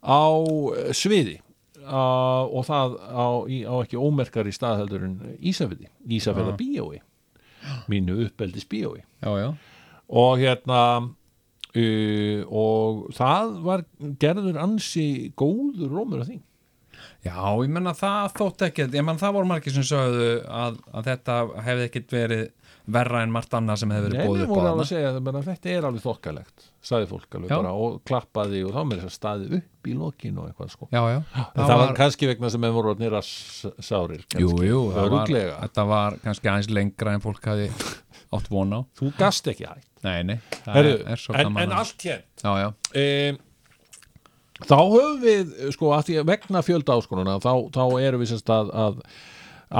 [SPEAKER 1] á eh, sviði uh, og það á, í, á ekki ómerkari stað heldur en Ísafjörði Ísafjörða bíói mínu uppeldis bíói
[SPEAKER 2] já, já,
[SPEAKER 1] og hérna uh, og það var gerður ansi góður rómur að því
[SPEAKER 2] já, ég menna það þótt ekkit ég menna það voru margir sem sögðu að, að þetta hefði ekkit verið verra en margt annað sem hefði
[SPEAKER 1] Nei,
[SPEAKER 2] verið bóðið
[SPEAKER 1] við
[SPEAKER 2] upp á
[SPEAKER 1] vorum alveg
[SPEAKER 2] þarna.
[SPEAKER 1] að segja að menna, þetta er alveg þokkalegt sagði fólk alveg
[SPEAKER 2] Já.
[SPEAKER 1] bara og klappaði og þá með þess að staði upp í lokinu og eitthvað sko
[SPEAKER 2] já, já,
[SPEAKER 1] en það var kannski vegna sem við voru orðnir að sárir kannski.
[SPEAKER 2] Jú, jú, það var,
[SPEAKER 1] Örugglega.
[SPEAKER 2] þetta var kannski aðeins lengra en fólk hafi átt von á.
[SPEAKER 1] þú gast ekki hægt
[SPEAKER 2] Nei, nei, það
[SPEAKER 1] Heru,
[SPEAKER 2] er, er svo
[SPEAKER 1] en,
[SPEAKER 2] gaman.
[SPEAKER 1] en
[SPEAKER 2] að-
[SPEAKER 1] allt hérna. hér
[SPEAKER 2] Já, já,
[SPEAKER 1] e, þá höfum við sko að því að vegna fjölda áskonuna þá, þá erum við sérst að, að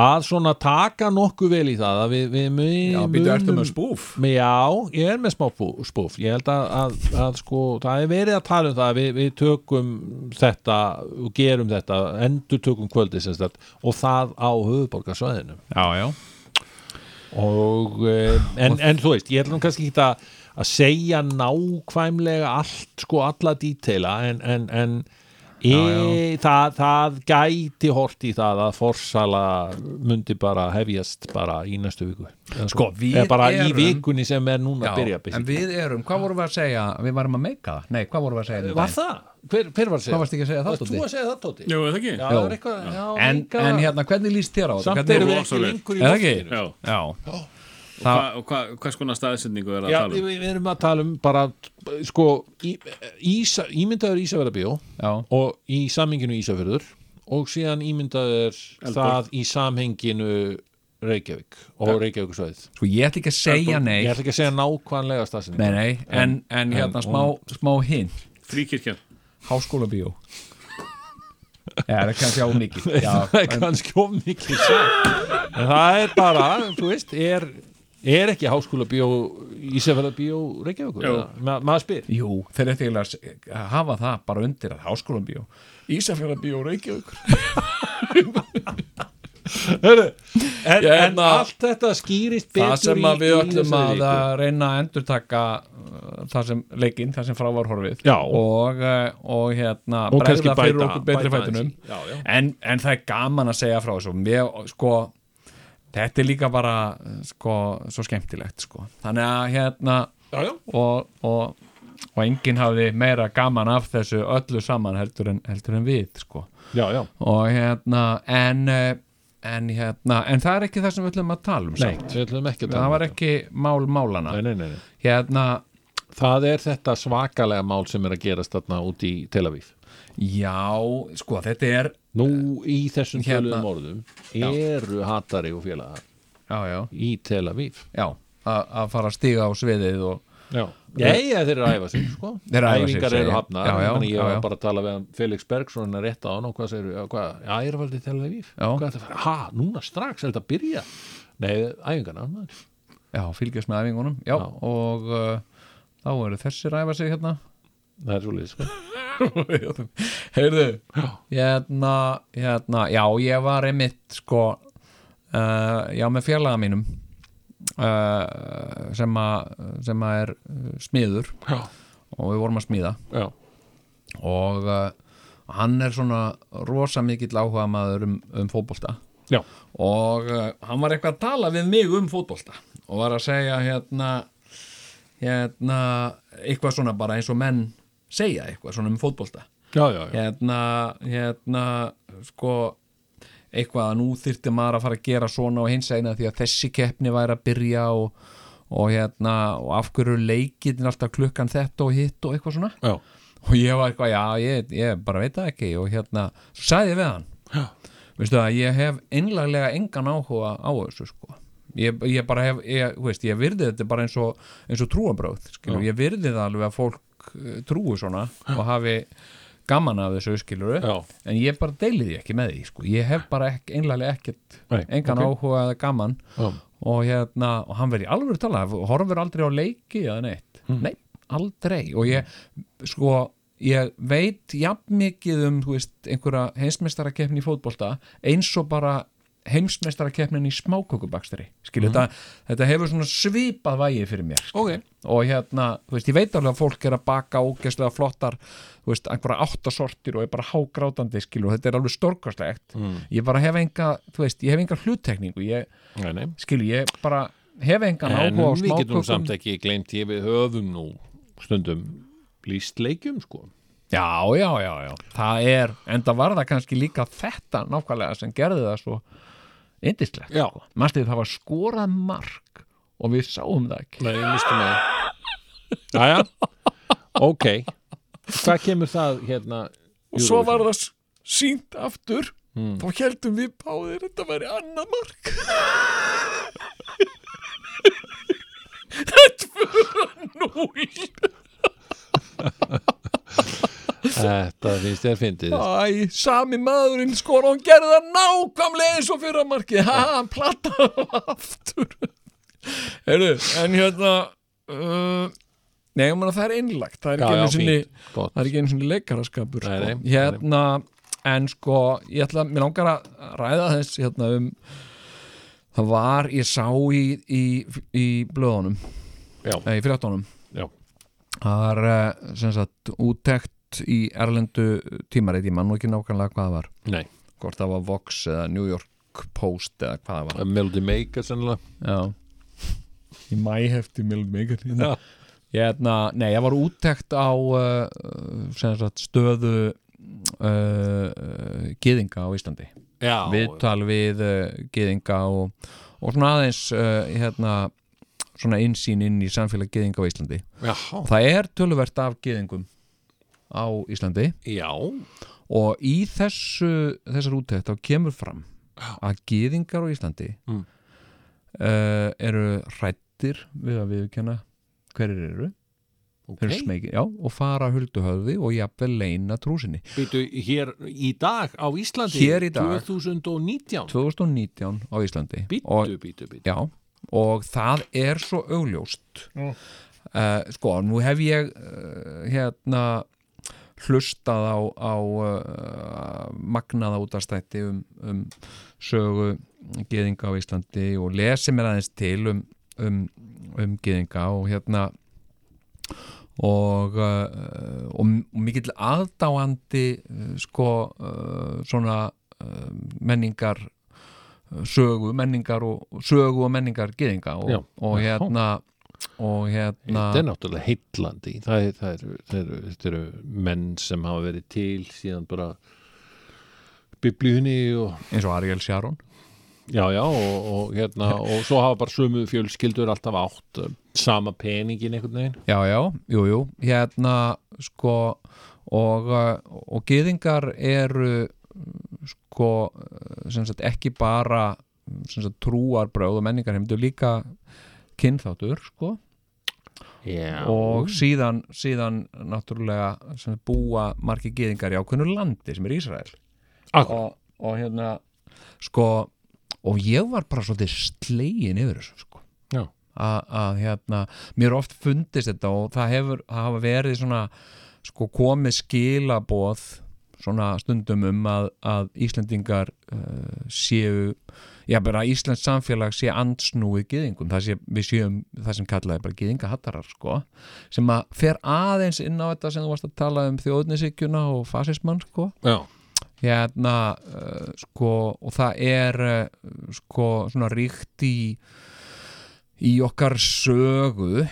[SPEAKER 1] að svona taka nokkuð vel í það að við, við mun,
[SPEAKER 2] já, býtu ertu með spúf.
[SPEAKER 1] með já, ég er með smá pú- spúf ég held að, að, að sko það er verið að tala um það að við, við tökum þetta og gerum þetta endur tökum kvöldi sérst að og það á höfuborgarsvæðinu
[SPEAKER 2] Já, já,
[SPEAKER 1] og eh, en, en þú veist, ég ætla nú kannski ekki að, að segja nákvæmlega allt sko alla dítela en, en, en e, Það, það gæti hort í það að forsala mundi bara hefjast bara í næstu viku Eða
[SPEAKER 2] Sko, við
[SPEAKER 1] eða bara í
[SPEAKER 2] erum-
[SPEAKER 1] vikunni sem er núna
[SPEAKER 2] já,
[SPEAKER 1] að byrja
[SPEAKER 2] en
[SPEAKER 1] byrja.
[SPEAKER 2] við erum, hvað vorum við að segja, við varum að meika það, nei, hvað vorum við að segja?
[SPEAKER 1] Var það? Hver, hver var að segja?
[SPEAKER 2] Hvað varst ekki að segja það,
[SPEAKER 1] Varst þú
[SPEAKER 2] Doddi?
[SPEAKER 1] að segja það, Tóti?
[SPEAKER 4] Jú, er það ekki?
[SPEAKER 1] Já,
[SPEAKER 2] Jú.
[SPEAKER 1] það var eitthvað já,
[SPEAKER 2] En,
[SPEAKER 1] líka-
[SPEAKER 2] en hérna, hvernig líst þér á þetta?
[SPEAKER 1] Samt
[SPEAKER 2] Hvernig-
[SPEAKER 1] erum við
[SPEAKER 4] Rosa
[SPEAKER 1] ekki
[SPEAKER 4] vel.
[SPEAKER 1] lengur í
[SPEAKER 2] Er það ekki?
[SPEAKER 1] loftinu.
[SPEAKER 2] Já,
[SPEAKER 4] Og hva, og hva, hvers konar staðsendingu er að
[SPEAKER 1] Já,
[SPEAKER 4] tala
[SPEAKER 1] við,
[SPEAKER 4] um?
[SPEAKER 1] við erum að tala um bara sko, í, ísa, ímyndaður Ísafjörðabíó
[SPEAKER 2] já,
[SPEAKER 1] og í samhenginu Ísafjörður og síðan ímyndaður það í samhenginu Reykjavík og Reykjavíkusvæðið
[SPEAKER 2] sko ég ætla ekki að segja nei,
[SPEAKER 1] Ég ætla ekki að segja nákvæmlega stafsinn
[SPEAKER 2] nei, nei, en, en hérna smá, smá hinn,
[SPEAKER 4] Fríkirkjan
[SPEAKER 2] háskóla bíó. Já, það er kannski á mikið. Já,
[SPEAKER 1] Það er kannski of mikið sagt. en það er bara, þú veist er, er ekki háskóla bíó Ísafjörða bíó Reykjavíkur
[SPEAKER 4] Jú.
[SPEAKER 1] eða? Ma, maður spyr
[SPEAKER 2] Jú, þeir eftir að s- að hafa það bara undir að háskólan bíó Ísafjörða bíó Reykjavík
[SPEAKER 1] Heru, en,
[SPEAKER 2] Ég
[SPEAKER 1] en
[SPEAKER 2] hefna-
[SPEAKER 1] allt þetta skýrist betur
[SPEAKER 2] Það sem að
[SPEAKER 1] í-
[SPEAKER 2] við
[SPEAKER 1] í
[SPEAKER 2] ætlum
[SPEAKER 1] þessari
[SPEAKER 2] að,
[SPEAKER 1] viku.
[SPEAKER 2] að reyna að endurtaka uh, það sem leikinn, það sem frá var horfið
[SPEAKER 1] Já.
[SPEAKER 2] og, uh, og hérna
[SPEAKER 1] Og kannski
[SPEAKER 2] bregða fyrir
[SPEAKER 1] bæta-
[SPEAKER 2] okkur betri
[SPEAKER 1] bæta
[SPEAKER 2] fætunum
[SPEAKER 1] aðeins í. Já, já.
[SPEAKER 2] en, en það er gaman að segja frá þessu Mér, sko, þetta er líka bara uh, sko, svo skemmtilegt sko. þannig að hérna
[SPEAKER 1] Já, já.
[SPEAKER 2] og, og, og enginn hafði meira gaman af þessu öllu saman heldur en, heldur en við sko.
[SPEAKER 1] já, já
[SPEAKER 2] og hérna en, eh, en hérna en það er ekki það sem við ætlum að tala um samt.
[SPEAKER 1] Við ætlum ekki að tala
[SPEAKER 2] það
[SPEAKER 1] um
[SPEAKER 2] var
[SPEAKER 1] þetta.
[SPEAKER 2] ekki mál málana
[SPEAKER 1] Nei, nei, nei, nei.
[SPEAKER 2] hérna,
[SPEAKER 1] Það er þetta svakalega mál sem er að gerast þarna út í Tel Aviv.
[SPEAKER 2] já, sko þetta er
[SPEAKER 1] Nú í þessum
[SPEAKER 2] Hérna.
[SPEAKER 1] töluðum orðum eru hatari og félagar
[SPEAKER 2] já, já,
[SPEAKER 1] í Tel Aviv.
[SPEAKER 2] já a- að fara að stíga á sviðið og
[SPEAKER 1] Já. Ég, ég þeir eru að æfa sig, sko.
[SPEAKER 2] Þeir eru að æfa sig,
[SPEAKER 1] Æfingar
[SPEAKER 2] segi
[SPEAKER 1] eru
[SPEAKER 2] ég.
[SPEAKER 1] hafnar.
[SPEAKER 2] Já, já,
[SPEAKER 1] Þannig ég
[SPEAKER 2] já,
[SPEAKER 1] var
[SPEAKER 2] já.
[SPEAKER 1] bara að tala við hann Felix Bergson að rétta á hann og hvað segir við? Hvað? Já, ég er valdið í Tel Aviv.
[SPEAKER 2] Já.
[SPEAKER 1] Hvað er þetta að fara? Ha, núna strax er þetta að byrja? Nei, æfingarna. maður.
[SPEAKER 2] já, fylgjast með æfingunum já,
[SPEAKER 1] Já.
[SPEAKER 2] og uh, þá eru þessir að æfa sig hérna
[SPEAKER 1] Það er svolítið, sko.
[SPEAKER 2] heyrðu hérna, hérna, já, ég var einmitt sko uh, já, með fjarlaga mínum uh, sem að sem að er uh, smiður
[SPEAKER 1] Já.
[SPEAKER 2] og við vorum að smíða
[SPEAKER 1] Já.
[SPEAKER 2] og uh, hann er svona rosa mikill áhuga maður um, um fótbolta
[SPEAKER 1] Já.
[SPEAKER 2] og uh, hann var eitthvað að tala við mig um fótbolta og var að segja hérna hérna eitthvað svona bara eins og menn segja eitthvað svona um fótbolta
[SPEAKER 1] Já, já, já.
[SPEAKER 2] hérna, hérna sko eitthvað að nú þyrfti maður að fara að gera svona og hins eina því að þessi keppni væri að byrja og, og hérna og af hverju leikinn alltaf klukkan þetta og hitt og eitthvað svona
[SPEAKER 1] já,
[SPEAKER 2] og ég var eitthvað, já, ég, ég bara veit það ekki og hérna, svo sagði ég við hann veistu það, ég hef einlaglega engan áhuga á þessu sko ég, ég bara hef, ég, þú veist, ég virði þetta bara eins og, eins og trúabráð skilur, ég virði það alveg að fólk eh, trúi svona og hafi gaman af þessu skilur
[SPEAKER 1] já,
[SPEAKER 2] en ég bara deili því ekki með því sko. ég hef bara ekki, einlega ekkert
[SPEAKER 1] Nei,
[SPEAKER 2] engan
[SPEAKER 1] ok.
[SPEAKER 2] áhuga eða gaman
[SPEAKER 1] já.
[SPEAKER 2] og hérna, og hann verði alveg að tala horfur aldrei á leiki eða neitt nei, aldrei og ég, sko, ég veit jafn mikið um, þú veist, einhverja heimsmeistarakeppni í fótbolta eins og bara heimsmeistarakeppnin í smákökubakstri skilur, þetta, þetta hefur svona svipað vægi fyrir mér skilur.
[SPEAKER 1] Ok.
[SPEAKER 2] og hérna, þú veist, ég veit alveg að fólk er að baka ógeðslega flottar, þú veist, einhverja áttasortir og er bara hágrátandi skilur, og þetta er alveg storkastlegt ég bara hef enga, þú veist, ég hef enga hluttekningu ég,
[SPEAKER 1] Nei, nei.
[SPEAKER 2] skilur, ég bara hef engan
[SPEAKER 1] en
[SPEAKER 2] áhuga á
[SPEAKER 1] við getum
[SPEAKER 2] smákökum
[SPEAKER 1] samt ekki gleymt ég við höfum nú stundum líst leikjum sko
[SPEAKER 2] já, já, já, já, það er en það var það kannski líka þetta nákvæmlega sem gerði það svo indislegt,
[SPEAKER 1] Já.
[SPEAKER 2] mannstu það var skorað mark og við sáum það ekki
[SPEAKER 1] Nei, ég mistum að Jæja, ok Hvað kemur það hérna
[SPEAKER 2] og svo var það sínt aftur
[SPEAKER 1] Hmm.
[SPEAKER 2] þá heldum við báðir þetta væri annað mark þetta fyrir núl
[SPEAKER 1] Þetta finnst þér fyndið
[SPEAKER 2] Æ, sami maðurinn skor og hann gerði það nákvæmlega eins og fyrra marki ha, hann plattaði það aftur Heyrðu, en hérna uh, Nei, ég meina það er einlagt það er
[SPEAKER 1] Já,
[SPEAKER 2] ekki
[SPEAKER 1] já,
[SPEAKER 2] einu sinni
[SPEAKER 1] fínt, gott.
[SPEAKER 2] það er ekki einu sinni
[SPEAKER 1] Nei,
[SPEAKER 2] leikaraskapur sko.
[SPEAKER 1] nei, nei.
[SPEAKER 2] hérna, en sko ég ætla, mér langar að ræða þess hérna um það var, ég sá í í, í blöðunum,
[SPEAKER 1] Já,
[SPEAKER 2] eh, í fréttunum
[SPEAKER 1] já,
[SPEAKER 2] Það er eh, sem sagt útekt í erlendu tímarit, ég man nú ekki nákvæmlega hvað það var
[SPEAKER 1] nei
[SPEAKER 2] hvort það var Vox eða New York Post eða hvað það var
[SPEAKER 1] Melody Maker sennilega
[SPEAKER 2] Já Í mæhefti mjög mikið
[SPEAKER 1] Já.
[SPEAKER 2] Hérna, nei, ég var úttekt á uh, sem sagt stöðu uh, uh, gyðinga á Íslandi
[SPEAKER 1] Já,
[SPEAKER 2] viðtal við uh, gyðinga og, og svona aðeins uh, hérna, svona insýn inn í samfélag gyðinga á Íslandi
[SPEAKER 1] já,
[SPEAKER 2] Það er töluvert af geðingum á Íslandi
[SPEAKER 1] já,
[SPEAKER 2] og í þessu, þessar úttækt þá kemur fram að geðingar á Íslandi
[SPEAKER 1] Mm.
[SPEAKER 2] eh, eru hrættir við að viðkenna hverjir eru,
[SPEAKER 1] ok
[SPEAKER 2] þeir eru smekir já, og fara hulduhöfði og jafnvel leina trúsinni.
[SPEAKER 1] Býtu, hér í dag á Íslandi
[SPEAKER 2] Hér í dag.
[SPEAKER 1] 2019
[SPEAKER 2] 2019 á Íslandi og
[SPEAKER 1] Býtu, býtu, býtu
[SPEAKER 2] Já, og það er svo augljóst mm. Sko, nú hef ég uh, hérna hlustað á, á uh, magnaða útastætti um, um sögu geðinga á Íslandi og lesi mér aðeins til um, um, um geðinga og hérna og, uh, og m- mikill aðdáandi uh, sko uh, svona uh, menningar eh, sögu, menningar og sögu og menningar geðinga og,
[SPEAKER 1] Já.
[SPEAKER 2] og hérna og hérna
[SPEAKER 1] Þetta er náttúrulega heitlandi það er, það er, það er, þetta eru menn sem hafa verið til síðan bara biblíunni og
[SPEAKER 2] eins og Ariel Sharon
[SPEAKER 1] já, já, og, og hérna og svo hafa bara sömu fjölskyldur alltaf átt eh, sama peningin einhvern veginn
[SPEAKER 2] Já, já, jú, jú, hérna sko og, uh, og gyðingar eru mm, sko uh, sem sagt ekki bara mm, sem sagt trúarbröð og menningar hefndu líka kynþáttur sko
[SPEAKER 1] Já,
[SPEAKER 2] og síðan, síðan náttúrulega sem sagt, búa margir gyðingar í ákveðnu landi sem er Ísrael
[SPEAKER 1] Akkurat.
[SPEAKER 2] og, og hérna sko og ég var bara svolítið slegin yfir þessu sko
[SPEAKER 1] já,
[SPEAKER 2] að að, hérna, mér oft fundist þetta og það hefur, það hafa verið svona sko komið skilaboð svona stundum um að, að Íslendingar uh, séu, já bara að Íslands samfélag sé andsnúið gyðingum það sé, við séum það sem kallaði bara gyðingahattarar sko, sem að fer aðeins inn á þetta sem þú varst að tala um þjóðnisíkjuna og fasismann sko
[SPEAKER 1] já,
[SPEAKER 2] hérna uh, sko og það er uh, sko svona ríkt í í okkar sögu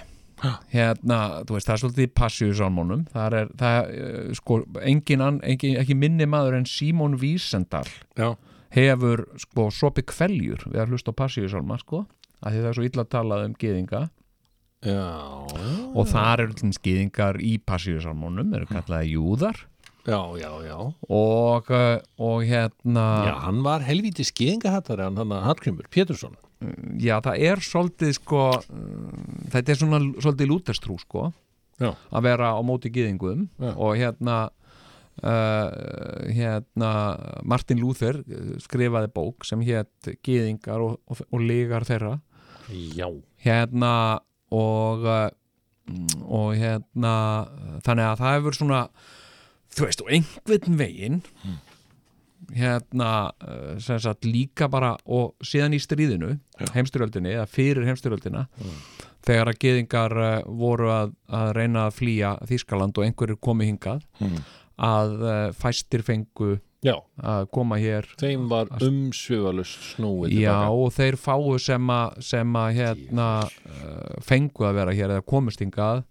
[SPEAKER 2] hérna, þú veist, það er svolítið passíu sálmónum, það er, það er uh, sko, engin, ann- engin, ekki minni maður en Símon Vísendal
[SPEAKER 1] já,
[SPEAKER 2] hefur sko sopi kveljur við að hlusta á passíu sálma sko, að því það er svo illa talað um geðinga
[SPEAKER 1] já,
[SPEAKER 2] og þar eru til skýðingar í passíusalmónum eru kallaði júðar
[SPEAKER 1] já, já, já.
[SPEAKER 2] og, uh, og hérna
[SPEAKER 1] Já, hann var helvíti skýðingahattari hann, hann Hallgrímur Pétursson
[SPEAKER 2] Já, það er svolítið sko mm, þetta er svona svolítið lútestrú sko
[SPEAKER 1] Já.
[SPEAKER 2] að vera á móti gyðingum
[SPEAKER 1] Já.
[SPEAKER 2] og hérna uh, hérna Martin Luther uh, skrifaði bók sem hétt gyðingar og, og, og lígar þeirra
[SPEAKER 1] Já,
[SPEAKER 2] hérna og uh, mm, og hérna uh, þannig að það hefur svona þú veist, og einhvern veginn hérna uh, sem sagt líka bara og síðan í stríðinu, heimstyrjöldinni eða fyrir heimstyrjöldina þegar að geðingar uh, voru að, að reyna að flýja Þískaland og einhverjir komu hingað að uh, fæstir fengu
[SPEAKER 1] já,
[SPEAKER 2] að koma hér
[SPEAKER 1] þeim var umsviðalust snúið
[SPEAKER 2] Já,
[SPEAKER 1] tilbaka.
[SPEAKER 2] og þeir fáu sem að, sem að hérna, uh, fengu að vera hér eða komust hingað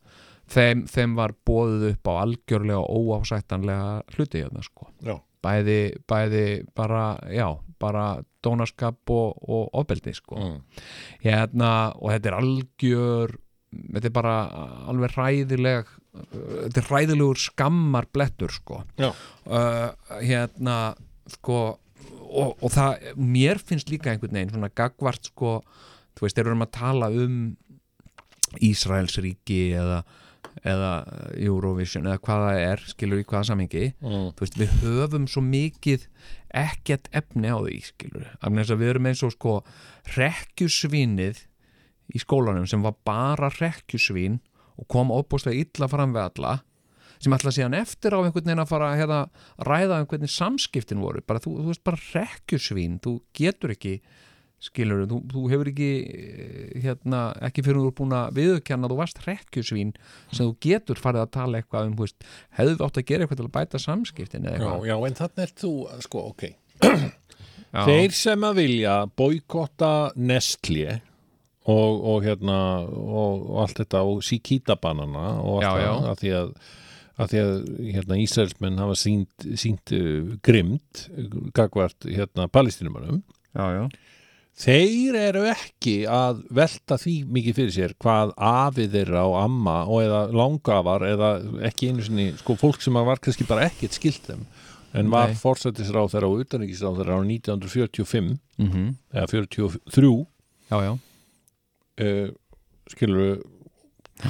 [SPEAKER 2] þeim, þeim var bóðið upp á algjörlega og óásættanlega hluti hérna sko.
[SPEAKER 1] Já.
[SPEAKER 2] Bæði, bæði bara, já, bara dónaskap og, og ofbeldi sko.
[SPEAKER 1] Mm.
[SPEAKER 2] Hérna, og þetta er algjör þetta er bara alveg hræðileg uh, þetta er hræðilegur skammar blettur sko
[SPEAKER 1] Já.
[SPEAKER 2] uh, hérna sko og, og það, mér finnst líka einhvern veginn svona gagvart sko þú veist, þeir eru um að tala um Ísraelsríki eða, eða Eurovision eða hvað það er, skilur í hvaða samhengi
[SPEAKER 1] Mm.
[SPEAKER 2] þú veist, við höfum svo mikið ekkert efni á því, skilur af þess að við erum eins og sko rekkjusvinið í skólanum sem var bara rekkjusvín og kom óbúslega illa fram við alla sem ætla síðan eftir á einhvern veginn að fara að hérna, ræða um hvernig samskiptin voru bara, þú, þú veist bara rekkjusvín þú getur ekki skilur þú, þú hefur ekki eh, hérna, ekki fyrir þú er búin að viðurkenna að þú varst rekkjusvín sem þú getur farið að tala eitthvað um þú veist, hefðu við átt að gera eitthvað til að bæta samskiptin eða
[SPEAKER 1] já,
[SPEAKER 2] eitthvað
[SPEAKER 1] já, en þannig er þú, sko, ok
[SPEAKER 2] Já.
[SPEAKER 1] Þeir sem að vilja boykotta Nestlé og, og hérna og, og allt þetta og Sikita-banana og allt
[SPEAKER 2] Já, já.
[SPEAKER 1] það, að því að að því að hérna, Ísraelsmenn hafa sínt, sínt uh, grimt gagvart hérna, palestinumannum
[SPEAKER 2] já, já.
[SPEAKER 1] þeir eru ekki að velta því mikið fyrir sér hvað afi þeirra og amma og eða langafar eða ekki einu sinni sko fólk sem var kannski bara ekkert skilt þeim en var
[SPEAKER 2] Nei.
[SPEAKER 1] forsættisráð þeirra og utanríkisráð þeirra á 1945
[SPEAKER 2] Mm
[SPEAKER 1] eða 43 uh,
[SPEAKER 2] já, já,
[SPEAKER 1] skilur eh,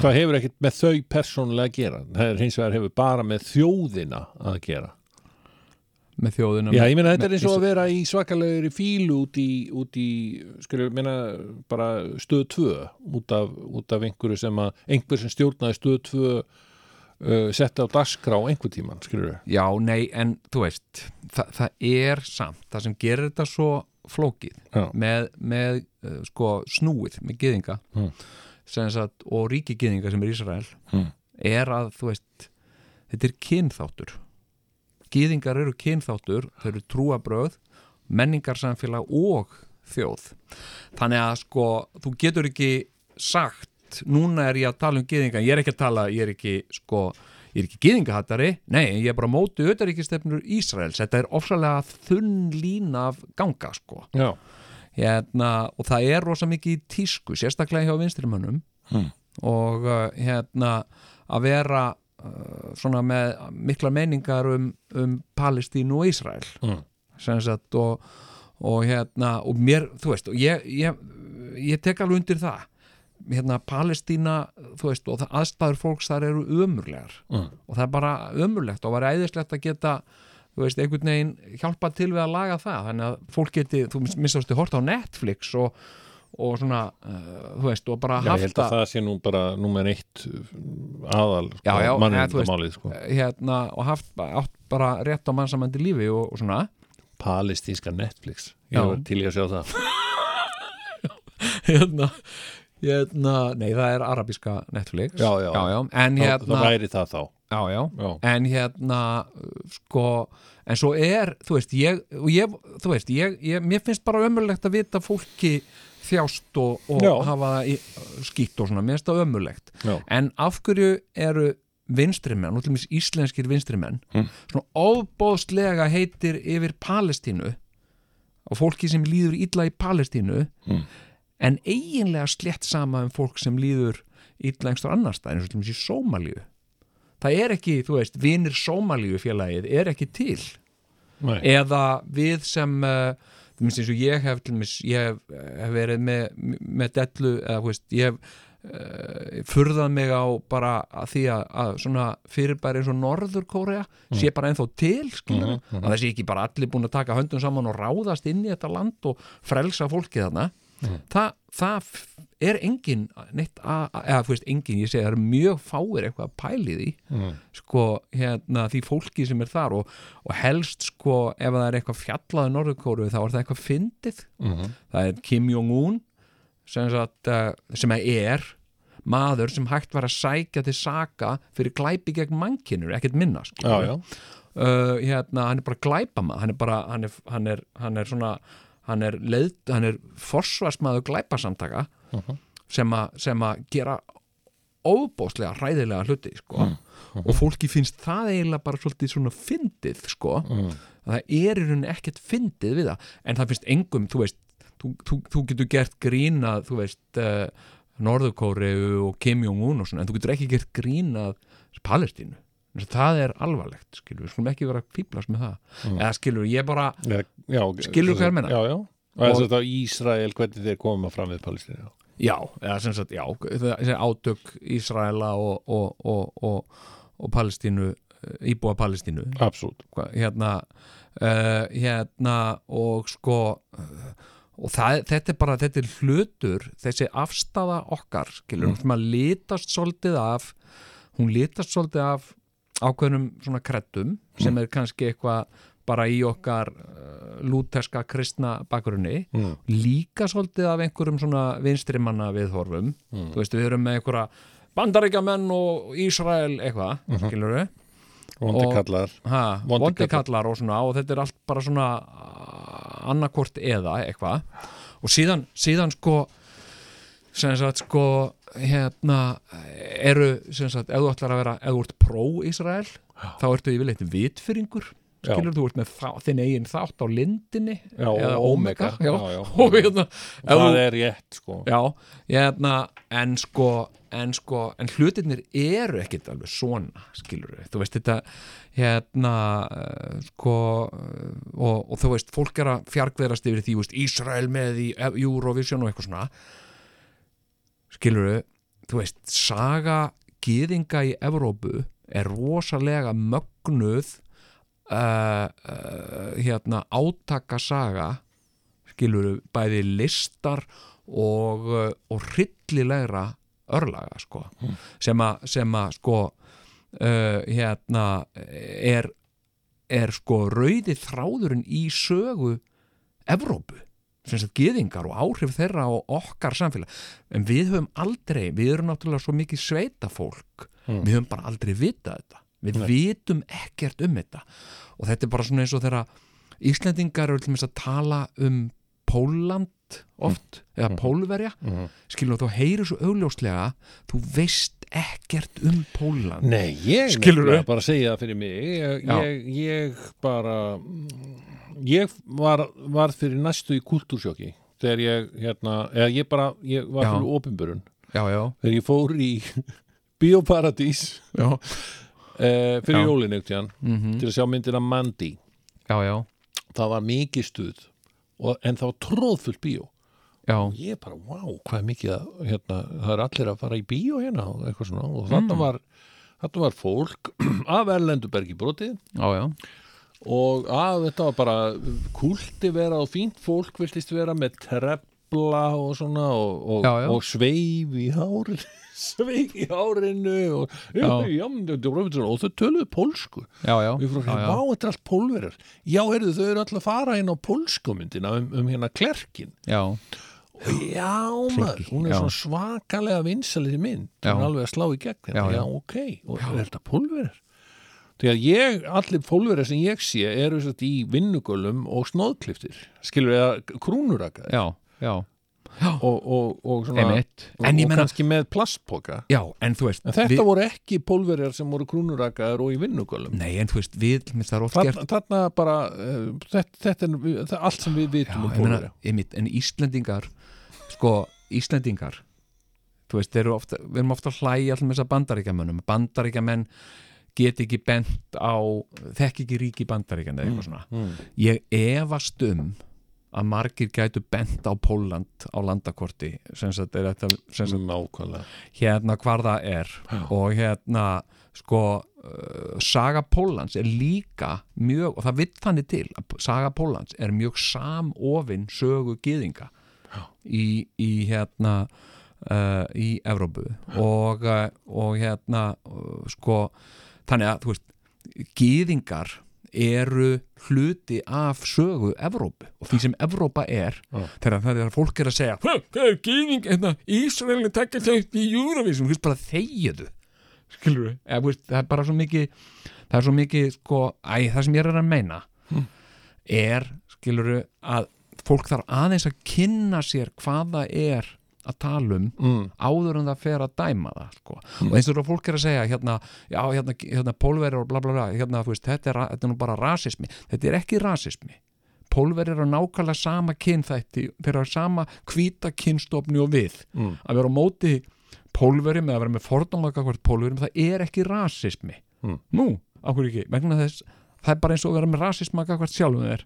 [SPEAKER 1] það hefur ekkert með þau persónulega að gera það er hins vegar hefur bara með þjóðina að gera
[SPEAKER 2] með þjóðunum
[SPEAKER 1] Já, ég meina þetta
[SPEAKER 2] með-
[SPEAKER 1] er eins og að vera í svakalegri fílu út í, út í skulum, meina bara stöð 2 út af, út af einhverju sem að einhver sem stjórnaði stöð 2 uh, setti á dagskrá einhver tíman, skulur
[SPEAKER 2] Já, nei, en þú veist það, það er samt, það sem gerir þetta svo flókið
[SPEAKER 1] Já.
[SPEAKER 2] með, með uh, sko, snúið með gyðinga
[SPEAKER 1] Mm.
[SPEAKER 2] sem sagt, og ríkigyðinga sem er Ísrael
[SPEAKER 1] Mm.
[SPEAKER 2] er að, þú veist þetta er kynþáttur gyðingar eru kynþáttur, þau eru trúabröð menningarsamfélag og þjóð þannig að sko, þú getur ekki sagt, núna er ég að tala um gyðinga, ég er ekki að tala, ég er ekki sko, ég er ekki gyðingahattari nei, ég er bara á móti auðaríkistefnur Ísraels, þetta er ofsalega þunn lína af ganga, sko
[SPEAKER 1] Já,
[SPEAKER 2] hérna, og það er rosa mikið í tísku, sérstaklega hjá vinstrimönnum
[SPEAKER 1] Hmm.
[SPEAKER 2] og uh, hérna að vera uh, svona með mikla meiningar um, um Palestínu og Ísrael
[SPEAKER 1] Hmm.
[SPEAKER 2] sem sagt og, og hérna, og mér, þú veist og ég, ég, ég tek alveg undir það hérna Palestína þú veist, og það, aðstæður fólks þar eru ömurlegar
[SPEAKER 1] Mm.
[SPEAKER 2] og það er bara ömurlegt og var æðislegt að geta þú veist, einhvern veginn hjálpa til við að laga það þannig að fólk geti, þú minnstastu hort á Netflix og, og svona uh, þú veist, og bara
[SPEAKER 1] já ég
[SPEAKER 2] haft
[SPEAKER 1] held að það sé nú bara númer eitt aðal sko,
[SPEAKER 2] Já, já, eða, þú veist-
[SPEAKER 1] mannundamálið sko.
[SPEAKER 2] hérna, og haft átt bara rétt á mannsamandi lífi og, og svona
[SPEAKER 1] Palestinska Netflix
[SPEAKER 2] Já.
[SPEAKER 1] Ég var til ég að sjá það
[SPEAKER 2] hérna, hérna nei, það er arabíska Netflix
[SPEAKER 1] Já, já.
[SPEAKER 2] en
[SPEAKER 1] Þá-
[SPEAKER 2] hérna
[SPEAKER 1] Það væri það þá
[SPEAKER 2] já, já.
[SPEAKER 1] Já,
[SPEAKER 2] en hérna uh, sko, en svo er þú veist, ég, og ég, þú veist ég, ég, mér finnst bara ömurlegt að vita fólki þjást og, og
[SPEAKER 1] Já.
[SPEAKER 2] hafa það í, skýtt og svona, mér finnst það ömurlegt
[SPEAKER 1] já,
[SPEAKER 2] en af hverju eru vinstrimenn, og til mér íslenskir vinstrimenn svona ofbóðslega heitir yfir Palestínu og fólki sem líður illa í Palestínu en eiginlega slett sama um fólk sem líður illengstur annar staðar eins og til dæmis í Sómalíu það er ekki, þú veist, vinir Sómalíu félagið er ekki til
[SPEAKER 1] Nei.
[SPEAKER 2] eða við sem uh, til dæmis eins og ég hef til dæmis, ég hef, hef verið með, með dellu eða þú veist, ég hef uh, furðað mig á bara að því að, að svona fyrirbæri eins og Norður Kórea sé bara ennþá til skilur, að þessi ekki bara allir búin að taka höndum saman og ráðast inn í þetta land og frelsa fólkið þarna Þa, það f- er engin neitt að, að- eða þú veist engin, ég segi það er mjög fáir eitthvað að pæli því
[SPEAKER 1] mm,
[SPEAKER 2] sko, hérna, því fólki sem er þar og, og helst sko ef það er eitthvað fjallaði Norðurkóru þá er það eitthvað fyndið
[SPEAKER 1] mm.
[SPEAKER 2] það er Kim Jong-un sem, sagt, uh, sem er maður sem hægt var að sækja til saka fyrir glæpi gegn mannkinur ekkert minna
[SPEAKER 1] Já, já.
[SPEAKER 2] skilurðu. uh, hérna, hann er bara glæpamaður hann er bara, hann er, hann er, hann er svona hann er, leið, hann er forsvarsmaður glæpasamtaka sem, a, sem að gera óbóðslega hræðilega hluti sko. og fólki finnst það eiginlega bara svolítið svona fyndið sko. að það er í rauninni ekkert fyndið við það en það finnst engum, þú veist þú, þú, þú getur gert grína þú veist uh, Norðurkóri og Kim Jong-un og svona en þú getur ekki gert grína Palestínu Þannig að það er alvarlegt, skilur, við skulum ekki vera að fýblast með það, eða skilur, við, ég bara
[SPEAKER 1] Já, já,
[SPEAKER 2] Skilurðu hvað ég meina?
[SPEAKER 1] Já, já. Og þess að það Ísrael, hvernig þeir koma fram við Palestínu. já.
[SPEAKER 2] já, eða sem sagt, já þessi átök Ísraela og, og, og, og, og Palestínu eh, íbúa Palestínu
[SPEAKER 1] Absolutt.
[SPEAKER 2] Hva- hérna uh, hérna og sko eh, og það, þetta er bara, þetta er hlutur þessi afstafa okkar skilur, mm. sem að litast svolítið af hún litast svolítið af ákveðnum svona kreddum sem er kannski eitthvað bara í okkar uh, lúterska kristna bakgrunni
[SPEAKER 1] Mm.
[SPEAKER 2] líka svolítið af einhverjum svona vinstrimanna viðhorfum þú veist við erum með einhverja bandaríkjamenn og Ísrael eitthvað, mm -hmm. skilur við
[SPEAKER 1] Vondi
[SPEAKER 2] Og-
[SPEAKER 1] kallar. Vondir
[SPEAKER 2] vondi kallar og svona og þetta er allt bara svona annarkort eða eitthvað og síðan, síðan sko sem sagt sko hérna eru sem sagt ef þú ætlar að vera, ef þú ert pró-Ísrael þá ertu yfirleitt vitfyringur
[SPEAKER 1] Já.
[SPEAKER 2] skilur þú ert með þá, þinn eigin þátt á lindinni
[SPEAKER 1] Já, og
[SPEAKER 2] eða
[SPEAKER 1] Omega.
[SPEAKER 2] omega, já,
[SPEAKER 1] Já, já.
[SPEAKER 2] og hérna ef þú-
[SPEAKER 1] Það er rétt, sko.
[SPEAKER 2] Já, hérna, en sko, en sko, en hlutirnir eru ekkit alveg svona, skilur við, þú veist þetta, hérna, uh, sko, uh, og, og þú veist, fólk er að fjarkveðrast yfir því, þú veist, Ísrael með í E- Eurovision og eitthvað svona, skilur við, þú veist, saga gýðinga í Evrópu er rosalega mögnuð, uh, uh, hérna, átakasaga, skilur við, bæði listar og, uh, og hryllilegra örlaga sko sem að, sem að sko uh, hérna er, er sko rauði þráðurinn í sögu Evrópu sem sagt geðingar og áhrif þeirra og okkar samfélag en við höfum aldrei, við erum náttúrulega svo mikið sveitafólk við höfum bara aldrei vitað þetta við vitum ekkert um þetta og þetta er bara svona eins og þeirra Íslendingar eru til þess að tala um Póland oft eða Pólverja, mm. skilur þú heyrir svo augljóslega, þú veist ekkert um Póland
[SPEAKER 1] Nei, ég
[SPEAKER 2] Skilurðu?
[SPEAKER 1] nefnilega bara segja það fyrir mig ég,
[SPEAKER 2] Já.
[SPEAKER 1] ég, ég bara ég var, var fyrir næstu í kultúrsjóki þegar ég hérna eða ég bara, ég var
[SPEAKER 2] Já.
[SPEAKER 1] fyrir opinbörun
[SPEAKER 2] Já, já,
[SPEAKER 1] þegar ég fór í Bíóparadís
[SPEAKER 2] já,
[SPEAKER 1] eh, fyrir
[SPEAKER 2] Já. Mhm.
[SPEAKER 1] jólin eitt hérna til að sjá myndina Mandy
[SPEAKER 2] já, já,
[SPEAKER 1] það var mikið stuð og, en það var tróðfullt bíó
[SPEAKER 2] já.
[SPEAKER 1] ég bara, wow, hvað er mikið að, hérna, það er allir að fara í bíó hérna og eitthvað svona og þarna var, þarna var fólk af Erlendubergi brotið
[SPEAKER 2] Já, já,
[SPEAKER 1] og að þetta var bara kulti vera og fínt fólk viltist vera með trefla og svona og, og,
[SPEAKER 2] Já, já.
[SPEAKER 1] og sveif í hárin sveif í hárinu og, já,
[SPEAKER 2] Já.
[SPEAKER 1] já, já, og þau töluðu pólsku
[SPEAKER 2] já, já,
[SPEAKER 1] og ég fór að
[SPEAKER 2] já,
[SPEAKER 1] hérna,
[SPEAKER 2] já.
[SPEAKER 1] vá, þetta er allt pólverar já, heyrðu, þau eru alltaf að fara inn á pólskumyndina um, um hérna klerkin
[SPEAKER 2] já,
[SPEAKER 1] og já, maður, hún er
[SPEAKER 2] já.
[SPEAKER 1] svona svakalega vinsalið mynd,
[SPEAKER 2] Já.
[SPEAKER 1] hún er alveg að slá í gegn hérna,
[SPEAKER 2] Já,
[SPEAKER 1] já,
[SPEAKER 2] já.
[SPEAKER 1] ok, og er þetta pólverar því að ég, allir pólverar sem ég sé eru satt í vinnugölum og snóðkliftir, skilur eða krúnuraka
[SPEAKER 2] já, já,
[SPEAKER 1] og, og, og svona
[SPEAKER 2] einmitt
[SPEAKER 1] og,
[SPEAKER 2] En ég
[SPEAKER 1] og
[SPEAKER 2] meina,
[SPEAKER 1] kannski með plastpoka
[SPEAKER 2] já, en þú veist
[SPEAKER 1] en þetta
[SPEAKER 2] við,
[SPEAKER 1] voru ekki pólverar sem voru krúnurakaðar og í vinnugölum
[SPEAKER 2] Nei, en þú veist, við, mér það er oft gert
[SPEAKER 1] Þarna, þarna bara, uh, þetta, þetta er það er allt sem við
[SPEAKER 2] Já,
[SPEAKER 1] vitum um
[SPEAKER 2] ég meina,
[SPEAKER 1] pólverar
[SPEAKER 2] einmitt, en Íslendingar sko, Íslendingar þú veist, þeir eru ofta, við erum ofta að hlæja allir með þess að bandaríkjamönnum, bandaríkjamenn get ekki bent á þekk ekki ríki bandaríkjan eða eitthvað svona ég efast um að margir gætu bent á Póland á landakorti sem sagt, er þetta, sem sagt
[SPEAKER 1] nákvæmlega
[SPEAKER 2] hérna hvar það er og hérna sko uh, saga Pólans er líka mjög, og það vill þannig til að saga Pólans er mjög samofin sögu gyðinga í, í hérna uh, í Evrópu og, uh, og hérna uh, sko, þannig að þú veist gyðingar eru hluti af sögu Evrópu og því sem Evrópa er þegar þegar fólk er að segja "Hva, hvað er gyðing, hérna, Ísraelin tekja þau í Eurovision, þú veist bara þegiðu skilur við, eða, þú veist, það er bara svo mikið það er svo mikið, sko, æ, það sem ég er að meina er, skilur við, að fólk þarf aðeins að kynna sér hvað það er að tala um áður en það fer að dæma það sko. og eins og það fólk er að segja hérna, já, hérna, hérna pólveri og bla bla bla hérna, þú veist, þetta, er, ra- þetta er nú bara rasismi þetta er ekki rasismi pólveri eru nákvæmlega sama kynþætti þeir eru sama hvíta kynstofni og við mm. að vera á móti pólveri með að vera með fordómaka hvort pólveri það er ekki rasismi
[SPEAKER 5] Hmm.
[SPEAKER 2] mm. nú, áhverju ekki, vegna þess það er bara eins og að vera með rasismaka hvort sjálfum þeir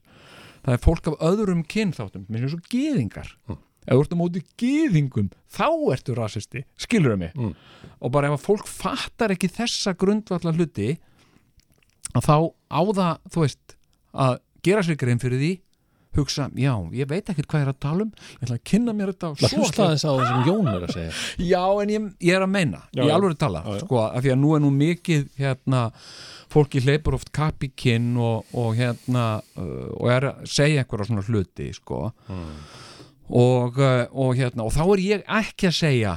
[SPEAKER 2] það er fólk af öðrum kynþáttum mér finnst svo geðingar
[SPEAKER 5] Hmm.
[SPEAKER 2] ef þú ert á móti geðingum þá ertu rasisti, skilur mig mm.
[SPEAKER 5] Hmm.
[SPEAKER 2] og bara ef að fólk fattar ekki þessa grundvallar hluti að þá á það, þú veist að gera sér grein fyrir því hugsa, já, ég veit ekkert hvað ég er að tala um ég ætla að kynna mér þetta og
[SPEAKER 5] Það
[SPEAKER 2] svo ætla
[SPEAKER 5] hlusta þess að það sem Jón er að segja
[SPEAKER 2] Já, en ég, ég er að meina,
[SPEAKER 1] Já,
[SPEAKER 2] ég
[SPEAKER 1] já.
[SPEAKER 2] alveg að tala
[SPEAKER 1] Já, já.
[SPEAKER 2] sko, af því að nú er nú mikið hérna, fólki hleypur oft kapp í kinn og, og hérna uh, og er að segja einhverja svona hluti sko
[SPEAKER 1] Hmm.
[SPEAKER 2] og, uh, og hérna, og þá er ég ekki að segja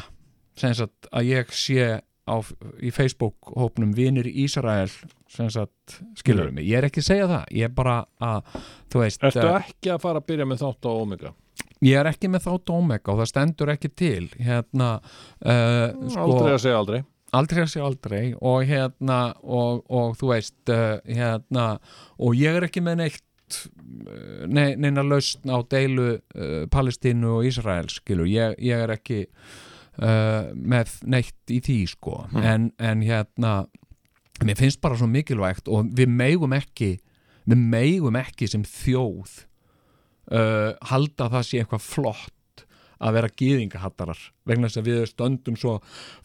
[SPEAKER 2] sem sagt að ég sé á, í Facebook hópnum Vinir Ísrael sem sagt, skilur mig, ég er ekki að segja það ég er bara að, þú veist
[SPEAKER 1] Ertu
[SPEAKER 2] eh,
[SPEAKER 1] ekki að fara að byrja með þátt á Omega?
[SPEAKER 2] ég er ekki með þátt Omega og það stendur ekki til hérna uh, sko,
[SPEAKER 1] Aldrei að segja aldrei
[SPEAKER 2] aldrei að segja aldrei og hérna og, og þú veist uh, hérna, og ég er ekki með neitt uh, ne, neina lausn á deilu uh, Palestínu og Ísrael skilur, ég, ég er ekki uh, með neitt í því sko, en, en hérna mér finnst bara svo mikilvægt og við megum ekki við megum ekki sem þjóð uh, halda að það sé eitthvað flott að vera gýðingahattarar vegna þess að við stöndum svo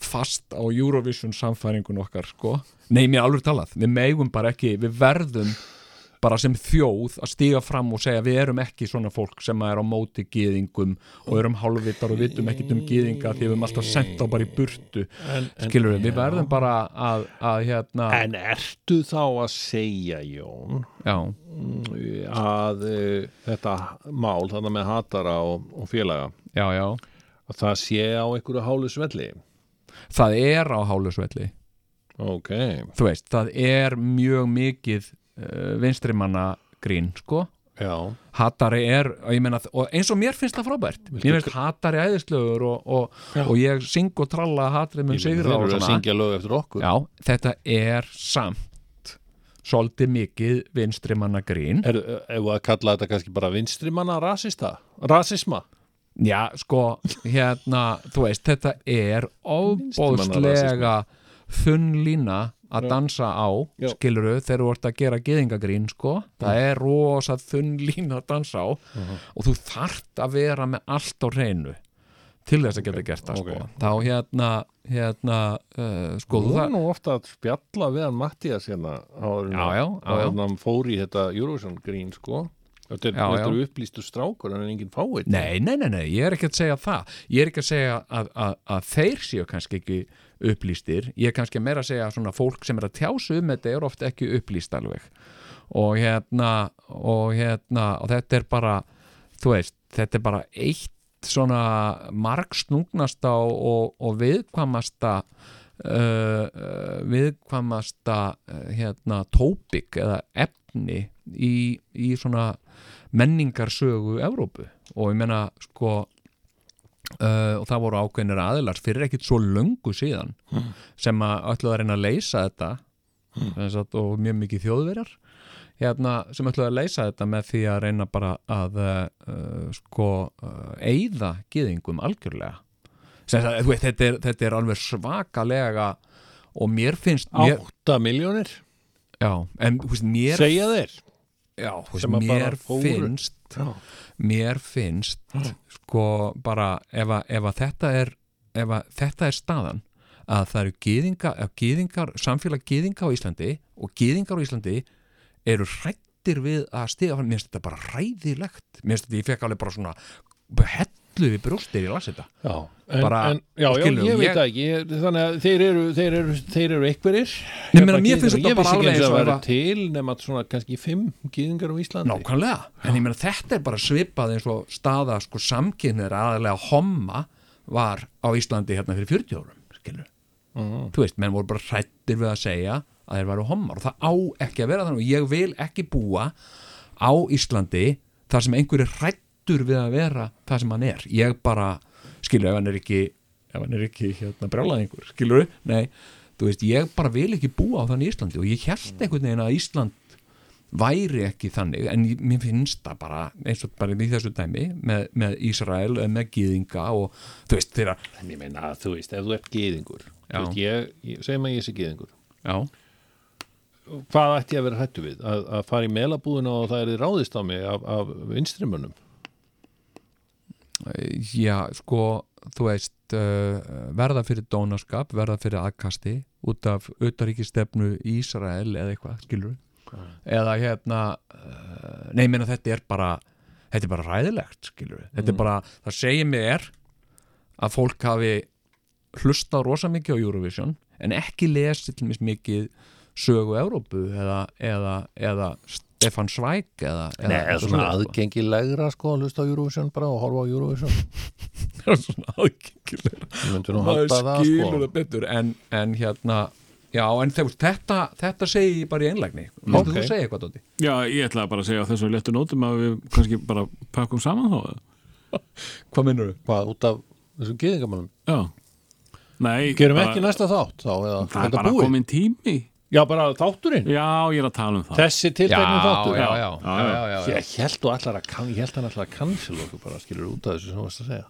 [SPEAKER 2] fast á Eurovision samfæringun okkar sko. Nei, mér er alveg talað, við megum bara ekki, við verðum bara sem þjóð að stíga fram og segja við erum ekki svona fólk sem er á móti gýðingum og erum hálfvitar og vitum ekkit um gýðinga því við erum alltaf sent á bara í burtu skilur við, við verðum bara að, að hérna,
[SPEAKER 1] En ertu þá að segja, Jón,
[SPEAKER 2] já,
[SPEAKER 1] að uh, þetta mál, þannig með hatara og, og félaga,
[SPEAKER 2] já, já
[SPEAKER 1] að það sé á einhverju hálu svelli?
[SPEAKER 2] það er á hálusvelli
[SPEAKER 1] Ok,
[SPEAKER 2] þú veist, það er mjög mikið uh, vinstrimanna grín, sko
[SPEAKER 1] já.
[SPEAKER 2] Hattari er, og ég meina, og eins og mér finnst það frábært Mér finnst Hattari æðislegur og, og, og ég syng og tralla að Hattari mun
[SPEAKER 1] Þeir
[SPEAKER 2] sigra og
[SPEAKER 1] eru að
[SPEAKER 2] svona.
[SPEAKER 1] syngja lög eftir okkur.
[SPEAKER 2] Já, þetta er samt svolítið mikið vinstrimanna grín
[SPEAKER 1] Er, ef að kalla þetta kannski bara vinstri manna rasista? Rasisma?
[SPEAKER 2] Já, sko, hérna, þú veist, þetta er óbóðslega þunn lína að dansa á,
[SPEAKER 1] Já.
[SPEAKER 2] skiluru, þegar þú ert að gera geðingagrín, sko. Það er rosa þunn lína að dansa á og þú þart að vera með allt á reynu til þess að geta gert það, sko.
[SPEAKER 1] ok.
[SPEAKER 2] Þá hérna, hérna, uh, sko,
[SPEAKER 1] Þú
[SPEAKER 2] þú
[SPEAKER 1] er
[SPEAKER 2] það...
[SPEAKER 1] nú ofta að spjalla við hann Mattias hérna áður en
[SPEAKER 2] Já, já, já,
[SPEAKER 1] áður
[SPEAKER 2] já.
[SPEAKER 1] en hann fór í þetta Eurovision grín sko Þetta er,
[SPEAKER 2] Já,
[SPEAKER 1] þetta
[SPEAKER 2] já.
[SPEAKER 1] er upplýstu strákur en enginn fáið
[SPEAKER 2] Nei, nei, nei, nei, ég er ekki að segja það Ég er ekki að segja að, að, að þeir séu kannski ekki upplýstir Ég er kannski meira að segja að svona fólk sem er að tjásu um þetta er ofta ekki upplýst alveg og hérna og hérna, og þetta er bara þú veist, þetta er bara eitt svona margsnungnasta og, og, og viðkvamasta uh, uh, viðkvamasta uh, hérna tópik eða efni í, í svona menningarsögu Evrópu og ég meina sko uh, og það voru ákveðnir aðilar fyrir ekkit svo löngu síðan sem að öllu að reyna að leysa þetta mm. að, og mjög mikið þjóðverjar hérna, sem öllu að leysa þetta með því að reyna bara að uh, sko uh, eyða gyðingum uh, algjörlega sem sagt, þú veit, þetta, er, þetta er alveg svakalega og mér finnst mér,
[SPEAKER 1] 8 miljónir,
[SPEAKER 2] já, en þú veist, mér
[SPEAKER 1] segja þeir
[SPEAKER 2] já, þú veist,
[SPEAKER 1] sem að bara
[SPEAKER 2] mér
[SPEAKER 1] fóru.
[SPEAKER 2] finnst mér finnst sko bara ef að, ef að þetta er ef að þetta er staðan að það eru gýðinga, gýðingar samfélag gýðinga á Íslandi og gýðingar á Íslandi eru hrættir við að stiga fann, mér finnst þetta bara hræðilegt mér finnst þetta, ég fekk alveg bara svona hellu við brjóstir í las þetta
[SPEAKER 1] Já, en,
[SPEAKER 2] Bara-
[SPEAKER 1] en, já, já
[SPEAKER 2] skilur,
[SPEAKER 1] ég veit
[SPEAKER 2] ég-
[SPEAKER 1] það ekki ég, þannig að þeir eru, þeir eru, þeir eru einhverjir
[SPEAKER 2] Nei, meina,
[SPEAKER 1] Hérna,
[SPEAKER 2] mér finnst
[SPEAKER 1] gyðingar.
[SPEAKER 2] þetta bara
[SPEAKER 1] ég vissi ekki
[SPEAKER 2] alveg
[SPEAKER 1] eins
[SPEAKER 2] eins
[SPEAKER 1] og
[SPEAKER 2] og
[SPEAKER 1] að vera
[SPEAKER 2] ef að-
[SPEAKER 1] til nema svona kannski fimm gýðingar á Íslandi
[SPEAKER 2] Nákvæmlega, en ég meina þetta er bara svipað eins og staða sko samkynir aðalega homma var á Íslandi hérna fyrir 40 árum, skilur þú veist, menn voru bara hrættir við að segja að þeir væru hommar og það á ekki að vera þannig og ég vil ekki búa á Íslandi þar sem einhver er hrættur við að vera það sem hann er, ég bara skilur, ef hann er ekki ef hann er ekki hérna brjálað einhver, skilur nei, þú veist, ég bara vil ekki búa á þannig Íslandi og ég held einhvern veginn að Ísland væri ekki þannig en ég- mér finnst það bara eins og bara í þessu dæmi með, með Ísrael eða með Gýðinga og þú veist þeirra
[SPEAKER 1] en ég meina þú veist, ef þú ert gýðingur þú
[SPEAKER 2] Já.
[SPEAKER 1] veist, ég, ég, segjum að ég sé gýðingur
[SPEAKER 2] já,
[SPEAKER 1] hvað ætti ég að vera hættu við að, að fara í melabúðuna og það er ráðist á mig af, af vinstrimönnum
[SPEAKER 2] Já, sko, þú veist, uh, verða fyrir dónaskap, verða fyrir aðkasti út af utaríkistefnu Ísrael eða eitthvað, skilur Eða hérna, uh, nei, ég meina þetta er bara, þetta er bara ræðilegt, skilur Þetta er bara, það segir mér að fólk hafi hlustað rosa mikið á Eurovision en ekki lesið til mér mikið sögu Evrópu eða, eða, eða Stefan Svæk eða, eða eitthvað svoleiðis, sko.
[SPEAKER 1] aðgengilegra sko að hlusta á Eurovision bara og horfa á Eurovision
[SPEAKER 2] svona aðgengilega
[SPEAKER 1] ég myndi nú
[SPEAKER 2] maður
[SPEAKER 1] halda það
[SPEAKER 2] skilur
[SPEAKER 1] sko
[SPEAKER 2] það betur en, en hérna já, en þegar, þetta, þetta segi ég bara í einlægni
[SPEAKER 1] Ok.
[SPEAKER 2] Máttu þú segja eitthvað, Dóti?
[SPEAKER 4] Já, ég ætlaði bara að segja á þessu léttu nótum að við kannski bara pakkum saman þá
[SPEAKER 2] Hvað minnur þú?
[SPEAKER 1] hvað út af þessum gýðingamönnum
[SPEAKER 4] Já Nei,
[SPEAKER 1] gerum
[SPEAKER 4] bara-
[SPEAKER 1] ekki næsta þátt þá eða
[SPEAKER 4] Það er
[SPEAKER 1] þetta
[SPEAKER 4] bara
[SPEAKER 1] búið
[SPEAKER 4] komin tími
[SPEAKER 1] já bara þátturinn
[SPEAKER 4] Já, ég er að tala um það
[SPEAKER 1] þessi tilteknum þáttur
[SPEAKER 2] já, já,
[SPEAKER 4] Já,
[SPEAKER 2] já, já, já, já.
[SPEAKER 1] Ég held þú allar að kann, ég held hann allar að cancel okkur bara skilur út af þessu sem þú varst að segja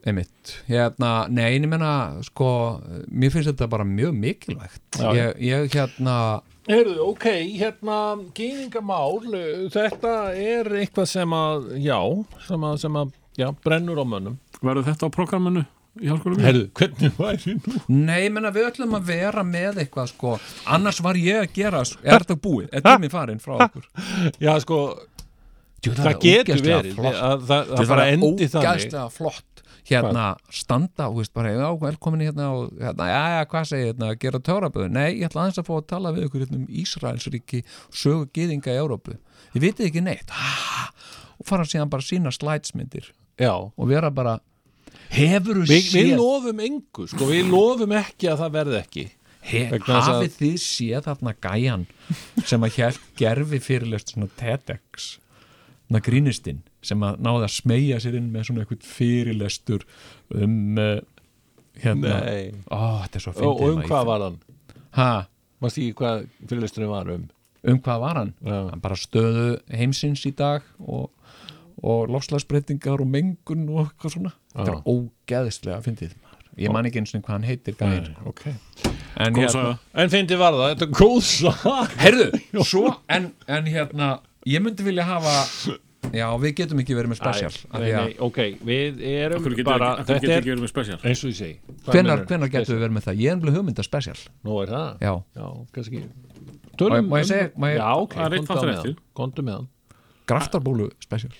[SPEAKER 2] einmitt hérna, nei, ég menna, sko mér finnst þetta bara mjög mikilvægt
[SPEAKER 1] Já, já.
[SPEAKER 2] ég, ég hérna
[SPEAKER 1] Heyrðu, ok, hérna gýningamál, eh, þetta er eitthvað sem að, já sem að, sem að, já, brennur á mönnum
[SPEAKER 4] Verður þetta á prógraminu í hálfskóla
[SPEAKER 1] Heyrðu, hvernig væri nú?
[SPEAKER 2] Nei, ég menna við ætlum að vera með eitthvað sko, annars var ég að gera sko, er þetta búið, er tíminn farin frá okkur
[SPEAKER 1] Já, sko,
[SPEAKER 2] Jú,
[SPEAKER 1] það,
[SPEAKER 2] er
[SPEAKER 1] getur
[SPEAKER 2] ógeðslega
[SPEAKER 1] verið
[SPEAKER 2] flott.
[SPEAKER 1] að, að, að, að
[SPEAKER 2] það
[SPEAKER 1] fara
[SPEAKER 2] er
[SPEAKER 1] endi þannig
[SPEAKER 2] ógæðslega flott hérna standa, þú veist bara já, velkomin hérna og hérna, já, já, hvað segir hérna, gera töraböðu, nei, ég ætla aðeins að fá að tala við ykkur hérna um Ísraelsríki sögu gyðinga í Európu, ég vitið ekki neitt ha, og fara síðan bara sína slætsmyndir
[SPEAKER 1] Já,
[SPEAKER 2] og vera bara hefur þú
[SPEAKER 1] Vi, við
[SPEAKER 2] séð
[SPEAKER 1] lofum engu, sko, við lofum ekki að það verði ekki
[SPEAKER 2] he,
[SPEAKER 1] vegna þess að-
[SPEAKER 2] hafið þið séð þarna gæjan sem að hér gerfi fyrirlest svona TEDx svona grínistinn sem að náði að smeyja sér inn með svona eitthvað fyrirlestur um uh, hérna Ó, þetta er
[SPEAKER 1] og,
[SPEAKER 2] svo fyndið
[SPEAKER 1] og um hvað var hann?
[SPEAKER 2] ha,
[SPEAKER 1] Maður stíði hvað fyrirlisturinn var um
[SPEAKER 2] um hvað var hann?
[SPEAKER 1] Já.
[SPEAKER 2] hann bara stöðu heimsins í dag og, og lofslagsbreytingar og mengun og eitthvað svona þetta er ógeðislega fyndið maður. ég man ekki eins og hvað hann heitir gæðin
[SPEAKER 1] Ok
[SPEAKER 2] en
[SPEAKER 4] Góð
[SPEAKER 2] hérna,
[SPEAKER 4] saga.
[SPEAKER 1] En fyndi var það, þetta er góð sag
[SPEAKER 2] heyrðu svo, en, en hérna ég myndi vilja hafa já, við getum ekki verið með spesial af því
[SPEAKER 1] Nei,
[SPEAKER 2] að-
[SPEAKER 1] nei, ok, við erum
[SPEAKER 4] Akkur getur
[SPEAKER 1] bara
[SPEAKER 4] ekki, akkur
[SPEAKER 1] Þetta
[SPEAKER 4] getur
[SPEAKER 1] er,
[SPEAKER 4] ekki verið með spesial
[SPEAKER 1] eins og ég segi Hvað
[SPEAKER 2] hvenær,
[SPEAKER 1] meinarðu?
[SPEAKER 2] hvenær getum við verið með það ég er umlega hugmynda spesial
[SPEAKER 1] Nú er það
[SPEAKER 2] já,
[SPEAKER 1] Já, kannski
[SPEAKER 2] Má ég- má ég segja- má ég-
[SPEAKER 1] Já, ok,
[SPEAKER 4] Það er einn
[SPEAKER 1] komdu
[SPEAKER 4] þáttur
[SPEAKER 1] með
[SPEAKER 4] eftir.
[SPEAKER 1] hann Kondu með hann
[SPEAKER 2] graftarbólu spesial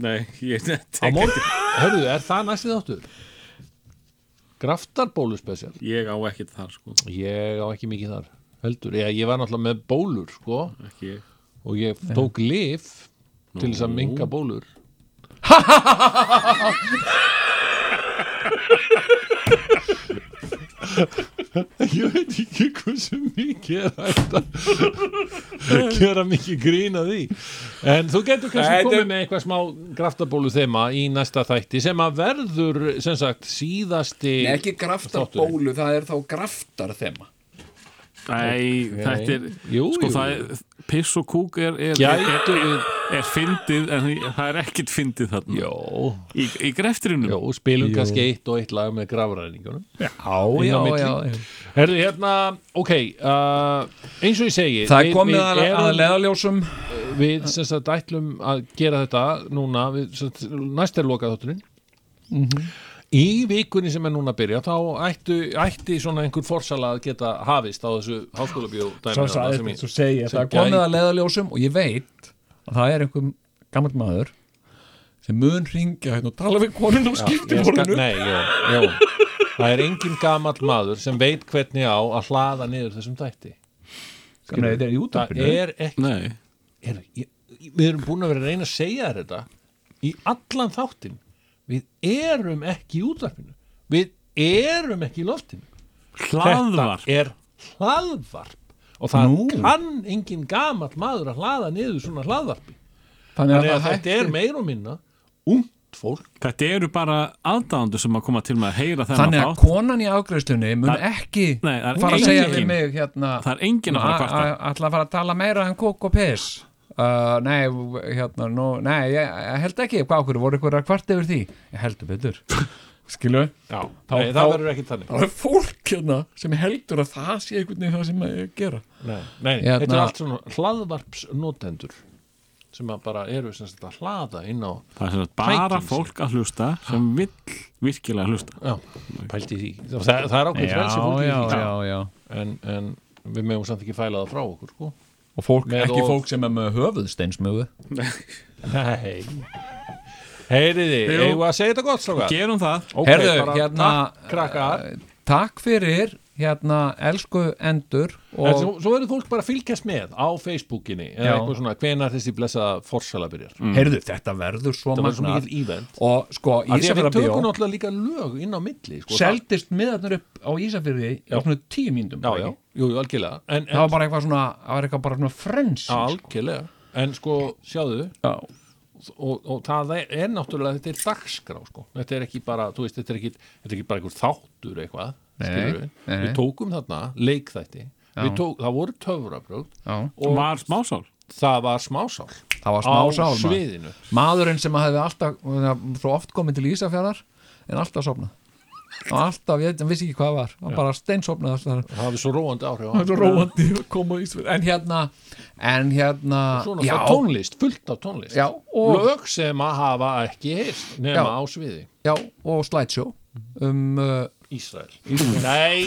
[SPEAKER 4] Nei, ég
[SPEAKER 1] Á morgun, hörðu, er það næsti þáttur? Graftarbólu spesial
[SPEAKER 4] Ég á ekkert þar sko
[SPEAKER 1] Ég á ekki mikið þar Heldur, ég, ég var náttúrulega með bólur, sko
[SPEAKER 4] Ekki ég
[SPEAKER 1] Og ég tók lif til þess að minga bólur Ég veit ekki hversu mikið er hægt að gera mikið grína því En þú getur kannski komið með eitthvað smá graftabólu þema í næsta þætti sem að verður, sem sagt, síðasti
[SPEAKER 2] ekki graftarbólu, það er þá graftar þema
[SPEAKER 4] Nei, þetta er
[SPEAKER 1] Jú,
[SPEAKER 4] sko
[SPEAKER 1] jú.
[SPEAKER 4] það er, piss og kúk er er, er,
[SPEAKER 1] Gætu
[SPEAKER 4] er, er fyndið en það er ekkit fyndið þarna
[SPEAKER 1] Jó,
[SPEAKER 4] í, í greftirinum
[SPEAKER 1] jó, spilum kannski eitt og eitt lag með grafræningunum Já,
[SPEAKER 2] já,
[SPEAKER 1] Herðu, hérna, ok uh, eins og ég segi
[SPEAKER 2] Það
[SPEAKER 1] við-
[SPEAKER 2] er komið
[SPEAKER 1] við
[SPEAKER 2] að,
[SPEAKER 1] erum-
[SPEAKER 2] að leðaljósum
[SPEAKER 1] Við sem sagt ætlum að gera þetta núna, við, sem sagt, næst er lokað þátturinn
[SPEAKER 2] Mhm.
[SPEAKER 1] Í vikunni sem er núna að byrja þá ættu, ætti svona einhver forsala að geta hafist á þessu háskólabjó
[SPEAKER 5] Svo sagði þú segi að
[SPEAKER 1] sem
[SPEAKER 5] það er
[SPEAKER 2] komið
[SPEAKER 1] gæti-
[SPEAKER 2] að leðaljósum og ég veit að það er einhver gammal maður sem mun ringja hérna og tala við konun og skipti borðinu
[SPEAKER 1] Nei, já, já Það er engin gamall maður sem veit hvernig á að hlaða niður þessum dætti
[SPEAKER 2] Nei, þetta er í
[SPEAKER 1] Það
[SPEAKER 2] útvarpinu
[SPEAKER 1] er ekki
[SPEAKER 4] Nei,
[SPEAKER 1] er, ég, Við erum búin að vera að reyna að segja þér þetta í allan þáttinn Við erum ekki í útvarpinu Við erum ekki í loftinu
[SPEAKER 4] hlaðvarp
[SPEAKER 1] Þetta er hlaðvarp og það kann engin gamall maður að hlaða niður svona hlaðvarpi
[SPEAKER 2] Þannig að
[SPEAKER 1] þannig
[SPEAKER 2] það
[SPEAKER 1] að þetta
[SPEAKER 2] hættir
[SPEAKER 1] er meir og minna ungt fólk
[SPEAKER 4] Þetta eru bara aðdáðandur sem að koma til með að heyra þennan
[SPEAKER 2] Þannig að
[SPEAKER 4] þátt
[SPEAKER 2] konan í afgreðslunni mun ekki
[SPEAKER 4] Nei, það er
[SPEAKER 2] fara að
[SPEAKER 4] engin-
[SPEAKER 2] segja við mig hérna
[SPEAKER 4] Það er enginn að fara að kvarta
[SPEAKER 2] ætla að fara að tala meira en kók og piss uh, Nei, hérna, nú, nei, ég, ég held ekki Hvað okkur, voru ykkur að kvarta yfir því? Ég heldur betur Skilu?
[SPEAKER 1] Já,
[SPEAKER 2] Þá-
[SPEAKER 1] Nei, það
[SPEAKER 2] þá-
[SPEAKER 1] verður ekki þannig
[SPEAKER 2] Það er fólk hérna sem heldur að það sé einhvern veginn það sem að gera
[SPEAKER 1] Nei, nei,
[SPEAKER 2] Hérna-
[SPEAKER 1] þetta er allt svona hlaðvarpsnotendur sem að bara eru sem sagt að hlaða inn á
[SPEAKER 4] Það er sem sagt bara
[SPEAKER 1] Tækin,
[SPEAKER 4] fólk að hlusta sem vill virkilega hlusta
[SPEAKER 1] já, pældi því það, það er ákveð frelsi fólk í því
[SPEAKER 2] já
[SPEAKER 1] en, en við meðum samt ekki fæla það frá okkur sko.
[SPEAKER 2] Og fólk,
[SPEAKER 1] Með
[SPEAKER 2] ekki
[SPEAKER 1] of-
[SPEAKER 2] fólk sem er með höfuðsteinsmögu
[SPEAKER 1] Nei Heyriði,
[SPEAKER 4] Jú.
[SPEAKER 1] eigum við að segja þetta gott strákar?
[SPEAKER 4] Gerum það
[SPEAKER 1] Ok,
[SPEAKER 2] Heyrðu,
[SPEAKER 1] bara
[SPEAKER 2] hérna,
[SPEAKER 1] takk, krakkar
[SPEAKER 2] Takk fyrir, hérna, elsku endur
[SPEAKER 1] En svo,
[SPEAKER 2] og
[SPEAKER 1] svo verður fólk bara að fylgjast með á Facebookinni eða
[SPEAKER 2] Já. Mm.
[SPEAKER 1] eitthvað svona hvenar þessi blessa forsala byrjar
[SPEAKER 2] heyrðu, þetta verður svo
[SPEAKER 1] það var svo
[SPEAKER 2] magnað
[SPEAKER 1] mikið ívend
[SPEAKER 2] og sko,
[SPEAKER 1] að því að við
[SPEAKER 2] Ísafjörðabíó
[SPEAKER 1] tökum náttúrulega líka lög inn á milli sko,
[SPEAKER 2] seldist miðarnir upp á Ísafjörði á
[SPEAKER 1] Já.
[SPEAKER 2] svona tíu mínutum
[SPEAKER 1] það, já, já, jú, jú, algjörlega en,
[SPEAKER 2] það var
[SPEAKER 1] en,
[SPEAKER 2] bara eitthvað svona, það var eitthvað bara svona frens
[SPEAKER 1] algjörlega, en sko, sjáðu
[SPEAKER 2] já,
[SPEAKER 1] og, og það er, er náttúrulega þetta er dagskrá, sko, þetta er ekki bara þú veist, þetta er ekki, þetta er ekki bara einhver þáttur eitthvað,
[SPEAKER 2] Nei,
[SPEAKER 1] skilurðu.
[SPEAKER 2] nei.
[SPEAKER 1] við tókum þarna leikþætti, við tók, það voru töfrabrögð
[SPEAKER 2] já.
[SPEAKER 1] Og-
[SPEAKER 4] Var smásál
[SPEAKER 1] það var smásál
[SPEAKER 2] það var
[SPEAKER 1] á
[SPEAKER 2] smá sál maður.
[SPEAKER 1] sviðinu
[SPEAKER 2] maðurinn sem hefði alltaf svo oft komið til Ísafjörðar en alltaf sopnað og alltaf, ég vissi ekki hvað var, hann bara steinsopnað alltaf
[SPEAKER 1] það hafði svo róandi áhrif á
[SPEAKER 2] Það er svo róandi að koma í Ísafjörð En hérna, en hérna
[SPEAKER 1] svona
[SPEAKER 2] já,
[SPEAKER 1] það tónlist, fullt af tónlist
[SPEAKER 2] Já, og-
[SPEAKER 1] lög sem að hafa ekki heyrst nema
[SPEAKER 2] Já.
[SPEAKER 1] á sviði
[SPEAKER 2] já, og slideshow um, uh,
[SPEAKER 1] Ísrael Nei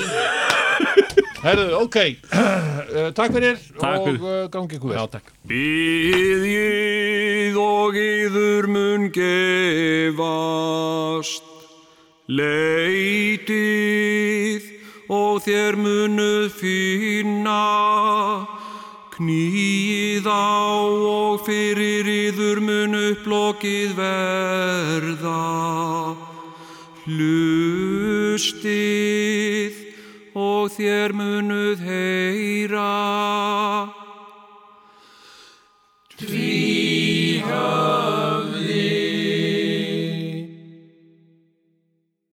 [SPEAKER 1] Herðu, ok uh, Takk fyrir
[SPEAKER 4] Takk
[SPEAKER 1] og
[SPEAKER 4] fyrir.
[SPEAKER 1] uh, gangi ykkur vel Já, takk
[SPEAKER 6] Byðið og yður mun gefast, leitið og þér munuð finna, knýið á og fyrir yður mun upplokið verða. Hlustið og þér munuð heyra. Tví